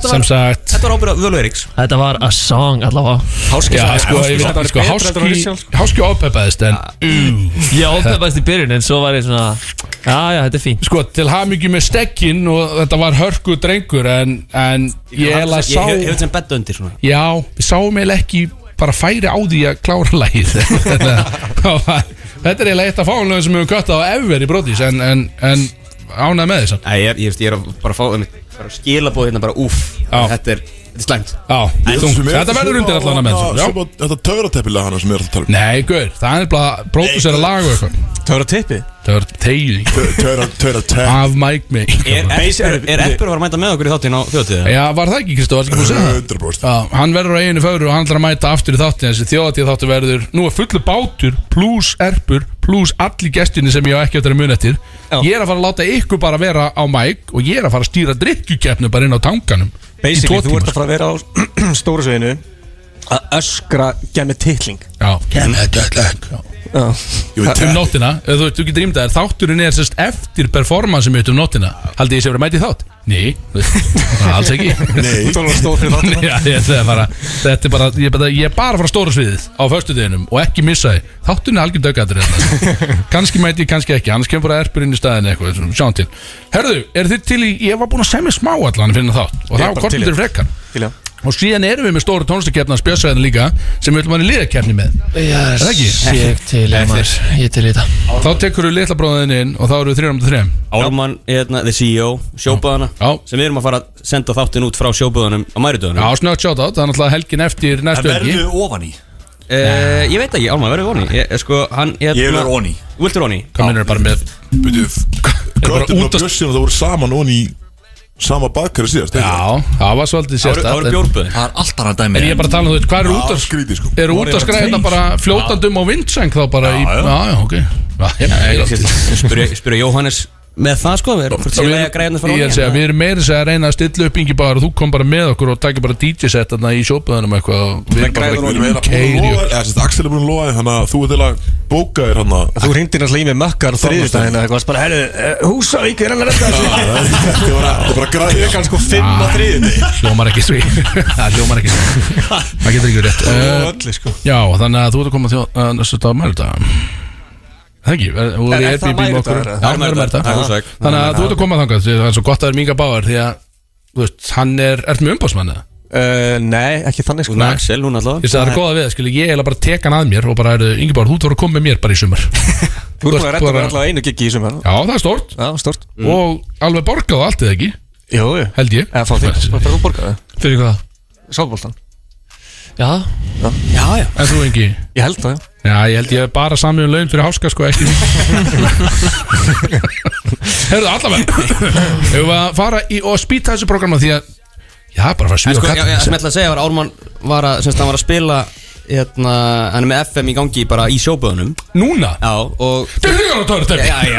Speaker 3: Sem sagt
Speaker 2: Þetta var ábyrgð Völu Eriks
Speaker 8: Þetta var a song allavega
Speaker 3: <laughs>
Speaker 13: Háski
Speaker 3: Já,
Speaker 13: sagði-
Speaker 3: sko,
Speaker 13: Háski sagði
Speaker 3: ég veit,
Speaker 13: bara
Speaker 3: sko,
Speaker 13: betra heldur en
Speaker 3: háski
Speaker 13: Richard.
Speaker 3: Háski ápeppaðist, en ú,
Speaker 8: Ég ofnabæst í byrjun En svo var ég svona Já, já, þetta er fínt
Speaker 3: Sko, til hamingju með stekkin og þetta var hörku drengur en, en ég
Speaker 2: Ég
Speaker 3: held að sá
Speaker 2: hef þetta sem betta undir svona
Speaker 3: <laughs> Já, við sáum eiginlega ekki bara færi á því að klára lagið Þannig að það var- Þetta er eiginlega eitt af fáinlega sem við höfum köttað á ever í brotis En, en, en ánað með þess
Speaker 2: Æ, ég, er- ég, veist, ég er að bara fá einmitt, bara skilabóð hérna bara úff þetta er, þetta er slæmt
Speaker 3: Já,
Speaker 1: Ég-
Speaker 3: þungt.
Speaker 1: sem er-
Speaker 3: Þetta verður undir allan að menn,
Speaker 1: Já,
Speaker 3: já.
Speaker 1: sem að- Þetta töfrateppilega hana sem ég er alltaf að tala um
Speaker 3: Nei, gaur, það er bara Brótus er að laga eitthvað
Speaker 13: Töra tippi
Speaker 3: Töra teyðing
Speaker 1: Töra, töra teyðing
Speaker 3: Af Mike mig
Speaker 2: Er Erpur- er Erpur að fara að mæta með okkur í þáttinn á þjóðtíða?
Speaker 3: Já, var það ekki Kristof, var ekki búin að segja það?
Speaker 1: 100%
Speaker 3: Já, hann verður á eiginu fögru og hann ætlar að mæta aftur í þáttin þessi þjóðatíð þáttu verður nú er fullu bátur pluss erpur pluss allir gestinni sem ég á ekki eftir að muna eftir ég er að fara að láta ykkur bara vera á mæk og ég er að fara að stýra drikkjukefnu bara inn á tanganum
Speaker 13: Basically, þú ert að fara að vera á <clears throat> stóra sveinu að öskra gemmi titling
Speaker 3: Já, gemmi titling um nóttina, ef þú, þú getur ímdað þér þátturinn er sérst eftir performance mitt um nóttina haldið ég sé verið mætið þátt? Nei, <laughs> alls ekki
Speaker 13: Nei. Þú talar um stór fyrir þáttina.
Speaker 3: <laughs> Já, ég, það er bara, þetta er bara, ég, er bara- ég er bara að fara á stóra sviðið á föstudeginum og ekki missa þið þátturinn er algjör dögættur kannski mæti ég, kannski ekki, annars kemur bara erpur inn í staðin eitthvað, svona, sjáum til Herðu, er þið til í, ég var búin að semja smá allan fyrir þennan þátt og
Speaker 13: Ég er
Speaker 3: þá
Speaker 13: bara
Speaker 3: kortum
Speaker 13: til í
Speaker 3: þér
Speaker 13: það.
Speaker 3: frekkan
Speaker 13: Til já
Speaker 3: og síðan erum við með stóru tónlistakefna spjössæðin hérna líka sem við ætlum að vera í liðakefni með
Speaker 8: Já,
Speaker 3: Er það ekki?
Speaker 8: ég til í maður Ég til í þetta
Speaker 3: Þá tekur við litla bróðin inn og þá eru við 3.3
Speaker 2: <laughs> Ármann, hérna, the CEO, sjóböðana sem við erum að fara að senda þáttinn út frá sjóböðunum á mæriðöðunum
Speaker 3: Já, snögt sjátt átt, það er náttúrulega helgin eftir næstu helgi
Speaker 2: ofan í? Eh, ég veit ekki, Ármann, verður við ofan í? Ég, eh, sko, hann, ég,
Speaker 1: Ég vil vera ofan í.
Speaker 2: Þú viltur ofan í?
Speaker 3: Hvað minnur bara með
Speaker 1: Köttin og Bjössin og það voru saman og í sama bakkari síðast
Speaker 3: Já, það var svolítið
Speaker 1: sérst
Speaker 3: sérstakt, en-
Speaker 1: Það er alltaf hann
Speaker 3: En ég er bara að tala um þú veit, hvað eru út að
Speaker 1: skríti sko
Speaker 3: Eru út að skræða þetta bara fljótandum á vindseng þá bara í Já, já, ok Já, ég- ég-
Speaker 13: <laughs>
Speaker 2: Spyrja spyrja Jóhannes með það, sko, við erum hvort sem við að græða
Speaker 3: Ég er að segja, við erum meira að reyna að stilla upp yngi bara og þú kom bara með okkur og takir bara DJ-set þarna í sjópaðunum eitthvað og við erum
Speaker 1: Við
Speaker 3: bara
Speaker 1: erum eiginlega búin að
Speaker 3: keiri <laughs>
Speaker 1: lofa Eða sérst, Axel er búin að lofa þér, Þannig að þú ert eiginlega bókaðir hann að
Speaker 13: Þú hringdir
Speaker 2: hérna
Speaker 13: hans límið mökkar og þriðjudaginn eða eitthvað bara, herru, eh, Húsavík er hann að redda þessu
Speaker 1: Þetta var að- þetta var að græða Ég kannski
Speaker 13: sko fimm
Speaker 3: Ah.
Speaker 13: á þriðjudaginn
Speaker 3: Hljómar ekki sví Það <laughs> hljómar ekki sví Það getur ekki rétt Eh,
Speaker 13: Og öllu, sko.
Speaker 3: Já, þannig að þú ert að koma til að næstu dag mælu dag Það ekki, er, þú
Speaker 13: Er-
Speaker 3: er í
Speaker 13: er það
Speaker 3: Airbnb með okkur
Speaker 13: mænudagur, eða?
Speaker 3: Já, það er mærta
Speaker 13: Það er húsæk.
Speaker 3: Þannig að þú ert að koma þangað því að Það er svo gott að það er minga báðar Því að, þú veist, hann er, ertu með umbásmann eða?
Speaker 13: Uh, nei, ekki þannig sko
Speaker 3: Nei.
Speaker 2: Axel, hún allavega
Speaker 3: Ég sagði það er góða við, það, skilji, ég er bara að teka hann að mér og bara, Ingi Bár, þú ert að fara að koma með mér bara í sumar
Speaker 13: <laughs> Þú ert búin að redda
Speaker 3: bara-
Speaker 13: mér allavega einu gigi í sumar
Speaker 3: Já, það er stort
Speaker 13: Já, stort
Speaker 3: Og alveg borgað og allt eða ekki
Speaker 13: Jú, jú
Speaker 3: Held ég
Speaker 13: Eða fá þig Bara þú borgaði
Speaker 3: Fyrir hvað?
Speaker 13: Sálbóltan
Speaker 8: Já
Speaker 13: Já,
Speaker 3: já En þú Ingi?
Speaker 13: Ég held það,
Speaker 2: Sko,
Speaker 13: já
Speaker 3: Já, ég held ég hef bara samið um laun fyrir háska sko ekki Herðu allavega Hefur við að fara í og spýta þessu programma því að Já, bara að fara að
Speaker 2: En
Speaker 3: svíða
Speaker 2: sko,
Speaker 3: á
Speaker 2: já, já,
Speaker 3: kallinn
Speaker 2: sem ég ætla að segja var að Ármann var að, semst, hann var að spila hérna, hann er með FM í gangi bara í sjóböðunum
Speaker 3: Núna?
Speaker 2: Já, og
Speaker 3: Þetta er hugað á tóra
Speaker 2: Já, já,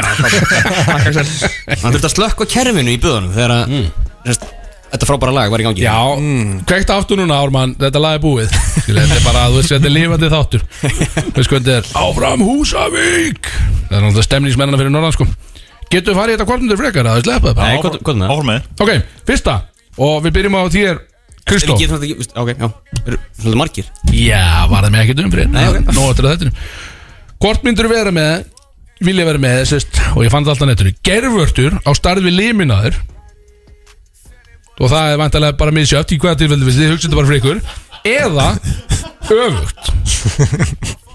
Speaker 2: Hann þurfti að slökka á kerfinu í böðunum þegar að,
Speaker 13: Mm.
Speaker 2: semst, þetta frábæra lag var í gangi
Speaker 3: Já,
Speaker 2: Mm.
Speaker 3: kveikt aftur núna Ármann, þetta lag er búið Skilja, Þetta er bara, þú veist, þetta er lifandi þáttur Þú veist hvað þetta er Áfram Húsavík Það er náttúrulega stemningsmennina fyrir norðan sko Getur við farið í þetta hvort myndir frekar að þið sleppa það bara?
Speaker 2: Nei, hvað er það? Áfram með
Speaker 3: Ok, fyrsta Og við byrjum á þér, Kristó
Speaker 2: Ekki, svona, ekki, ok, já Eru Svolítið margir
Speaker 3: Já, var það með ekkert umfrið
Speaker 2: Nei, ok.
Speaker 3: Nó eftir að þetta Hvort myndur vera með Vilja vera með, sérst, og ég fann það alltaf nettur Gervörtur á starð við liminaður Og það er vantarlega bara misjöft Í hvaða tilfellu við þið hugsa þetta bara fyrir ykkur Eða öfugt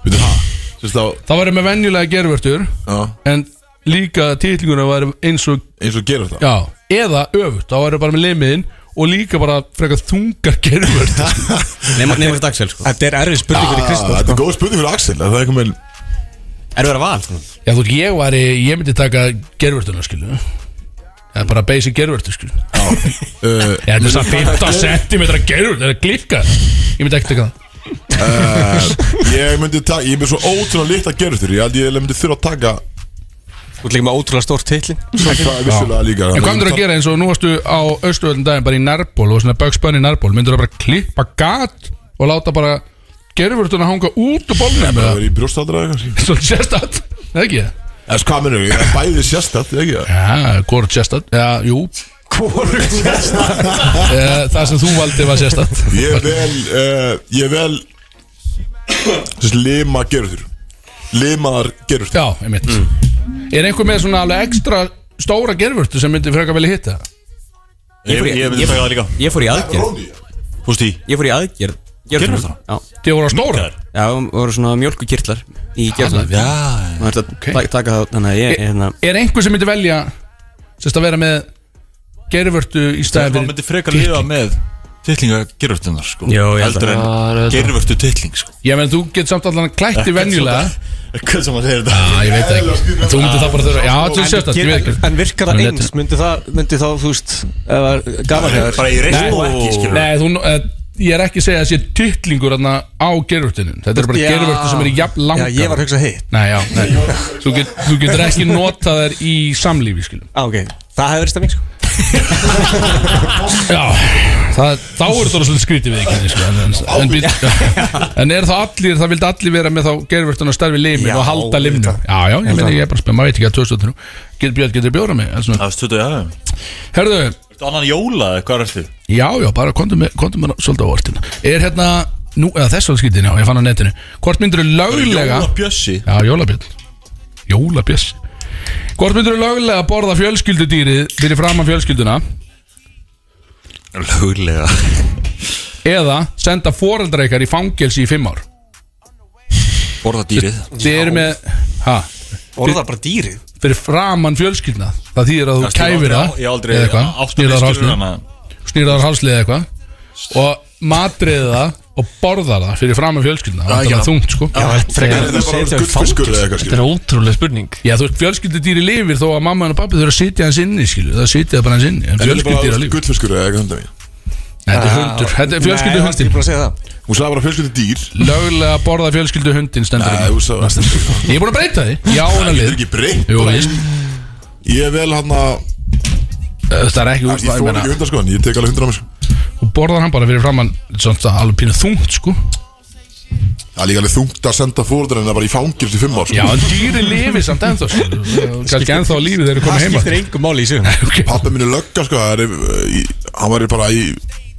Speaker 1: Veitu það? Sérst á
Speaker 3: Þá væri með venjulega gervörtur
Speaker 1: Já.
Speaker 3: En líka titlinguna væri eins og
Speaker 1: Eins og gerir það
Speaker 3: Já, eða öfugt Þá væri bara með limiðin Og líka bara frekar þungar gervörtur
Speaker 2: Nefnum þetta Axel, sko
Speaker 13: Þetta er erfið
Speaker 1: Ah,
Speaker 3: sko.
Speaker 1: Þetta er góð spurning fyrir Axel að Það er eitthvað með
Speaker 2: Er verið að val? sko.
Speaker 3: Já, þú veist, ég væri, ég myndi taka gervörtuna, skilu Það er bara basic gervörtu, skilu Já,
Speaker 1: uh,
Speaker 3: þetta er svona 15 cm gervört, það er glikkað Ég myndi ekki taka það
Speaker 1: Eh, Ég myndi taka Ég er með svo ótrúlega lit að gera þér Ég held ég myndi þurfa að taka
Speaker 13: Þú ert líka með ótrúlega stórt titlin
Speaker 1: Það er vissulega líka
Speaker 3: En hvað myndir að gera eins og nú varstu á austuröldin daginn bara í nærból og svona bögspönn í nærból Myndir að bara klippa gat og láta bara gervörtuna hanga út og bólna
Speaker 1: Það
Speaker 3: með það
Speaker 1: er í brjóstaldra kannski
Speaker 3: Svona sérstætt, ekki það?
Speaker 1: Það er hvað minnum Ég er bæði sérstætt Ekki það
Speaker 3: Já, hvort sérstætt, já, jú
Speaker 1: Hvorum
Speaker 3: Eh, Það sem þú valdi var sérstætt
Speaker 1: Ég er vel uh, Ég er vel Sérst lima gerur þér Limaðar gerur þér
Speaker 3: Já, einmitt
Speaker 13: Mm.
Speaker 3: Er einhver með svona alveg ekstra stóra gervörtu sem myndi frekar velja hitta?
Speaker 2: Ég fór í-
Speaker 4: Ég myndi taka það líka
Speaker 2: Ég fór í aðgerð
Speaker 1: Róni
Speaker 4: Fúst í
Speaker 2: Ég fór í aðgerð Gerðu
Speaker 4: Gerðu
Speaker 2: það? Já
Speaker 3: Þið voru á stóra?
Speaker 15: Já, það voru svona mjölkukirtlar í gerðum
Speaker 3: já,
Speaker 15: Maður þurfti að okay. taka það Þannig að ég, hérna
Speaker 3: Er einhver sem myndi velja Sérst að vera með Gervörtu í
Speaker 4: Það
Speaker 3: stæði
Speaker 4: myndi frekar lifa með Tittlinga gerurftunar sko
Speaker 3: Já, ég held
Speaker 4: Heldur
Speaker 3: að- Já, ég
Speaker 4: en
Speaker 3: held að-
Speaker 4: gerurftu tittling sko
Speaker 3: Ég menn þú get samt allan klætti
Speaker 4: Ekkert
Speaker 3: venjulega
Speaker 4: Hvað sem að þeir þetta
Speaker 3: Já, ég veit ekki. En þú myndir það bara þurfa- já, þú
Speaker 13: En-
Speaker 3: sést það, ég veit ekki.
Speaker 13: En virkar það
Speaker 3: Þannig
Speaker 13: eins,
Speaker 3: letur.
Speaker 13: myndi það, myndi þá, þú veist eða gaman hefur
Speaker 3: Nei, þú, eh, ég er ekki að segja að sé tittlingur þarna á gerurtinin Þetta er bara
Speaker 13: Já.
Speaker 3: gerurtu sem er jafn langar
Speaker 13: Já, ég var að hugsa hitt.
Speaker 3: Nei, já, nei Þú, get, þú getur ekki notað þær í samlífi, skilum
Speaker 13: Á, Ah, ok, það hefur verið stemming, sko
Speaker 3: Já, það, þá er það svolítið skrítið við ekki sko, en, en, en, být- <laughs> en er það allir, það vildi allir vera með þá gerurvörtun að starfi limin
Speaker 4: Já,
Speaker 3: og halda limnum
Speaker 4: auðvitað.
Speaker 3: Já, já, ég meina ég er bara spenn, maður veit ekki að 2003 Getur björn, getur bjóra mig Það
Speaker 4: er stuttu, já
Speaker 3: Herðu
Speaker 4: Ertu annan jóla, eða hvað er þetta?
Speaker 3: Já, já, bara komdu með, komdu með svolítið á orðin Er hérna, nú, eða þess að skrítið, já, ég fann á netinu Hvort myndir þú löglega
Speaker 4: Jólabjössi
Speaker 3: Já, jólabjöll Jólabjössi Hvort myndir þú löglega borða fjölskyldudýrið fyrir framan fjölskylduna
Speaker 4: Lögulega
Speaker 3: eða senda foreldra ykkar í fangelsi í fimm ár
Speaker 4: Borða dýrið
Speaker 3: Þið eru með ha,
Speaker 13: Orða bara dýrið
Speaker 3: Fyrir framan fjölskyldna Það þýðir að þú
Speaker 4: Kannski
Speaker 3: kæfir
Speaker 4: aldrei-
Speaker 3: það
Speaker 4: ég aldrei
Speaker 3: eða eitthvað,
Speaker 4: átta mig
Speaker 3: Snýrðar
Speaker 4: skilur hana.
Speaker 3: hálslið Snýrðar hálslið eða eitthvað Og matriði það Og borðar það fyrir framan fjölskyldna Það er þungt sko
Speaker 8: Þetta er ótrúlega spurning
Speaker 3: Já, þú veist, fjölskyldudýri lifir þó að mamma og pappi þurfa að sitja hans inni, skilju, það sitja bara hans inni,
Speaker 1: En
Speaker 3: en
Speaker 1: þetta er
Speaker 3: fjölskyldudýra
Speaker 1: bara
Speaker 3: lifir.
Speaker 1: gullfiskur eða ekki hundar mín
Speaker 3: Þetta er hundur, þetta er fjölskylduhundin.
Speaker 1: Hún sagði bara fjölskyldudýr
Speaker 3: Lögulega borða fjölskylduhundin stendur hérna.
Speaker 1: Nei, þú sagði
Speaker 3: Ég er búin að breyta því, já, hún
Speaker 1: Það getur
Speaker 3: að lið.
Speaker 1: ekki hérna. breytt
Speaker 3: Jú,
Speaker 1: bara.
Speaker 3: veist.
Speaker 1: Ég vel hann að
Speaker 3: Það er ekki
Speaker 1: Ég þóra ekki hundar sko en Ég tek alveg hundar á mig sko
Speaker 3: og borðar hann bara fyrir framann svona það alveg pínu þungt sko
Speaker 1: Það er líka alveg þungt að senda fóreldrarna bara í fangils í fimm ár sko.
Speaker 3: Já, en dýri lifi samt ennþá sko. kannski ennþá á lífi þegar þeir koma heima
Speaker 13: engu máli í sig
Speaker 1: Pappi mínu lögga sko það er, eh, í- Hann var bara í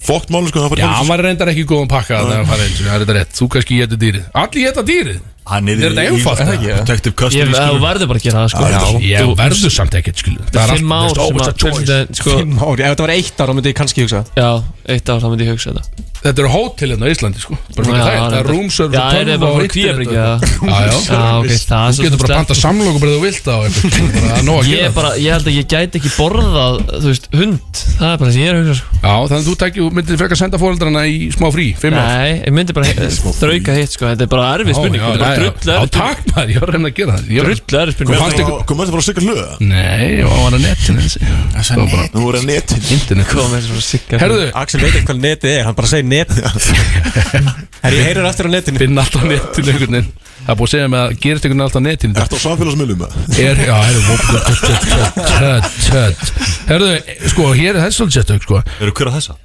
Speaker 1: Fókt máli sko
Speaker 3: Já, hann var reyndar ekki í góðum pakka þegar hann farið eins og það er þetta rétt þú kannski getur dýrið Allir geta dýrið
Speaker 4: Hann
Speaker 3: Er þetta einfalt?
Speaker 4: Protective
Speaker 8: Ég
Speaker 4: custody
Speaker 8: þú verður bara að gera það sko
Speaker 3: Ah, Já, ég
Speaker 8: Þú-
Speaker 3: verður samt ekkert skilu
Speaker 8: Það er fimm ár sem að fjölskyldan, sko,
Speaker 13: Fimm ár, ef þetta var eitt ár, þá myndi ég kannski hugsa
Speaker 8: Já, eitt ár þá myndi ég hugsa þetta
Speaker 3: Þetta eru hótel hérna á Íslandi sko Bara fyrir það,
Speaker 8: Já,
Speaker 3: það er
Speaker 8: reyndar.
Speaker 3: roomservice og
Speaker 8: Já, er
Speaker 3: tölva
Speaker 8: þetta bara
Speaker 3: og
Speaker 8: fyrir
Speaker 3: internet
Speaker 8: kvíabryggja,
Speaker 3: og-
Speaker 8: eða?
Speaker 3: Já, já
Speaker 8: Já, ok, það er
Speaker 3: Þú
Speaker 8: svo
Speaker 3: getur bara að
Speaker 8: slæmt.
Speaker 3: panta samloku bara ef þú vilt á eitthvað Bara að nóg að
Speaker 8: Ég,
Speaker 3: gera
Speaker 8: er bara, ég held að ég gæti ekki borðað þú veist, hund, það er bara það sem ég er að hugsa sko.
Speaker 3: Já, þannig að þú tækir, þú myndir frekar senda fóreldrana í smá frí, fimm ár
Speaker 8: Nei, ég myndi bara he- þrauka hitt sko, þetta er bara erfið spurning Þetta er bara drullu
Speaker 3: Já,
Speaker 8: erfið
Speaker 3: takk maður, ég var að reyna að gera það Ég var-
Speaker 8: Drullu erfið spurning
Speaker 3: Hvað fannst ykkur-
Speaker 1: Kom með þetta bara að sigga hlöða
Speaker 3: Nei, það var að netinu Það var bara
Speaker 1: Nú voru að netin
Speaker 3: Internet
Speaker 8: Kom með svona sigga
Speaker 3: Herðu
Speaker 13: Axel veit ekki hvað netið er, hann bara segir netið <laughs> Herri, ég heyrur aftur á netinu
Speaker 3: Finn
Speaker 8: <laughs>
Speaker 3: alltaf netinu einhvern veginn Það er búið að segja mig að gerist einhvern veginn alltaf á netinu
Speaker 1: Ertu á samfélagsmiðlum með
Speaker 3: Er, já, herru vop- tött, tött, tött, tött. Herðu, sko, hér er þess svolítið sérstök, sko
Speaker 4: Eru hver að þessa?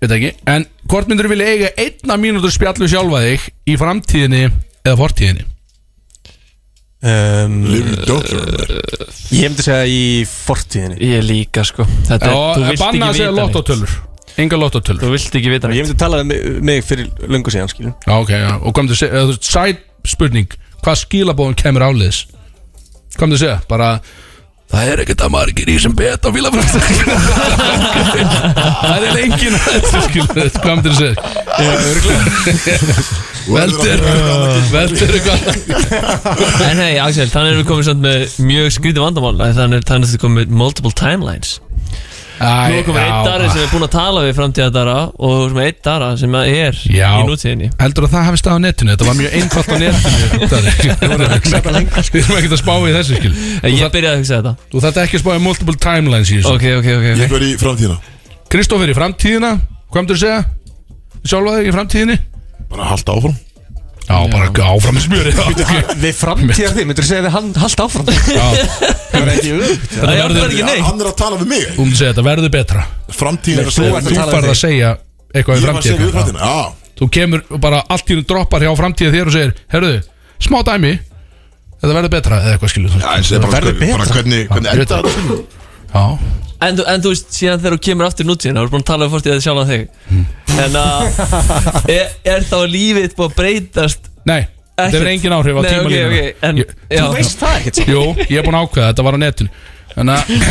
Speaker 3: Veit ekki En hvort myndur vilja eiga einna mínútur spjallu sjálfa þig Í framtíðinni eða fortíðinni?
Speaker 13: um,
Speaker 1: Live your daughter
Speaker 13: Ég myndi segja í fortíðinni
Speaker 8: Ég líka sko Þetta er, þú
Speaker 3: Já,
Speaker 8: vilt
Speaker 3: banna
Speaker 8: ekki
Speaker 3: að segja
Speaker 8: vita neitt
Speaker 3: lottotölur Enga lottotölur
Speaker 8: Þú vilt ekki vita
Speaker 13: Ég
Speaker 8: neitt
Speaker 13: myndi tala um mig fyrir löngu síðan, skilur
Speaker 3: Já, ok, já Og komdu að segja, eða þú veist, sæt spurning Hvað skilabóðum kemur áliðis? Komdu að segja, bara Það er ekkert að margir í sem beta fílafræstur <laughs> Það er engin að þessu skilur Komdu að segja Veldur Veldur eitthvað
Speaker 8: En hei, Axel, þannig erum við komið samt með mjög skrítið vandamál að Þannig er þannig að þið komið með multiple timelines Nú er komið einn dara sem er búin að tala við framtíðadara og sem er einn dara sem er
Speaker 3: Já.
Speaker 8: í nútíðinni
Speaker 3: Heldur að það hafi stað á netinu, þetta var mjög einfalt á netinu Darri. Við erum ekkert að spá í þessu skil
Speaker 8: En Ég byrjaði að hugsa þetta
Speaker 3: Þú þetta ekki að spá í multiple timelines í þessu
Speaker 8: Ok, ok, ok,
Speaker 1: Ég
Speaker 8: okay.
Speaker 1: verði í framtíðina
Speaker 3: Kristófer í framtíðina, hvað myndir þú segja? Sjálfa þig í framtíðinni?
Speaker 1: Bara halda áfram
Speaker 3: Já, bara áfram með smjöri
Speaker 13: Við framtíðar þig, myndir segja við hann haldt áfram Það er ekki auðvitað
Speaker 3: Þetta verður,
Speaker 1: Já, Hann er að tala við mig
Speaker 3: þú myndir segja þetta verður betra
Speaker 1: Framtíðin er að
Speaker 3: Þú
Speaker 1: segja
Speaker 3: þú farð að segja eitthvað
Speaker 1: Ég
Speaker 3: í
Speaker 1: var að segja við
Speaker 3: framtíðina
Speaker 1: framtíðina Já
Speaker 3: Þú kemur og bara allt í hún droppar hjá framtíða þér og segir Herruðu, smá dæmi, þetta verður betra eða eitthvað skilur
Speaker 1: Já, ég segi bara,
Speaker 13: verður
Speaker 1: sko, bara
Speaker 13: betra.
Speaker 1: hvernig, hvernig
Speaker 3: Já, ég veit
Speaker 1: enda
Speaker 3: það.
Speaker 1: þetta
Speaker 3: Já,
Speaker 8: En, þú- en þú veist, síðan þegar þú kemur aftur í nútíðina Þú er búin að tala um við fórst í þetta sjálf að þig
Speaker 3: Hmm.
Speaker 8: En
Speaker 3: <laughs>
Speaker 8: að er, er þá lífið búið að breytast
Speaker 3: Nei, þetta
Speaker 8: Ekkert.
Speaker 3: hefur engin áhrif á
Speaker 8: Nei, ok,
Speaker 3: tímalínuna
Speaker 8: ok, en-
Speaker 3: Ég-
Speaker 8: já.
Speaker 3: sko. Þú veist það ekkert Jú, ég er búin að ákveða, þetta var á netinu Þannig að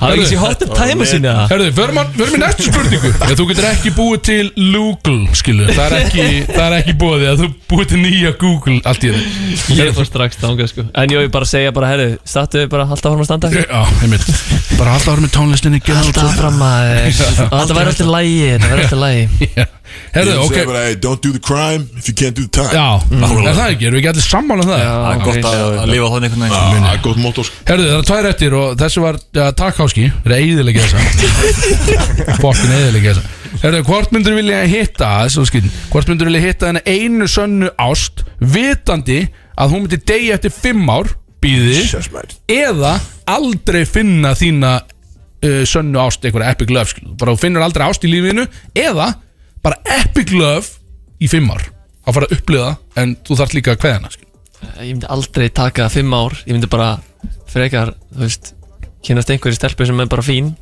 Speaker 8: Hafði ekki séð Hot Tub Time sinni, eða?
Speaker 3: Herðu, förum að- förum í næstu spurningu Ef þú getur ekki búið til Google, skilu Það er ekki, það er ekki búið Ef þú búið til nýja Google, allt í þetta
Speaker 8: Ég fór strax þangað sko En ég vil bara segja bara, herru, stattu við bara halda áfram
Speaker 3: <laughs>
Speaker 8: að standa
Speaker 3: Já, einmitt Bara alltaf ára með tónlistinni
Speaker 8: Halda áfram maður Þetta væri alltaf lægi, þetta væri alltaf
Speaker 3: <laughs>
Speaker 8: lægi
Speaker 3: Herðu, ok
Speaker 1: segja bara, hey, Don't do the crime if you can't do the time
Speaker 3: Já, er það ekki? Erum við ekki allir sammála um það?
Speaker 1: Það er gott að- að lifa
Speaker 3: þannig einhvern
Speaker 1: Ah, Það er gott mótor
Speaker 3: Herðu, það er tvær eftir og þessi var ja, takkháski Það er eiðilega þessa Fokkin eiðilega þessa Herðu, hvort myndur vilja hitta þessi var skrýtin. Hvort myndur vilja hitta henni einu sönnu ást Vitandi að hún myndi degi eftir fimm ár Býði Eða aldrei finna þína uh, Sönnu ást, einhverja epic love skil. Bara þú finnur aldrei ást í lífinu Eða bara epic love Í fimm ár Að fara að upplifa það, en þú þarft líka að kveða hana skil.
Speaker 8: Ég myndi aldrei taka fimm ár Ég myndi bara frekar, þú veist Kynast einhverju stelpu sem er bara fín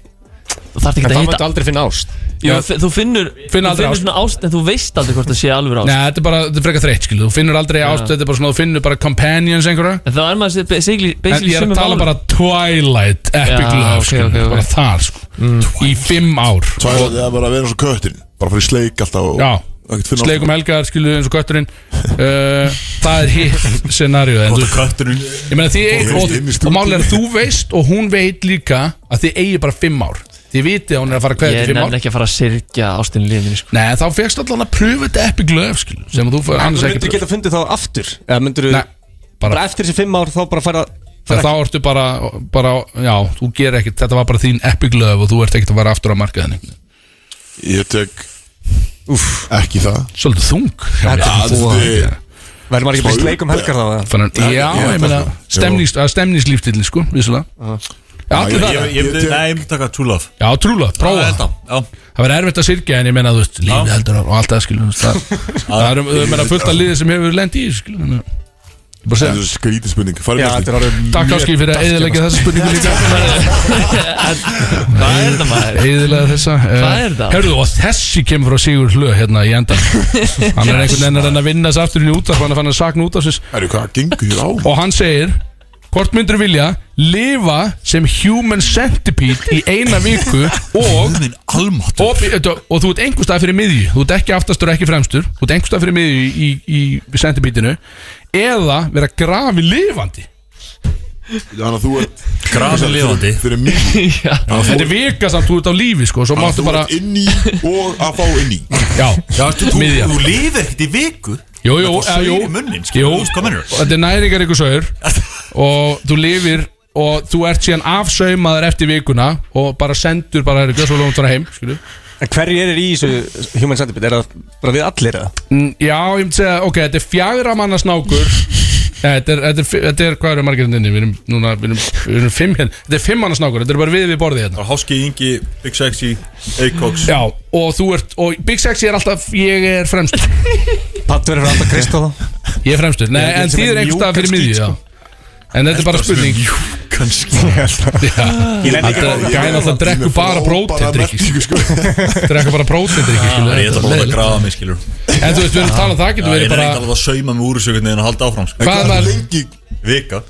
Speaker 8: Þú þarft
Speaker 13: En
Speaker 8: ekki að
Speaker 13: þá
Speaker 8: hitta
Speaker 13: mættu aldrei finna ást
Speaker 8: Jú, f- Þú finnur,
Speaker 3: Finna
Speaker 8: þú
Speaker 3: aldrei
Speaker 8: finnur
Speaker 3: ást.
Speaker 8: svona ást En þú veist aldrei hvort það sé alveg ást
Speaker 3: Nei, þetta er bara, þetta er frekar þreytt, skilu Þú finnur aldrei ást, þetta er bara svona, þú finnur bara companions einhverja
Speaker 8: En þá er maður basically,
Speaker 3: En
Speaker 8: basically
Speaker 3: ég er að tala bara Twilight Epic
Speaker 8: Já,
Speaker 3: Love,
Speaker 8: ok,
Speaker 3: skilu,
Speaker 8: ok, ok.
Speaker 3: bara þar, sko Í fimm ár
Speaker 1: Twilight, það er bara að vera eins og köttin Bara fara í sleik alltaf og-
Speaker 3: Já, um-
Speaker 1: Ekkert finna
Speaker 3: sleikum helgar, skilu, eins og kötturinn uh, Það er hitt scenarið
Speaker 1: Hvort að kötturinn
Speaker 3: Ég meina því
Speaker 1: Og
Speaker 3: og,
Speaker 1: veist inn í
Speaker 3: og
Speaker 1: stúdíu.
Speaker 3: máli er að þú veist og hún veit líka að þið eigi bara fimm ár Þið vitið að hún er að fara að kveða
Speaker 8: Ég
Speaker 3: til fimm
Speaker 8: nefn
Speaker 3: ár
Speaker 8: ekki að fara að sirkja ástinu lífinu
Speaker 3: <laughs>
Speaker 8: sko.
Speaker 3: Nei, þá fegst allan að pröfu þetta epic love, skilu sem að þú fær annars ekki
Speaker 13: Myndur þú
Speaker 3: pröfu.
Speaker 13: geta fundið þá aftur? Eða myndur þú
Speaker 3: Nei, bara-
Speaker 13: bara eftir þessi fimm ár þá bara fara
Speaker 3: Þegar þá ertu bara, bara, já, þú ger ekkert, þetta var bara þín epic love og þú ert ekkert að vera aftur á markaðinni.
Speaker 1: Ég tek Uff, ekki það
Speaker 3: Svolítið þung
Speaker 13: Verður maður ekki bara í sleik um helgar þá? eða?
Speaker 3: Þannig,
Speaker 13: Nei,
Speaker 3: já,
Speaker 13: ég
Speaker 3: ég
Speaker 13: held
Speaker 3: meina
Speaker 13: það, sko.
Speaker 3: stemnings- að stemningslíftilli, sko, vissulega Já, allir
Speaker 4: Ég-
Speaker 3: það
Speaker 4: ég- ég myndi- Nei, ég myndi taka True Love
Speaker 3: Já, trúlega,
Speaker 4: Já,
Speaker 3: prófa
Speaker 4: ég held það,
Speaker 3: það Það verður erfitt að sirkja en ég meina, þú veist, lífið heldur áfram og allt það, skilur þú veist,
Speaker 4: <laughs>
Speaker 3: það- Það er, þú meina, fullt af liðið sem hefur lent í, þessu, skilur þannig að- Ég bara segja
Speaker 1: Þetta er skrítið spurning Farið
Speaker 3: Takk áskil fyrir að eðilegja þessa spurningu líka
Speaker 8: Hvað er það maður?
Speaker 3: Eðilega þessa
Speaker 8: Hvað
Speaker 3: eh,
Speaker 8: er það?
Speaker 3: Herðu, og þessi kemur frá Sigur Hlö hérna í endan Hann er einhvern veginn að reyna að vinna sér aftur inn í útarp Hann er fann að sakna útarpsins
Speaker 1: Herru, hvað gengur hér á?
Speaker 3: Og hann segir Hvort myndur vilja lifa sem human centipede í eina viku og og, og, og þú ert einhver stað fyrir miðju þú ert ekki aftastur og ekki fremstur þú ert einhver stað fyrir miðju í, í, í centipedinu eða vera grafi lifandi
Speaker 1: Þannig að þú ert
Speaker 3: Grafin lifandi.
Speaker 1: Fyrir mig
Speaker 3: Þetta er vika samt, þú ert á lífi sko Svo máttu
Speaker 1: Þú
Speaker 3: bara
Speaker 1: ert inn í og að fá inn í
Speaker 3: Já,
Speaker 4: Já, þú, þú,
Speaker 3: miðja.
Speaker 4: þú lifir ekkert í viku
Speaker 3: Jú, jú, eh,
Speaker 4: Þetta var
Speaker 3: jú
Speaker 4: saur í munnin, sko,
Speaker 3: Jú,
Speaker 4: þú veist hvað mennur
Speaker 3: þetta er næringar ykkur saur Og þú lifir Og þú ert síðan afsaumaður eftir vikuna Og bara sendur bara Erika svo lóðum þarna heim skilu.
Speaker 13: En hverju er í þessu Human Centipede? Er það bara við allir eða?
Speaker 3: Mm, Já, ég myndi segja, ok, þetta er fjagra manna snákur Nei, þetta er, þetta, er, þetta er, hvað eru margir hérna inni? Við erum núna, við erum, við erum fimm hérna Þetta er fimm manna snákur, þetta er bara við við borðið hérna
Speaker 4: Háski, Ingi, Big Sexy, Acox
Speaker 3: Já, og þú ert, og Big Sexy er alltaf, ég er fremstur
Speaker 13: Pattur er alltaf Kristóð
Speaker 3: Ég er fremstur, nei,
Speaker 13: Ég held
Speaker 3: en
Speaker 13: sem
Speaker 3: þið er
Speaker 13: er
Speaker 3: einhver stað
Speaker 13: mjúkan
Speaker 3: fyrir miðju,
Speaker 13: skít,
Speaker 3: já
Speaker 13: sko.
Speaker 3: En þetta er bara spurning
Speaker 1: Kannski
Speaker 3: Já,
Speaker 1: Ég nenni ekki
Speaker 3: þetta
Speaker 1: að fá-
Speaker 3: gæði alltaf að drekku bara prótindrykki <laughs> Drekku bara prótindrykki, skilur
Speaker 4: Ég ætla bara að láta grafa mig, skilur
Speaker 3: En þú veist, við erum að tala um það, getur verið
Speaker 4: Ég er
Speaker 3: bara-
Speaker 4: ekki alveg að sauma mig úr þessu einhvern veginn að halda áfram sko.
Speaker 3: Hvað er maður-
Speaker 1: lengi
Speaker 4: Vika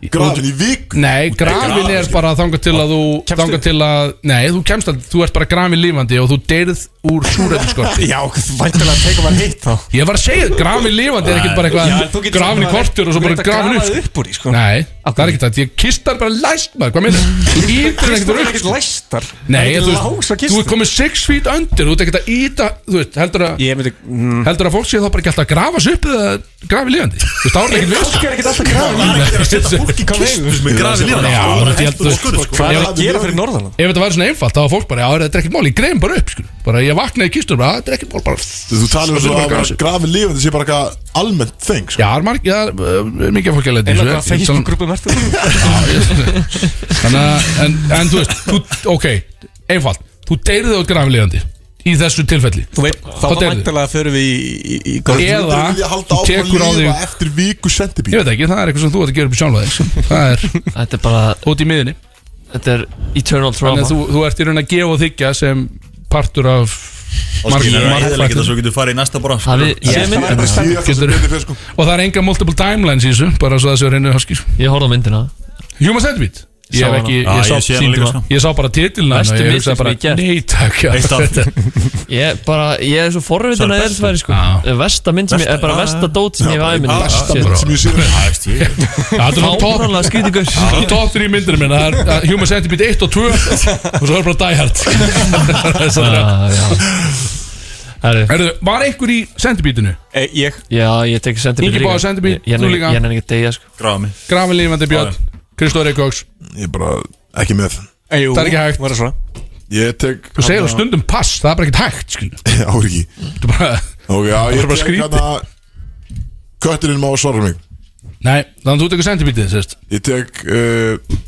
Speaker 1: Grafin í vik
Speaker 3: Nei, grafin er bara þangað til að þú Þangað til að, nei, þú kemst aldrei Þú ert bara grafin lífandi og þú deyrð úr súrættiskorti
Speaker 13: Já, væntalega að teka maður hitt þá
Speaker 3: Ég var að segja, grafin lífandi er ekkert bara
Speaker 13: Já, en þú
Speaker 3: eitthvað
Speaker 13: getur
Speaker 3: Grafin í
Speaker 13: samt bara-
Speaker 3: kortur og svo
Speaker 13: þú
Speaker 3: bara
Speaker 13: getur grafið
Speaker 3: grafin upp
Speaker 13: upp úr því, sko.
Speaker 3: Nei, það er ekkert það, ég kistar bara læst maður, hvað meina? Þú ítir ekkert úr upp
Speaker 13: Ekkert læstar
Speaker 3: Nei,
Speaker 13: Ekkert
Speaker 3: þú
Speaker 13: lás
Speaker 3: veist,
Speaker 13: að
Speaker 3: þú
Speaker 13: kista.
Speaker 3: ert komið 6 feet undir Þú ert ekkert að íta, þú veist, heldur að
Speaker 13: Ég myndi mm.
Speaker 3: Heldur að fólk sé þá bara ekki alltaf að grafa sig upp eða grafi lífandi Þú veist, þá er það ekkert
Speaker 13: Fólk er ekkert alltaf að grafa
Speaker 3: lífandi
Speaker 4: Það er að setja fólk í kistus með grafi lífandi
Speaker 3: Já,
Speaker 4: sko.
Speaker 3: þú veist, ég held- þú veist,
Speaker 4: Skurð, sko.
Speaker 13: Hvað er að gera fyrir norðan?
Speaker 3: Ef þetta væri svona einfalt, þá var fólk bara, já, er þetta er ekkert mál, ég grein bara upp, sko Bara, ég vaknaði í kistur, bara, "Ah, þetta er ekkert mál, bara
Speaker 1: Þú talar um
Speaker 3: Svo
Speaker 1: svo
Speaker 3: bara
Speaker 1: að
Speaker 3: grafin.
Speaker 1: grafin lífandi sé bara eitthvað almennt sko. þeng
Speaker 3: Já, er marg, já, er mikið af fólki að leita í
Speaker 13: Eða
Speaker 3: þessu,
Speaker 13: hvað
Speaker 3: ég- ég-
Speaker 13: Facebook-grúpum ertu?
Speaker 3: Þannig að, en, en þú veist, þú, ok, einfalt Þú deyrið á grafleigandi í þessu tilfelli
Speaker 13: Þú veit, þá
Speaker 3: Þá deyrðu.
Speaker 13: væntalega förum við í, í, í, í
Speaker 1: Þú
Speaker 3: Eða
Speaker 1: myndir vilja halda
Speaker 3: þú
Speaker 1: áfram
Speaker 3: tekur á
Speaker 1: að lifa
Speaker 3: þig-
Speaker 1: eftir viku
Speaker 3: Ég
Speaker 1: sentibíl
Speaker 3: veit ekki, það er eitthvað sem þú ert að gera upp í sjálfa þig Það er
Speaker 8: Þetta er bara,
Speaker 3: út í miðinni
Speaker 8: þetta er eternal
Speaker 3: Þannig
Speaker 8: trauma
Speaker 3: að þú, þú ert í raun að gefa og þykja sem partur af
Speaker 4: Áskilur,
Speaker 3: marg-
Speaker 4: það er eðilega
Speaker 3: margþættum.
Speaker 4: ekki það svo getur farið í næsta bara
Speaker 8: Það við-
Speaker 4: Ég-
Speaker 8: sé mynd-
Speaker 1: Það er bara síðast það sem
Speaker 3: Getur-
Speaker 1: betur fyrir sko
Speaker 3: Og það er enga multiple timelines í þessu Bara svo það séu reynu haskís
Speaker 8: Ég horfði á myndina
Speaker 3: Human Centipede Ég hef ekki, ég sá síndum að- Ég sá bara titilna
Speaker 8: Bestu
Speaker 3: og ég
Speaker 8: myndin
Speaker 3: hugsaði
Speaker 8: sem
Speaker 3: bara,
Speaker 8: ég hef gert.
Speaker 3: nei, takk, já.
Speaker 8: Eitt af. Ég bara, ég er svo forvitin
Speaker 3: Svo er
Speaker 8: að
Speaker 3: besta.
Speaker 8: elsfæri sko Vesta mynd sem ég,
Speaker 3: Versta-
Speaker 8: er bara
Speaker 3: já,
Speaker 8: vesta dót sem
Speaker 3: já,
Speaker 8: ég hef aðeins
Speaker 3: bara besta mynd sem ég sé. <laughs>
Speaker 13: <laughs>
Speaker 3: Þetta var topp
Speaker 8: Fáralega skrítið gaur
Speaker 3: Það er top 3 myndir minn Það er uh, Human Centipede 1 og 2 Og svo er bara Die Hard <laughs> Þessar
Speaker 8: Ah, já.
Speaker 3: þrjár. Herðu, Var einhver í Centipede-inu?
Speaker 13: Eh,
Speaker 8: e, Ég Já, ég tek sendibíl
Speaker 3: Ingi Báður Centipede,
Speaker 8: Ég
Speaker 3: þú líka.
Speaker 8: nenni ekki að deyja sko Grafa mig
Speaker 3: Grafin lífandi Björn Kristóð Reykjóks
Speaker 1: Ég er bara ekki með
Speaker 3: Jú, Það er ekki hægt.
Speaker 1: svona Ég tek <laughs>
Speaker 3: Þú segir það stundum pass Það er bara ekkert hægt skil.
Speaker 1: Ári ekki
Speaker 3: Þú bara
Speaker 1: Ok, já,
Speaker 3: Það er
Speaker 1: ég
Speaker 3: bara
Speaker 1: tek
Speaker 3: skrítið.
Speaker 1: hana Kötturinn má svara mig
Speaker 3: Nei, þannig að þú tekur Centipede sérst
Speaker 1: Ég tek uh,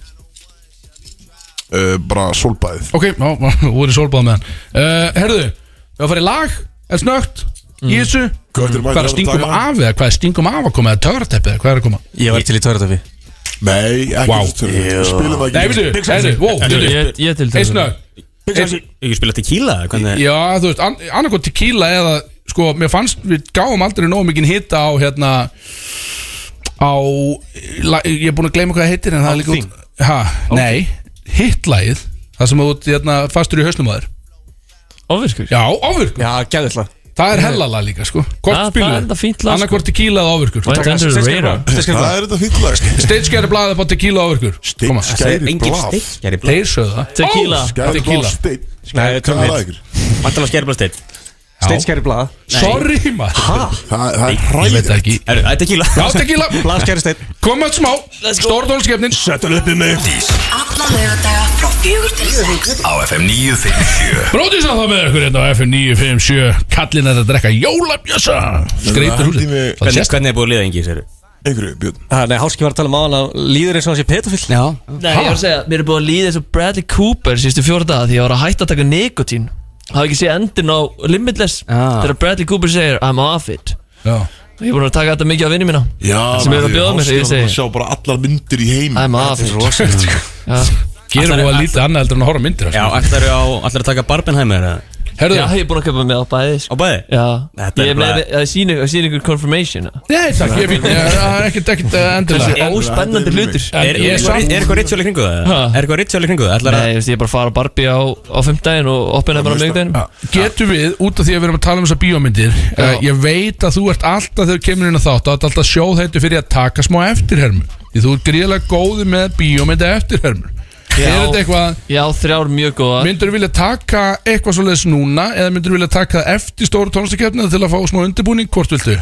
Speaker 1: uh, Bara solbæðið
Speaker 3: Ok, já, <laughs> þú voru sólbáð með hann uh, Herðu, við að fara í lag Er snögt Í þessu
Speaker 1: Kötturinn
Speaker 3: Mm. Hvað er að stingum af eða hvað er stingum af að koma eða törteppið eða hvað er að koma
Speaker 13: Ég var til í törðafi
Speaker 1: Nei, ekki
Speaker 3: Wow.
Speaker 1: Jú. Spilum það ekki.
Speaker 3: Nei, veitu,
Speaker 1: Pixar-
Speaker 3: herri, wow,
Speaker 1: Ég-
Speaker 3: veitu.
Speaker 1: ég til
Speaker 3: Eitt
Speaker 1: þess.
Speaker 3: snögg.
Speaker 2: Pixar-
Speaker 3: Eitt-
Speaker 2: Ekki spila tequila eða hvernig
Speaker 3: Já, þú veist, an- annarkoð tequila eða sko, mér fannst, við gáum aldrei nógu mikið hitta á hérna á, la- ég er búin að gleyma hvað það heitir en það er líka út ha, Nei, hittlægið það sem þú ert, hérna, fastur í hausnum aður
Speaker 8: Ofvirkur?
Speaker 3: Já, ofvirkur Já, gæðislega Það er hellala líka, sko
Speaker 8: Það-
Speaker 3: Hvort
Speaker 8: það
Speaker 3: spilum
Speaker 8: er þetta fínt lag, sko.
Speaker 3: Annarkvort tequila eða ofvirkur
Speaker 8: Went under the radar.
Speaker 1: Það er þetta fínt lag
Speaker 3: Steitskæri blaðið på tequila og ofvirkur
Speaker 2: Steikskæri Engin blað. steikskæri blað.
Speaker 3: Þeir sögðu það
Speaker 2: Tequila.
Speaker 3: Ó,
Speaker 2: Skæri blað,
Speaker 3: Tequila
Speaker 2: steik- skæri- Nei, hvað er það ykkur? Vantala skerfla stein
Speaker 13: Steinskæri blada
Speaker 3: Sorry maður
Speaker 1: Það það er
Speaker 3: Ég veit það ekki
Speaker 2: Herru, það er tequila
Speaker 3: Já, tequila
Speaker 13: Blaðskæri stein
Speaker 3: Koma eitt smá Stordólskefnin
Speaker 1: Settur upp í mig
Speaker 16: Alla lögadaga frá fjögur til sex
Speaker 6: Á FM 957
Speaker 3: Bróðis að það með ykkur hérna á FM 957 Kallinn er að drekka jólabjösa Skreitur húsið Það
Speaker 2: Hvernig
Speaker 3: sést
Speaker 2: hvernig er búið að liða engi í sér
Speaker 1: Einhverju, Björn
Speaker 13: Ha, Nei, Háski var að tala um áðan að líður eins og hann sé pedofill
Speaker 2: Já
Speaker 8: Nei, ég var að segja, mér er búin að líða eins og Bradley Cooper síðustu fjóra daga því ég var að hætta að taka nikotín Hafa ekki séð endin á Limitless þegar Bradley Cooper segir I'm off it
Speaker 3: Já
Speaker 8: Ég er búin að taka þetta mikið af vinni mína
Speaker 1: Já,
Speaker 8: sem er að
Speaker 1: maður,
Speaker 8: bjóða mér,
Speaker 1: Háskólanum
Speaker 8: ég segi
Speaker 1: að Sjá bara allar myndir í heim
Speaker 8: I'm off it
Speaker 3: Gerum við að lítið annað heldur en að horfa á myndir sko.
Speaker 2: Já, ætlar að taka Barbenheimer eða?
Speaker 3: Herðu.
Speaker 8: Já, ég er búin að köpa með á bæði sko.
Speaker 2: Á bæði?
Speaker 8: Já
Speaker 2: Þetta er
Speaker 8: Ég er
Speaker 2: bara-
Speaker 8: með, það sýnir ykkur confirmation
Speaker 3: Nei, takk, ég er fín Ég- Það er ekkert, ekkert eh, endilega
Speaker 8: Þessi óspennandi hlutir
Speaker 2: Er er- er eitthvað ritual í kringu það?
Speaker 8: Ha?
Speaker 2: Er eitthvað ritual í kringu það? Ætlar að
Speaker 8: Nei, ég veist, ég er bara að fara á Barbie á, á fimmdægin og opina bara á miðdægin
Speaker 3: Getum við, út af því að við erum að tala um þessar bíómyndir uh, Ég veit að þú ert alltaf þegar þú kemur inn að þátt og alltaf sjóðhættu fyrir að taka smá eftirhermur Því þú ert gríðlega góði með bíómynda eftirhermur Er þetta eitthvað
Speaker 8: Já, þrjár mjög góða
Speaker 3: Myndur þú vilja taka eitthvað svoleiðis núna eða myndur þú vilja taka það eftir stóru tónlistakefnið til að fá smá undirbúning, hvort viltu?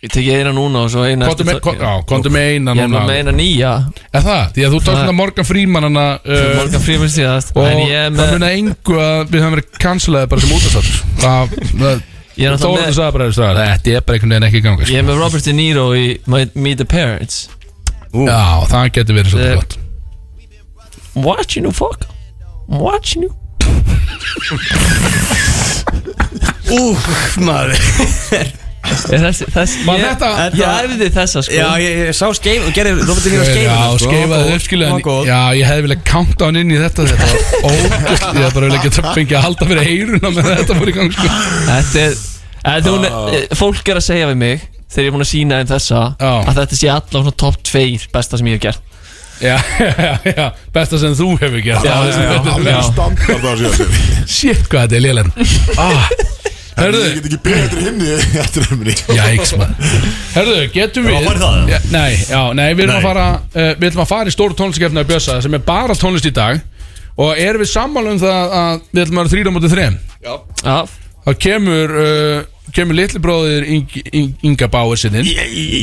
Speaker 8: Ég tek eina núna og svo eina
Speaker 3: Komdu
Speaker 8: eftir-
Speaker 3: með- kom- já, komdu með eina
Speaker 8: Ég er
Speaker 3: núna.
Speaker 8: með eina nýja
Speaker 3: Er það? Því að þú tókst
Speaker 8: Það-
Speaker 3: hérna Morgan Freeman hana uh,
Speaker 8: <laughs> Morgan Freeman síðast
Speaker 3: og
Speaker 8: en ég er
Speaker 3: það
Speaker 8: með-
Speaker 3: muna engu að við höfum verið cancelaði bara sem útastátt Það, það
Speaker 8: Ég er náttúrulega
Speaker 3: Þórhildur
Speaker 8: með-
Speaker 3: sagði bara, veist það, Þetta er bara einhvern veginn ekki í gangi sko.
Speaker 8: Ég er með Robert De Niro í My- Meet the Parents
Speaker 3: Já, það getur verið svolítið gott
Speaker 8: I'm watching you fuck I'm watching you
Speaker 2: Úf,
Speaker 8: <laughs>
Speaker 2: maður
Speaker 8: Þess, þess,
Speaker 3: Man,
Speaker 8: ég,
Speaker 3: þetta-
Speaker 8: ég æfði þessa sko
Speaker 2: Já, ég ég sá skeif og gerði Robert De Niro sko. skeif
Speaker 3: Já, skeifaði upp skilja Já, ég hefði viljað count án inn í þetta Þetta var
Speaker 8: <laughs>
Speaker 3: ógust Ég hefði bara viljað geta fengið að halda fyrir eyruna með þetta fór í gang sko.
Speaker 8: Þetta er, að hún, er- fólk er að segja við mig þegar ég er búin að sína þeim þessa að þetta sé allavega svona top 2 besta sem ég hef gert
Speaker 3: Já, <laughs> já, já Besta sem þú hefur gert
Speaker 8: Já, já, já.
Speaker 3: Þetta er vel
Speaker 1: standard það sé
Speaker 3: <laughs>
Speaker 1: að segja
Speaker 3: Shit, hvað þetta er lélæn ah, Herðu
Speaker 1: Ég get ekki byrjað <laughs> eftir hinn í eftirhermunni
Speaker 3: Jæks maður Herðu, getum við
Speaker 1: Já, var það?
Speaker 3: Já, Nei, já, nei, við erum
Speaker 1: Nei.
Speaker 3: að fara uh, Við erum að fara í stóru tónlistakefni að Bjössa sem er bara tónlist í dag og erum við sammála um það að við ætlum að vera þrýra mútið þrem
Speaker 8: Já, já.
Speaker 3: þá kemur uh, kemur litli bróðir Ingi, Ingi, Inga Bauer sinni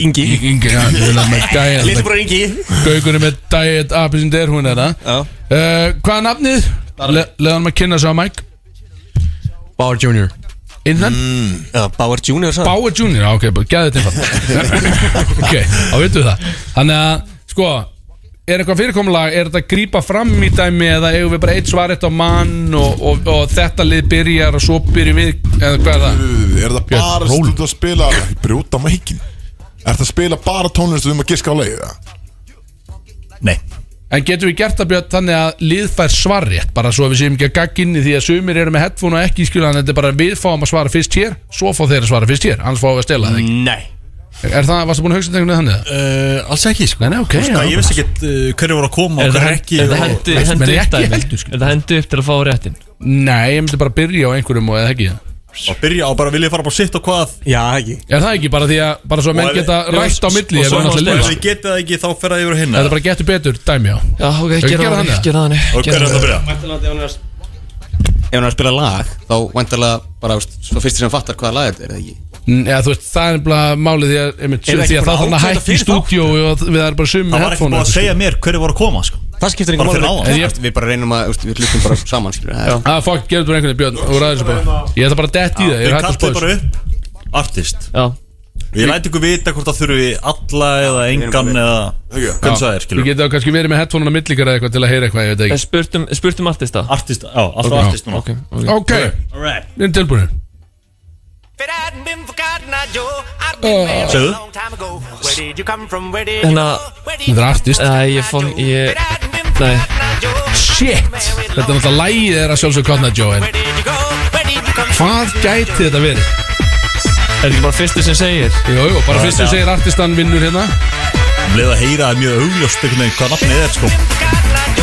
Speaker 13: Ingi
Speaker 3: Ingi, já, ég vil að með gæja
Speaker 13: Litli bróðir Ingi.
Speaker 3: Gaukunni með Diet Api sem der hún er það uh, Hvað er nafnið? Le, Leðanum að kynna sig á Mike
Speaker 13: Bauer Jr.
Speaker 3: Innan?
Speaker 13: Já, Bauer Jr. sagði.
Speaker 3: Bauer Jr. já, ok, bara gæði þetta
Speaker 4: <laughs>
Speaker 3: einfalt Ok, þá veitum við það Þannig að, sko Er eitthvað fyrirkomulag, er þetta að grípa fram í dæmi eða eigum við bara eitt svarett á mann og, og, og þetta lið byrjar og svo byrjum við, eða hvað er það?
Speaker 1: Er það bara stund að spila Brjóta mækin Er það að spila bara tónlist um að giska á leið
Speaker 4: Nei
Speaker 3: En getum við gert það Björn þannig að lið fær svarrétt bara svo að við séum ekki að gagg inni því að sumir eru með headphone og ekki skilja þannig að þetta er bara við fáum að svara fyrst hér svo fá þeir að svara fyrst hér annars fáum við að stela það ekki
Speaker 4: Nei
Speaker 3: Er það, varstu búin að hugsa um þetta einhvern veginn þannig?
Speaker 4: Uh, alls ekki sko
Speaker 3: Nei, nei, ok
Speaker 4: Þú veist,
Speaker 3: já,
Speaker 4: Ég vissi ekkert uh, hverju voru að koma
Speaker 8: Er
Speaker 4: og
Speaker 8: það
Speaker 4: hverju ekki
Speaker 8: hendi upp
Speaker 4: og-
Speaker 3: Nei, menn
Speaker 8: dæmi?
Speaker 3: ekki
Speaker 8: Er
Speaker 3: heldur,
Speaker 8: það hendi upp til að fá réttin?
Speaker 3: Nei, ég myndi bara byrja á einhverjum og eða ekki
Speaker 4: Og byrja á bara vilja fara bara sitt og hvað
Speaker 13: Já, ekki
Speaker 3: Er það ekki bara því að bara svo að menn
Speaker 4: Og ef-
Speaker 3: geta
Speaker 4: Já,
Speaker 3: rætt á milli
Speaker 4: Og
Speaker 3: ef
Speaker 4: svo
Speaker 3: hann ætlar að
Speaker 4: náttúrulega,
Speaker 3: lifa?
Speaker 4: ef ég geti það ekki þá fer það yfir á hinna
Speaker 3: Þetta er bara getur betur dæmi á
Speaker 8: Já, ok,
Speaker 3: Ekki
Speaker 8: gera
Speaker 3: gera
Speaker 8: það
Speaker 3: þannig.
Speaker 4: Og
Speaker 8: þannig Gera það þannig
Speaker 4: hver er þetta að byrja?
Speaker 15: Ef hann er að spila lag Þá væntalega bara þú veist, Svo fyrst sem hann fattar hvaða lag þetta er eða ekki
Speaker 3: Mm, Eða þú veist, það er nefnilega málið því að einmitt,
Speaker 15: Er það
Speaker 3: því
Speaker 15: ekki
Speaker 3: að
Speaker 15: bara
Speaker 3: það þannig að
Speaker 15: ákveða
Speaker 3: hætti í
Speaker 15: fyrir
Speaker 3: stúdíó og að við erum bara sum
Speaker 4: Það var ekki búið að segja mér hverju voru að koma sko
Speaker 13: Það skiptir
Speaker 4: Bara fyrir
Speaker 15: máli.
Speaker 4: áðan.
Speaker 15: En ég- Við bara reynum að þú veist, Við hlustum bara saman skilur við. Það er-
Speaker 3: Ah, fuck, gerður þú einhvern veginn Björn og ræður þessu bara Ég ætla bara að detta í það, ég
Speaker 4: Við
Speaker 3: er hægt að
Speaker 4: kallum
Speaker 3: spá
Speaker 4: bara
Speaker 3: þessu
Speaker 4: upp artist
Speaker 8: Já
Speaker 4: Ég læti ykkur vita hvort það þurfi alla eða engan eða Hvernig það er
Speaker 3: Við
Speaker 4: skilur
Speaker 3: getum kannski verið með headphone-una millikar eða eitthvað til að heyra eitthvað, ég veit
Speaker 8: En
Speaker 3: ekki
Speaker 8: spurtum, spurtum artist það?
Speaker 4: Artist, já, alltaf
Speaker 3: Ok.
Speaker 4: artist núna
Speaker 8: Ok,
Speaker 3: Ok, við erum tilbúinir
Speaker 4: Segðu
Speaker 8: Hérna
Speaker 3: Þetta er artist
Speaker 8: Æ, ég fór, ég Nei
Speaker 3: Shit Þetta er náttúrulega lægið er að sjálfsög Cotton Eye Joe en Hvað gæti þetta verið?
Speaker 8: Er ekki bara fyrstu sem segir?
Speaker 3: Jú, jú, bara
Speaker 4: Já,
Speaker 3: fyrst sem
Speaker 4: já.
Speaker 3: segir artistan vinnur hérna
Speaker 4: Um leið að heyra það er mjög augljóst einhvern veginn hvað nafnið er sko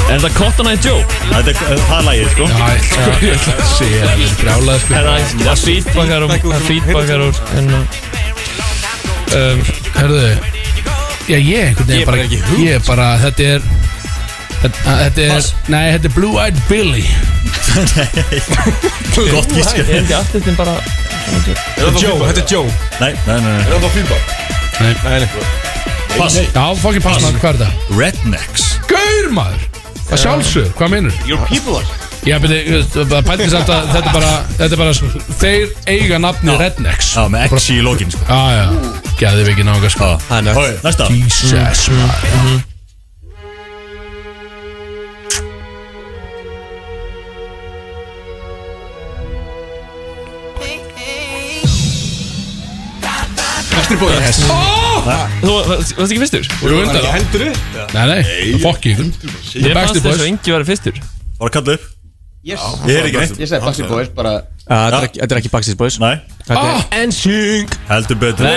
Speaker 8: Er þetta Cotton Eye Joe?
Speaker 4: Þetta er það er lagið sko <laughs>
Speaker 3: Já, ég ætla <laughs> ég ætla að segja það er brjálað sko
Speaker 8: Er það- það feedbackar úr Það feedbackar úr Hérna um,
Speaker 3: Herðu Já, ég
Speaker 13: Ég
Speaker 3: einhvern veginn bara
Speaker 13: bara ekki hugmynd.
Speaker 3: Ég er bara, þetta er Þetta þetta er, nei, þetta er Blue Eyed Billy
Speaker 4: Gott gísk
Speaker 8: Er ekki artistin bara
Speaker 13: Joe, þetta er Joe
Speaker 4: Nei, nei, nei, nei.
Speaker 13: Er það fýmbar?
Speaker 3: Nei.
Speaker 13: Nei, nei
Speaker 4: Pass
Speaker 3: Já, fokkin pass maður, hvað er þetta?
Speaker 4: Rednecks
Speaker 3: Gaur maður Það sjálfsögur, hvað meinur?
Speaker 4: Your people
Speaker 3: Já, beti, pælti samt að þetta er bara, þetta er bara Þeir eiga nafni Rednecks
Speaker 4: Já, með X í lokin sko
Speaker 3: Já, já, gæði við ekki nága sko
Speaker 4: Hann er Næsta
Speaker 3: Jesus maður
Speaker 13: Eftir bóðið Yes
Speaker 8: Þú varst ekki fyrstur?
Speaker 3: Þú undan það
Speaker 13: Hendur upp
Speaker 3: Nei, nei, það fokki ykkur
Speaker 8: Ég fannst
Speaker 3: Backstreet
Speaker 8: þess að
Speaker 3: Boys.
Speaker 8: engi var fyrstur
Speaker 4: Var að kalla upp
Speaker 15: Yes
Speaker 4: Ég heyri ekki neitt
Speaker 15: Ég segi Backstreet Boys bara
Speaker 13: Ah, Þetta er ekki- þetta er ekki Backstreet Boys
Speaker 4: Nei
Speaker 13: Þetta er
Speaker 3: Ah,
Speaker 13: NSYNC
Speaker 4: Heldur betur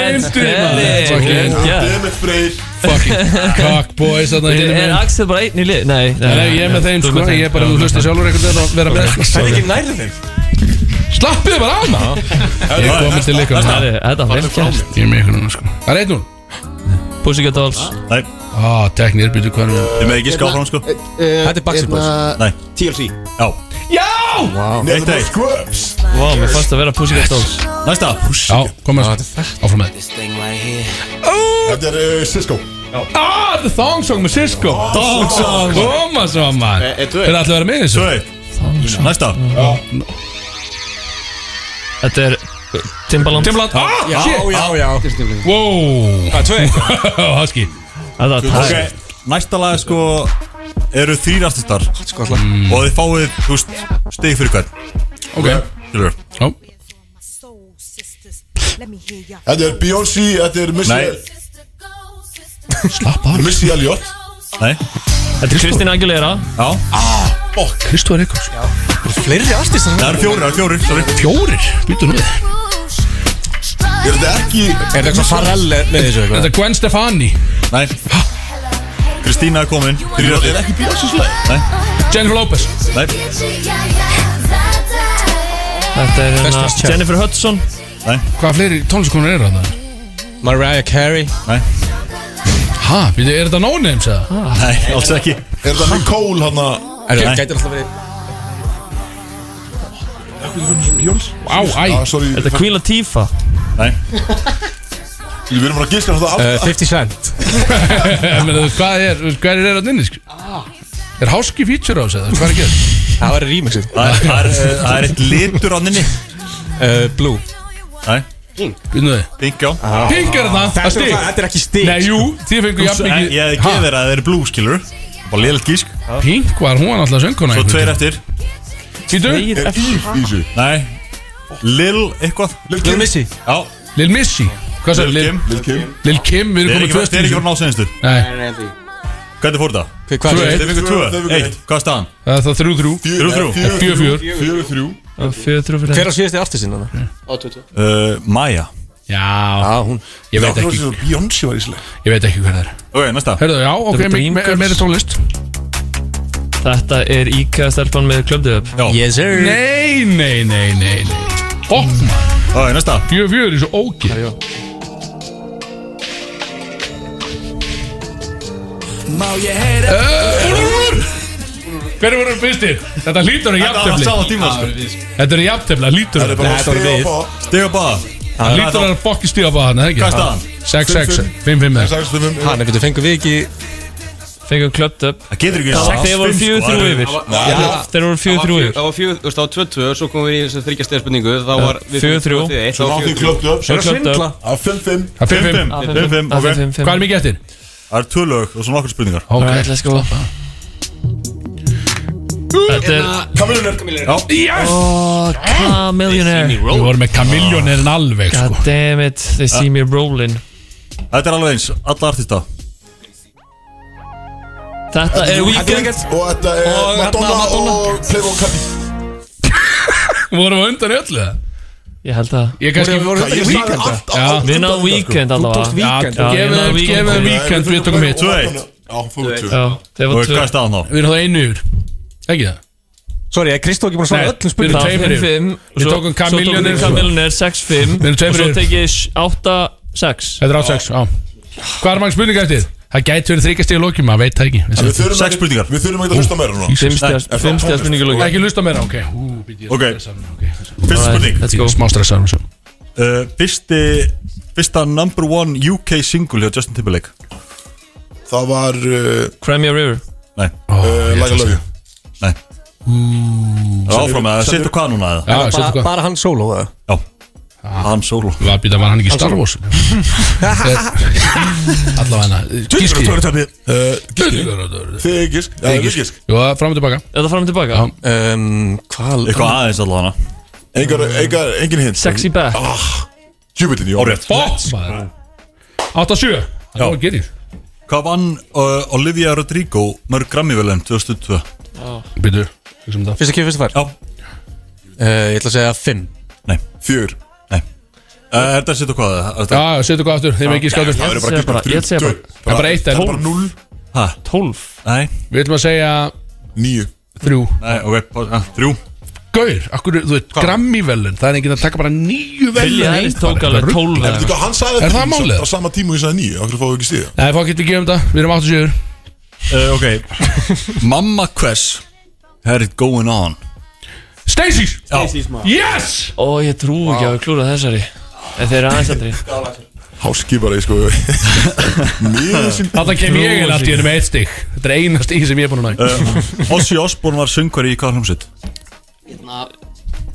Speaker 3: Fucking-
Speaker 8: Fucking
Speaker 3: Fucking cockboys Þetta
Speaker 8: Er
Speaker 3: hinum
Speaker 8: er
Speaker 3: megin.
Speaker 8: Axel bara einn í lið? Nei, nei,
Speaker 3: Nei, ég er með þeim
Speaker 8: þú
Speaker 3: sko, ég er bara að hlusta sjálfur einhvern veginn að vera með sko.
Speaker 13: Það er ekki nærðu þeim
Speaker 3: Slappið bara af maður Ég er komin til ykkur
Speaker 8: Það er þetta var vel kjært
Speaker 3: Ég er með ykkur núna sko Það er einn núna
Speaker 8: Pussycat Dolls
Speaker 4: Nei,
Speaker 3: Á, teknir, býtu hvað er
Speaker 4: þið með ekki ská frá hann sko
Speaker 15: Eh,
Speaker 13: Þetta er Backstreet Boys
Speaker 15: hérna,
Speaker 4: Nei,
Speaker 15: TLC
Speaker 4: já
Speaker 13: Vá
Speaker 4: Eitt, eitt
Speaker 13: sko.
Speaker 8: Vá, mér fannst að vera Pussycat Dolls
Speaker 4: Næsta
Speaker 3: Já, komið áfram með þetta
Speaker 1: Þetta er uh, Cisco
Speaker 3: Á, the thong song með Cisco
Speaker 4: Thong Song.
Speaker 3: Koma svo maður
Speaker 15: Er
Speaker 13: Eh,
Speaker 3: Er það að vera með í þessu?
Speaker 4: Svo eitt Næsta
Speaker 8: Þetta er Timbaland Ah!
Speaker 3: Timbaland Á, shit
Speaker 13: Já, já
Speaker 3: Wow
Speaker 13: Það er tvei
Speaker 3: Husky
Speaker 8: Þetta var
Speaker 4: Ok,
Speaker 8: tætt
Speaker 4: næsta lag sko eru þrýr artistar
Speaker 13: Sko slag
Speaker 4: og þið fáið, þú veist, stig fyrir hvern
Speaker 3: Mm. Ok
Speaker 4: Skilur
Speaker 3: Já
Speaker 1: Þetta er Beyoncé, þetta er Missy
Speaker 4: Nei.
Speaker 3: Slapp af
Speaker 1: Missy Elliot
Speaker 4: Nei
Speaker 8: Þetta er Kristina Aguilera
Speaker 4: Já
Speaker 3: Kristóður Eikons
Speaker 13: Fleiri artist
Speaker 4: Það eru fjórir, það eru fjórir, sorry
Speaker 3: Fjórir Býtu nú við
Speaker 1: Er þetta ekki
Speaker 13: Er þetta eitthvað farell með þessu eitthvað?
Speaker 3: Þetta er Gwen Stefani
Speaker 4: Nei Kristína er komin
Speaker 1: Er
Speaker 4: Þrýr
Speaker 1: þetta
Speaker 4: artistar
Speaker 1: ekki Beyoncé slag?
Speaker 4: Nei,
Speaker 3: Jennifer Lopez
Speaker 4: nei,
Speaker 8: Þetta er hérna
Speaker 13: Best Child.
Speaker 8: Jennifer Hudson
Speaker 4: nei,
Speaker 3: Hvað fleiri tónlistakonar eru þarna?
Speaker 13: Mariah Carey
Speaker 4: nei,
Speaker 3: Ha, býtu, er þetta no-names eða?
Speaker 4: nei, alls ekki
Speaker 1: Er þetta Nicole hann að
Speaker 13: Er
Speaker 4: Nei.
Speaker 13: það gæti alltaf verið
Speaker 1: Beyoncé?
Speaker 3: Á, æ
Speaker 1: Ah, sorry
Speaker 8: Þetta er Queen Latifah
Speaker 4: Nei,
Speaker 1: Við erum bara að giska þetta
Speaker 13: uh,
Speaker 1: allt
Speaker 13: 50 Cent
Speaker 3: Ég Eh, meina, þú veist, Hvað er, hvað er þetta inni? sko?
Speaker 4: Ah.
Speaker 3: Er háski feature á þessu eða? Hvað er að gera?
Speaker 13: Það var remixið
Speaker 4: það er- það er það er eitt litur á nynni
Speaker 13: uh, Blue
Speaker 4: Nei,
Speaker 3: Býtu þið
Speaker 4: pink já
Speaker 3: Pink er það, það er stig
Speaker 13: Þetta er ekki stig
Speaker 3: Nei, jú, þið fengu jafn
Speaker 4: eh, Ég
Speaker 3: mikið
Speaker 4: ég
Speaker 3: Ha,
Speaker 4: gef þér að það eru blú, skilur Bara liðilegt gísk
Speaker 3: Pink var hún alltaf sönguna
Speaker 4: Svo tveir eftir
Speaker 3: Býtu,
Speaker 1: Er í í þessu
Speaker 4: Nei, Lil eitthvað
Speaker 13: Lil Missy
Speaker 4: Já,
Speaker 3: Lil Missy Hvað sagði,
Speaker 4: Lil
Speaker 3: Lil,
Speaker 4: Kim
Speaker 1: Lil Kim
Speaker 3: Lil Kim, við
Speaker 4: Þeir
Speaker 3: erum
Speaker 4: eru
Speaker 3: komið
Speaker 4: ekki þeir eru ekki
Speaker 3: tvöstu
Speaker 4: voru násenstu
Speaker 3: Nei,
Speaker 4: Hvernig fór það?
Speaker 13: Hver- Hvað
Speaker 3: Tvö,
Speaker 13: er
Speaker 3: eitt.
Speaker 13: þetta?
Speaker 4: Þeir fengu tvö,
Speaker 1: Þeir fengu
Speaker 4: eitt, hvað er staðan?
Speaker 3: það er það þrjú þrjú
Speaker 4: Þrjú, þrjú.
Speaker 3: Fjör fjör
Speaker 1: Fjögur þrjú
Speaker 8: Fjöður trúfur
Speaker 13: Hver á síðasti artistinn hann?
Speaker 4: Uh, Maja
Speaker 3: Já,
Speaker 15: Ah,
Speaker 3: hún Ég veit ekki
Speaker 1: Jónsi var íslega
Speaker 3: Ég veit ekki hver það er
Speaker 4: Ok, næsta
Speaker 3: Hörðu, já, ok, me-
Speaker 8: eru
Speaker 3: me-
Speaker 8: Dreamgirls.
Speaker 3: meiri tónlist
Speaker 8: Þetta er IKEA stelpan með klöfduðöp Yes sir
Speaker 3: Nei, nei, nei, nei, nei Ó,
Speaker 4: Það er næsta
Speaker 3: Fjögur, fjögur, er svo ógir
Speaker 7: Má ég heyra
Speaker 3: Hver voru fyrstir? Þetta lítur að
Speaker 4: Þetta var
Speaker 3: jafntefli
Speaker 4: sama tíma, sko.
Speaker 3: Þetta er jafntefli, lítur
Speaker 4: Þetta er bara stig á báða. Stig á báða.
Speaker 3: Það lítur að fokki stíða bá hann, eða ekki?
Speaker 4: Hvað er staðan?
Speaker 3: 6-6, 5-5 eða.
Speaker 1: 6-5
Speaker 13: Hann, ef við fengum við ekki
Speaker 8: Fengum klöfduðöp
Speaker 4: Það getur ekki
Speaker 8: verið 6-5, Þeir voru fjögur
Speaker 4: sko. Það
Speaker 8: þrjú
Speaker 4: er-
Speaker 8: yfir
Speaker 4: Já.
Speaker 8: Þeir voru fjögur þrjú yfir
Speaker 15: Það var fjögur, þú veist, það var 22 og svo komum við í þessu þryggja stegar spurningu þá var við
Speaker 8: Fjögur þrjú.
Speaker 15: tvö, eitt, þá
Speaker 1: Svo
Speaker 15: var
Speaker 1: rátt
Speaker 15: fjögur
Speaker 1: því
Speaker 15: þrjú.
Speaker 1: klöptu upp
Speaker 8: Svo klöpptu upp.
Speaker 1: Á 5-5
Speaker 3: Það er 5-5
Speaker 4: 5-5,
Speaker 8: Á, á,
Speaker 4: ok.
Speaker 8: 5-5.
Speaker 3: Hvað er mikið eftir?
Speaker 4: Það er tvö lög og svo nokkur spurningar
Speaker 8: Alright, let's go Þetta er
Speaker 1: Kamiljónir
Speaker 3: Yes!
Speaker 8: Oh, Chamillionaire
Speaker 3: Við vorum með kamiljónirinn alveg,
Speaker 8: God
Speaker 3: sko
Speaker 8: damn it, they see me rolling
Speaker 4: Þetta er alveg eins, alla artista
Speaker 8: Þetta er Weekend
Speaker 1: Og þetta er
Speaker 8: Og
Speaker 1: Madonna
Speaker 8: hérna Madonna.
Speaker 1: og Playboy Cardi
Speaker 3: Vorum við undan í öllu það?
Speaker 8: Ég held að
Speaker 3: Ég kannski
Speaker 1: Voru- voru-
Speaker 3: Ég-
Speaker 1: Ég sagði
Speaker 3: Já.
Speaker 1: allt-
Speaker 3: Já.
Speaker 1: allt
Speaker 8: Við náðum
Speaker 1: undan,
Speaker 8: Weekend allavega
Speaker 3: Weekend
Speaker 8: Já, ég náði
Speaker 3: Gefum
Speaker 8: Weekend.
Speaker 3: gefum Weekend, við tökum hitt
Speaker 4: Tvö eitt.
Speaker 1: Já, fórum tvö
Speaker 8: Já, þeir
Speaker 4: Og
Speaker 8: voru
Speaker 4: hvað
Speaker 8: tvö
Speaker 4: er staðan þá?
Speaker 3: Við erum það einu yfir Ekki það?
Speaker 13: Sorry, er Kristó ekki búin að svara öllum
Speaker 3: við erum
Speaker 13: spurningum?
Speaker 8: Það
Speaker 3: tveimur
Speaker 8: var
Speaker 3: yfir
Speaker 8: 5-5
Speaker 3: Við tókum Kamiljónir
Speaker 8: Svo tókum við Kamiljónir 6-5
Speaker 3: Við erum
Speaker 8: Og
Speaker 3: tveimur
Speaker 8: svo
Speaker 3: yfir.
Speaker 8: tekið ég 8-6
Speaker 3: Þetta er á 6, já Hvað er maður spurninga eftir? Það gæti verið þryggjast í lókjum, maður veit það ekki
Speaker 1: En Við
Speaker 3: Við-
Speaker 1: þurfum
Speaker 4: Sex
Speaker 1: ekki-
Speaker 4: spurningar.
Speaker 1: Við þurfum ekki að hlusta meira núna
Speaker 8: Fimmstíðast Fimmstíðast minningu lóki
Speaker 3: Ekki lusta meira, ok Ú, býtt, ég er
Speaker 4: Ok.
Speaker 3: stressaður núna, ok.
Speaker 4: Fyrsta spurning
Speaker 8: Let's go
Speaker 3: Smá stressaður og svo
Speaker 4: Uh, Fyrsti Fyrsta number one UK single hjá Justin Timberlake
Speaker 1: Það var uh,
Speaker 8: Crimea River
Speaker 4: Nei,
Speaker 3: Eh,
Speaker 1: uh, Like a Love You
Speaker 4: nei Það er áfram að setja hvað núna eða?
Speaker 3: Já, settu
Speaker 13: Bara,
Speaker 3: hvað
Speaker 13: bara hann sóló það
Speaker 4: Já Hann solo
Speaker 3: Var býta, var hann ekki í Star Wars? Allavega eh, hana Gíski
Speaker 1: Tjóri tapið Þið er gisk Já, við gisk
Speaker 3: Jó, fram og tilbaka
Speaker 8: Er það fram og tilbaka?
Speaker 13: um, Hvað
Speaker 4: Eitthvað aðeins allavega
Speaker 1: Engar, engar, engin hint Ah,
Speaker 8: Sexy back
Speaker 1: Júbilin, já
Speaker 4: Árétt
Speaker 3: Ó, maður 8-7 Það var gerir
Speaker 4: Hvað vann uh, Olivia Rodrigo mörg Grammy-velum 2002?
Speaker 3: Býtu Hugsa um það
Speaker 13: Fyrsta kjöf, fyrsta fær
Speaker 4: Já
Speaker 13: uh, Ég ætla að segja fimm
Speaker 4: Nei
Speaker 1: Fjör
Speaker 4: Uh, Er þetta að setja hvað eða? Er þetta-
Speaker 3: Já, settu hvað aftur Þeim ekki skáður
Speaker 1: Það
Speaker 3: Það
Speaker 1: eru
Speaker 8: Ég segi bara-
Speaker 1: bara
Speaker 8: ég segi bara-
Speaker 3: er bara eitt
Speaker 1: Það
Speaker 3: en
Speaker 1: er bara 0
Speaker 4: Ha?
Speaker 8: 12
Speaker 4: Nei
Speaker 3: Við ætlum að segja
Speaker 1: 9
Speaker 3: Þrjú
Speaker 4: Nei, ok pá- ah, Þrjú
Speaker 3: Gaur, akkur, þú veit, grammívelun Það er enginn að taka bara nýju velun
Speaker 8: Billy Harris tók alveg 12
Speaker 1: En
Speaker 8: eða-
Speaker 1: veitu hvað, Sko, hann sagði
Speaker 3: Er það málið?
Speaker 1: Á sama tíma og ég sagði 9 Akkur fáum við ekki stíða
Speaker 3: Nei, fólk getur gefum um það Við erum 8-7
Speaker 4: uh, Ok
Speaker 8: <laughs>
Speaker 4: Mamma Quest Had it going on
Speaker 3: Stacey's
Speaker 4: Stacey's
Speaker 3: Yes
Speaker 8: Ó, ég trú ekki að við klúra þessari En þeir eru aðeins andri
Speaker 1: Háski bara, ég sko Mjög sín
Speaker 3: Þarna kem ég en allt í henni með eitt stygg Þetta er einast í sem ég er búin að næ
Speaker 4: uh, Ozzy Osbourne var söngvari í hvað hljómsveit?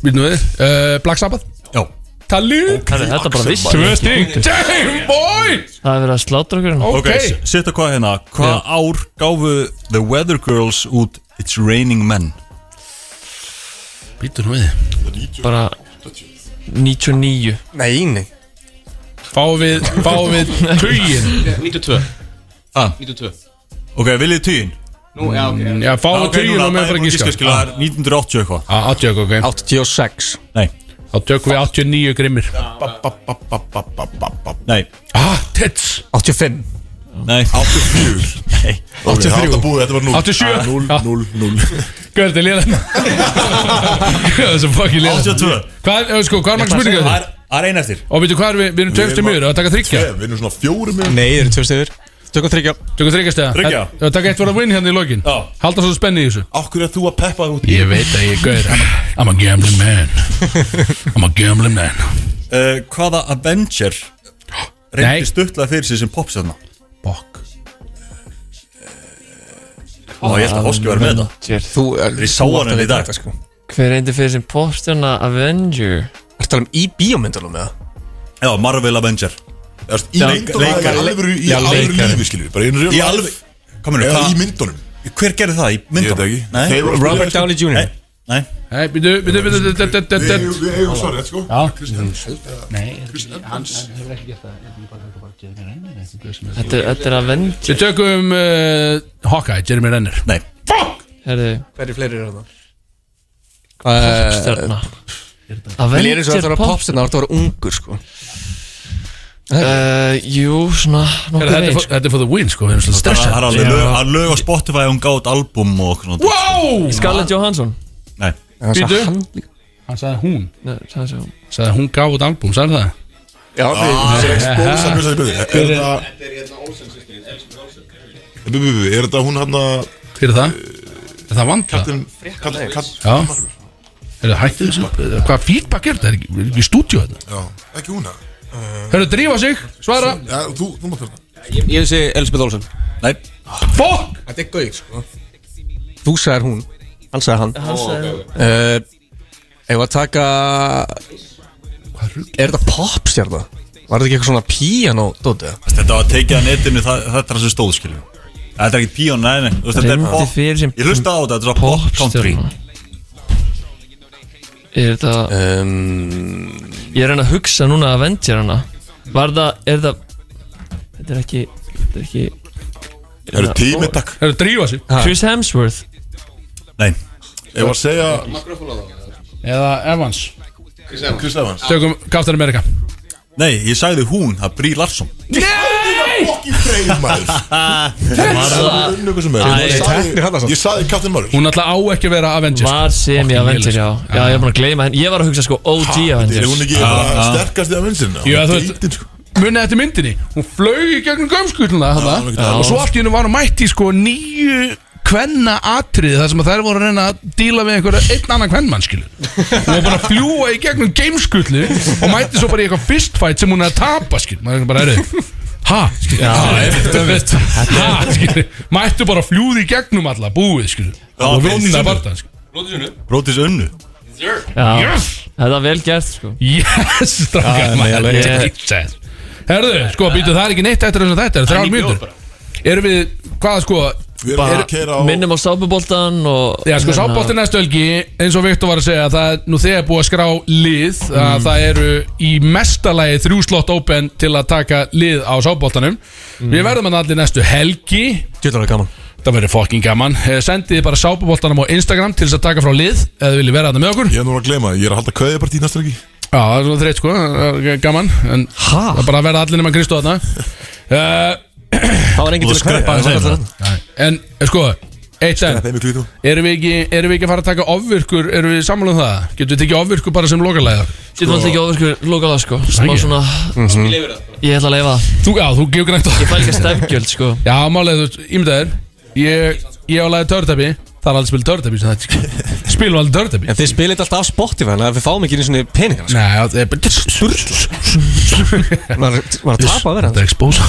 Speaker 3: Býtum við uh, Black Sabbath
Speaker 4: Já
Speaker 3: Talú
Speaker 8: Herri, Þetta er bara viss
Speaker 3: Tvö stygg Damn boy
Speaker 8: Það er verið að slátra okkur hérna.
Speaker 3: Ok
Speaker 4: Setta hvað hérna Hvað ár gáfu The Weather Girls út It's Raining Men?
Speaker 3: Býtum við
Speaker 8: Bara 99
Speaker 13: Nei, nei
Speaker 3: Fáum við Fáum við Tugin
Speaker 15: 92
Speaker 4: Ah.
Speaker 15: 92
Speaker 4: Ok, viljið tíun?
Speaker 15: Nú, já, ok
Speaker 3: Já, fáum við tugin og með bara gíska
Speaker 4: skilja Það er 1980 eitthvað
Speaker 3: Á, 80 ok
Speaker 13: 86
Speaker 4: Nei,
Speaker 3: Þá tökum við 89 grimmir
Speaker 4: nei,
Speaker 3: Ah, tits
Speaker 13: 85
Speaker 4: nei
Speaker 3: <laughs>
Speaker 4: 84 Nei,
Speaker 1: Ok, það átt að búið, þetta var 0
Speaker 3: 87.
Speaker 1: 0,
Speaker 3: Já.
Speaker 1: 0, 0
Speaker 3: Hvað er þetta liðan? Hvað er þetta fucking liðan?
Speaker 4: 82
Speaker 3: Hvað er, sko, hvað er margir spurningar
Speaker 4: Það
Speaker 3: þetta?
Speaker 4: er- það er ein eftir
Speaker 3: Og veitu hvað er við, við erum
Speaker 1: Við
Speaker 3: töfstum
Speaker 1: erum að-
Speaker 3: yfir og að taka þryggja
Speaker 1: Tveir, Við erum svona fjórum yfir
Speaker 13: Nei, þeir eru tvö stigur Tökum þryggja
Speaker 3: Tökum þryggja stega
Speaker 4: Þriggja.
Speaker 3: Að taka eitt voru að win hérna í lokin
Speaker 4: Já.
Speaker 3: Halda svo spenni í þessu
Speaker 1: Akkur er þú að peppa það út
Speaker 3: Ég veit að ég er gauður I'm, a- I'm a gambling man I'm a gambling man
Speaker 4: uh, Hvaða Avenger
Speaker 3: Nei.
Speaker 4: reyndi stuttlega fyrir sig sem popstjarna?
Speaker 3: Bokk
Speaker 4: Ó, ég held
Speaker 3: Ah.
Speaker 4: að Óski var með þetta
Speaker 8: Sér,
Speaker 13: Þú er
Speaker 4: Ég sá hann í dag.
Speaker 13: sko.
Speaker 8: Hver reyndi fyrir sem popstjarna Avenger?
Speaker 13: Ertu að tala um í bíómyndalum eða?
Speaker 4: Já, Marvel Avenger
Speaker 1: Í myndunum það er
Speaker 4: leikari.
Speaker 1: alvöru í
Speaker 4: Já,
Speaker 1: alvöru
Speaker 4: leikari.
Speaker 1: lífi skilur við, Bara í real
Speaker 4: Í
Speaker 1: life.
Speaker 4: alveg Hvað
Speaker 1: Eða
Speaker 4: mennur,
Speaker 1: í
Speaker 4: hvað?
Speaker 1: myndunum
Speaker 4: Hver gerði það í
Speaker 1: Ég veit
Speaker 4: myndum?
Speaker 1: það ekki
Speaker 4: Nei.
Speaker 1: Þeir voru að spila-
Speaker 13: Robert Downey Jr.
Speaker 4: Nei, nei
Speaker 3: Nei, býtu, býtu, býtu, býtu, býtu, býtu,
Speaker 1: Við
Speaker 3: býtu
Speaker 1: eigum- Við eigum svarið, sko
Speaker 8: Þetta er, þetta er Avenger
Speaker 3: Við tökum uh, Hawkeye, Jeremy Renner
Speaker 4: Nei,
Speaker 8: Herðu,
Speaker 13: Hverju fleiri eru það?
Speaker 8: stjarna
Speaker 13: Eh, Vil ég eins og það
Speaker 8: Avenger
Speaker 13: þarf að
Speaker 8: pop
Speaker 13: popstjarna Það var ungur sko
Speaker 8: Uh, jú, svona nokkuð
Speaker 3: Þetta er
Speaker 8: veginn,
Speaker 3: for- þetta er for the win sko við erum svolítið
Speaker 4: Það er
Speaker 3: stressað
Speaker 4: alveg lög, að lög á Spotify hún gátt album og okkur svona
Speaker 3: Wow
Speaker 8: Scarlett Johansson
Speaker 4: Nei
Speaker 3: Býtu Hann sagði hún
Speaker 8: Nei, það sé hún
Speaker 3: Sagði hún gaf út album, sagði það?
Speaker 1: Já,
Speaker 3: Ah,
Speaker 1: það er
Speaker 3: aha.
Speaker 1: góð samvitað í
Speaker 3: Hver
Speaker 1: Er
Speaker 3: er-
Speaker 1: hérna þetta Eh, Bu- bu- bu- Er þetta hún hann að
Speaker 3: Hver er það? Er það vant það?
Speaker 1: Kattin Kattin
Speaker 3: Já
Speaker 1: Kattin
Speaker 3: Er það hættið þessu? Hvað feedback er þetta? Er ekki- Er ekki í stúdíu þetta?
Speaker 1: Já, ekki hún að
Speaker 3: Hörru, drífa sig, svara
Speaker 1: Já, þú, þú mátt hérna
Speaker 2: Ég, ég segi Elisabeth Olsson
Speaker 4: Nei
Speaker 3: Fuck
Speaker 2: Þetta er gauð sko
Speaker 13: Þú sagðir hún Hann sagði hann
Speaker 2: Hann sagði hún.
Speaker 13: hann Ef að taka Er þetta popstjarna? Var þetta ekki eitthvað svona piano dótið?
Speaker 4: Þetta var tekið að netinu, það, þetta er það sem stóð skilju Þetta er ekki píón, nei, nei þú veist, Þetta er
Speaker 8: Reyndi
Speaker 4: pop,
Speaker 8: fyrir sem
Speaker 4: ég hlusta á þetta, þetta er svona pop country
Speaker 8: popstjörna. Er þetta Ég er að reyna að hugsa núna að vendja hana Var það, er það Þetta er ekki Þetta er ekki
Speaker 1: Það eru tími, takk.
Speaker 3: Það eru drífa sig
Speaker 8: Chris Hemsworth
Speaker 4: Nei
Speaker 1: Ég var að segja
Speaker 3: Eða Evans
Speaker 1: Chris Evans
Speaker 3: Tökum Captain America
Speaker 4: Nei, ég sagði hún, það er Brí Larsson
Speaker 3: Nei
Speaker 1: Fokkin freyð <laughs> maður
Speaker 4: Var það
Speaker 1: Unnu hvað sem er
Speaker 8: Æ,
Speaker 1: Ég
Speaker 13: teknir hann,
Speaker 1: sagði-
Speaker 13: samt.
Speaker 1: Ég sagði Kattin Marvel
Speaker 3: Hún alltaf á ekki að vera Avengers
Speaker 8: Var sem ég að vendja já Já, ég er búin að gleyma henn Ég var að hugsa sko OG að
Speaker 1: Er hún ekki bara
Speaker 8: vendja
Speaker 1: sterkast í að vinsinu?
Speaker 3: Já, þú veist- munið þetta myndinni hún flög í gegnum gömskulluna
Speaker 1: alveg
Speaker 3: þarna
Speaker 1: ekki.
Speaker 3: og svo allt í hennu var hún mætt í sko nýju kvenna atrið þar sem að þær voru að reyna að díla við einhverja einn annan kvennmann skilur hún var bara að fljúa í gegnum gameskullu og mætti svo bara í eitthvað fistfight sem hún er að tapa skilur maður er bara erið ha skilur
Speaker 8: Já,
Speaker 3: ha, einmitt, einmitt. ha skilur mættu bara fljóði í gegnum alla búið skilur og vinna barndan skilur
Speaker 4: Brótis Unnu
Speaker 8: Já,
Speaker 3: yes
Speaker 8: þetta er vel gert sko
Speaker 3: yes <laughs>
Speaker 8: Já,
Speaker 3: strákar
Speaker 8: nei,
Speaker 3: maður
Speaker 8: alveg.
Speaker 3: þetta er Jesus. Herðu, sko, býtu, það er ekki neitt eftir þess að þetta er
Speaker 8: Það er
Speaker 3: þrjálf
Speaker 8: ný bjór
Speaker 3: mínútur Erum við, hvað sko
Speaker 1: Við erum
Speaker 8: Bara
Speaker 1: að keira á
Speaker 8: minnum á sápuboltan og
Speaker 3: Já, sko,
Speaker 8: hérna,
Speaker 3: sábóttir næstu ölgi eins og Viktor var að segja það er nú þegar búið að skrá lið að
Speaker 8: Mm.
Speaker 3: það eru í mesta lagi þrjú slott open til að taka lið á sábóttanum
Speaker 8: Mm.
Speaker 3: Við verðum hann allir næstu helgi
Speaker 13: Gjöldar það gaman
Speaker 3: Það verður fokkin gaman Eh, Sendið þið bara sábóttanum á Instagram til þess að taka frá lið eða viljið vera þarna með okkur
Speaker 1: Ég er nú að gleyma, ég er að halda kveðjapartí næsta ekki
Speaker 3: Já, það er svona þreitt sko, það er gaman En það er bara að verða allir nema Kristó þarna
Speaker 8: <laughs>
Speaker 3: uh,
Speaker 13: Það var enginn til að kreppa
Speaker 4: Þú
Speaker 13: það
Speaker 4: skreppar
Speaker 13: var
Speaker 4: þeim.
Speaker 13: allir-
Speaker 3: En eh, sko, eitt enn
Speaker 1: Þetta er mjög klítum
Speaker 3: Erum við, ekki, erum við ekki að fara að taka ofvirkur Erum við sammála um það? Getum við tekið ofvirkur bara sem lokalæða?
Speaker 8: Ég ætla ekki ofisku lokala sko Smá
Speaker 3: ekki.
Speaker 8: svona Ég ætla að leifa það
Speaker 3: Þú, já, þú gefur grænt á
Speaker 8: Ég fæ líka stefgjöld sko
Speaker 3: <laughs> Já, málega, þú veist, ímyndaður Ég, ég á lagið törtæpi Það er aldrei spilað törtæpi sem
Speaker 13: <laughs>
Speaker 3: þetta Spilum aldrei törtæpi
Speaker 13: En þið spilið þetta alltaf af Spotify Þannig að við fáum ekki einu svona peningar sko.
Speaker 3: Nei, já, það er bara
Speaker 13: Maður maður að tapa að vera
Speaker 3: Þetta er expose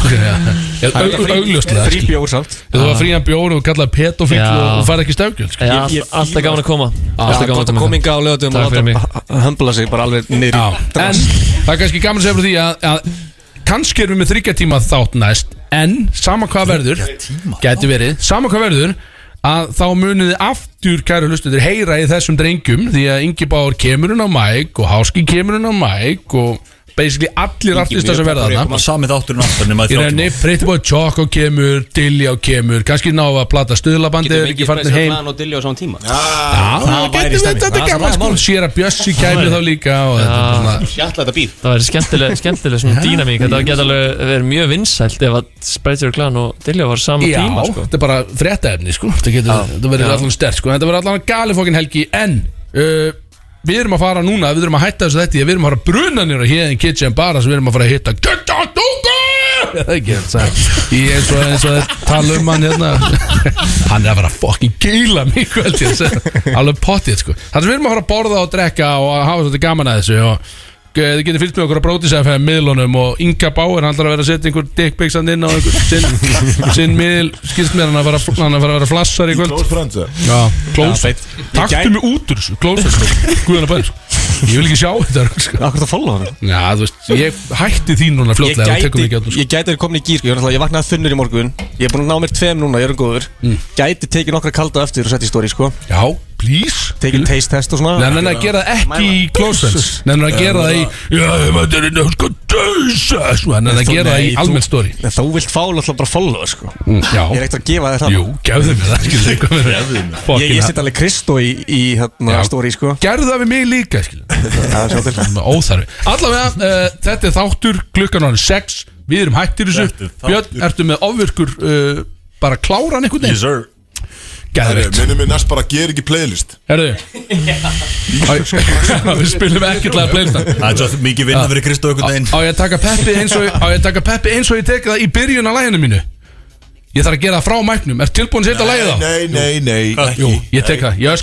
Speaker 3: Augljóslega
Speaker 13: Frí
Speaker 3: skilur.
Speaker 13: bjór samt
Speaker 3: Ef Þú var frían bjór og kallaði petofíl
Speaker 8: Já.
Speaker 3: og þú færði ekki sko. stefgjöld
Speaker 8: Já,
Speaker 13: ég
Speaker 8: all- Alltaf gaman að koma Alltaf
Speaker 13: Það
Speaker 8: gaman
Speaker 13: gott
Speaker 8: að
Speaker 13: að
Speaker 8: koma
Speaker 13: kominga á lögatum
Speaker 8: Takk
Speaker 13: og
Speaker 8: fyrir mig.
Speaker 13: láta hömbla sig bara alveg niður
Speaker 3: Já,
Speaker 13: í
Speaker 3: en það er kannski gaman að segja frá því að, að kannski erum við með þryggja tíma þátt næst en sama hvað verður gæti verið, sama hvað verður að þá munið þið aftur kæru hlustundur heyra í þessum drengjum því að Ingi Báður kemur hún á mæk og Háski kemur hún á mæk og basically allir artistar sem verða þarna
Speaker 4: Bara sami þátturinn aftur nema
Speaker 3: í
Speaker 4: þrjá
Speaker 3: rauninni, Pretty Boy Choco kemur Dilljá kemur, kannski ná að plata stuðlabandi
Speaker 15: Getum
Speaker 3: er
Speaker 15: við
Speaker 3: ekki
Speaker 15: ekki
Speaker 3: farin
Speaker 15: spesir
Speaker 3: heim
Speaker 15: plan og dilja á saman tíma
Speaker 3: Já, það
Speaker 15: væri stemning.
Speaker 3: getur við þetta
Speaker 15: Það er
Speaker 3: gaman
Speaker 15: það
Speaker 3: sko
Speaker 15: mál.
Speaker 3: Sér að Bjössi kæmi þá líka og þetta er svona
Speaker 15: Hjalla þetta bíl
Speaker 8: Það væri skemmtileg, skemmtileg svona dýnamík Þetta geta alveg verið mjög vinsælt ef að Sprite Your Clan og Dilljá var sama
Speaker 3: Já,
Speaker 8: tíma sko
Speaker 3: þetta er bara fréttaefni sko. Þetta getur, þetta verður allan stert sko. Þetta verður allan gali fókin helgi En uh, við erum að fara núna Við erum að hætta þessu þetta Við erum að fara brunanir á Hidden Kitchen bara sem við erum að fara að hitta Gutta Dungu <laughs> Það er ekki þetta Í eins og eins og þeir tala um hann hérna <laughs> Hann er að fara að fokkin gíla mig kvöld ég að segja. Alveg pottið sko Það sem við erum að fara að borða og drekka og að hafa svolítið gaman að þessu og eh, Þið getur fylgst með okkur á brótisæðfæðum miðlunum og Inga Bauer hann ætlar að vera að setja einhver dickpicsand inn á einhver sinn, sinn miðl skilst mér hann að fara að- hann að fara að vera flassar í kvöld
Speaker 1: Close friends eh?
Speaker 3: Já, klós Taktu mig út úr þessu, sko. klós Guðan að bæri Ég vil ekki sjá þetta rugl, sko.
Speaker 13: Akkur það follow hann
Speaker 3: Já, þú veist, ég hætti þín núna
Speaker 13: Ég
Speaker 3: fljótlega og tekum
Speaker 13: gæti,
Speaker 3: ekki að þú
Speaker 13: ég gæti að koma í gýr sko. ég, var náttúrulega- ég vaknaði þunnur í morgun Ég er búin að ná mér tveim núna, ég er um góður
Speaker 3: Mm.
Speaker 13: Gæti tekið nokkra kalda eftir og sett í stóri sko.
Speaker 3: Já, please
Speaker 13: Tekið taste test og svona
Speaker 3: Mm. Nei, nei, nei, að gera það ekki í klósens Nei, nei, að gera það í Já, þetta er einhvern sko dösa Svo, sko. nei, nei, að
Speaker 13: Þú-
Speaker 3: gera það í
Speaker 13: nei, þú-
Speaker 3: almenn story
Speaker 13: En þú vilt fá alltaf bara follow sko. Ég
Speaker 3: Mm,
Speaker 13: er
Speaker 3: Já,
Speaker 13: ekkert að gefa þér það
Speaker 3: jú, gefðu mér það Skilðu, hvað mér
Speaker 13: Ég, ég set alveg Kristó í, í hérna,
Speaker 3: Já.
Speaker 13: stóri sko.
Speaker 3: Gerðu það við mig líka, skilju Það er Óþarfi Allavega, uh, þetta er þáttur klukkan orðin 6 Við erum hættir
Speaker 4: Þetta
Speaker 3: þessu
Speaker 4: er þáttur.
Speaker 3: Björn, ertu með ofvirkur uh, bara kláran einhvern veginn? Yes sir Gæðveikt
Speaker 1: Minnum við næst bara ger ekki playlist
Speaker 3: Herðu Æ, Við spilum ekkert lag playlista
Speaker 4: Það er svo mikið
Speaker 8: Ah.
Speaker 4: vinna fyrir Kristó einhvern veginn
Speaker 3: Á á ég að taka peppi eins og Á ég að taka peppi eins og ég tekið það í byrjun af læginu mínu Ég þarf að gera það frá mæknum Er tilbúin að
Speaker 1: Nei,
Speaker 3: setja lægið á?
Speaker 8: Ah,
Speaker 1: nei, nei, nei,
Speaker 3: Jú, ég tek það Ég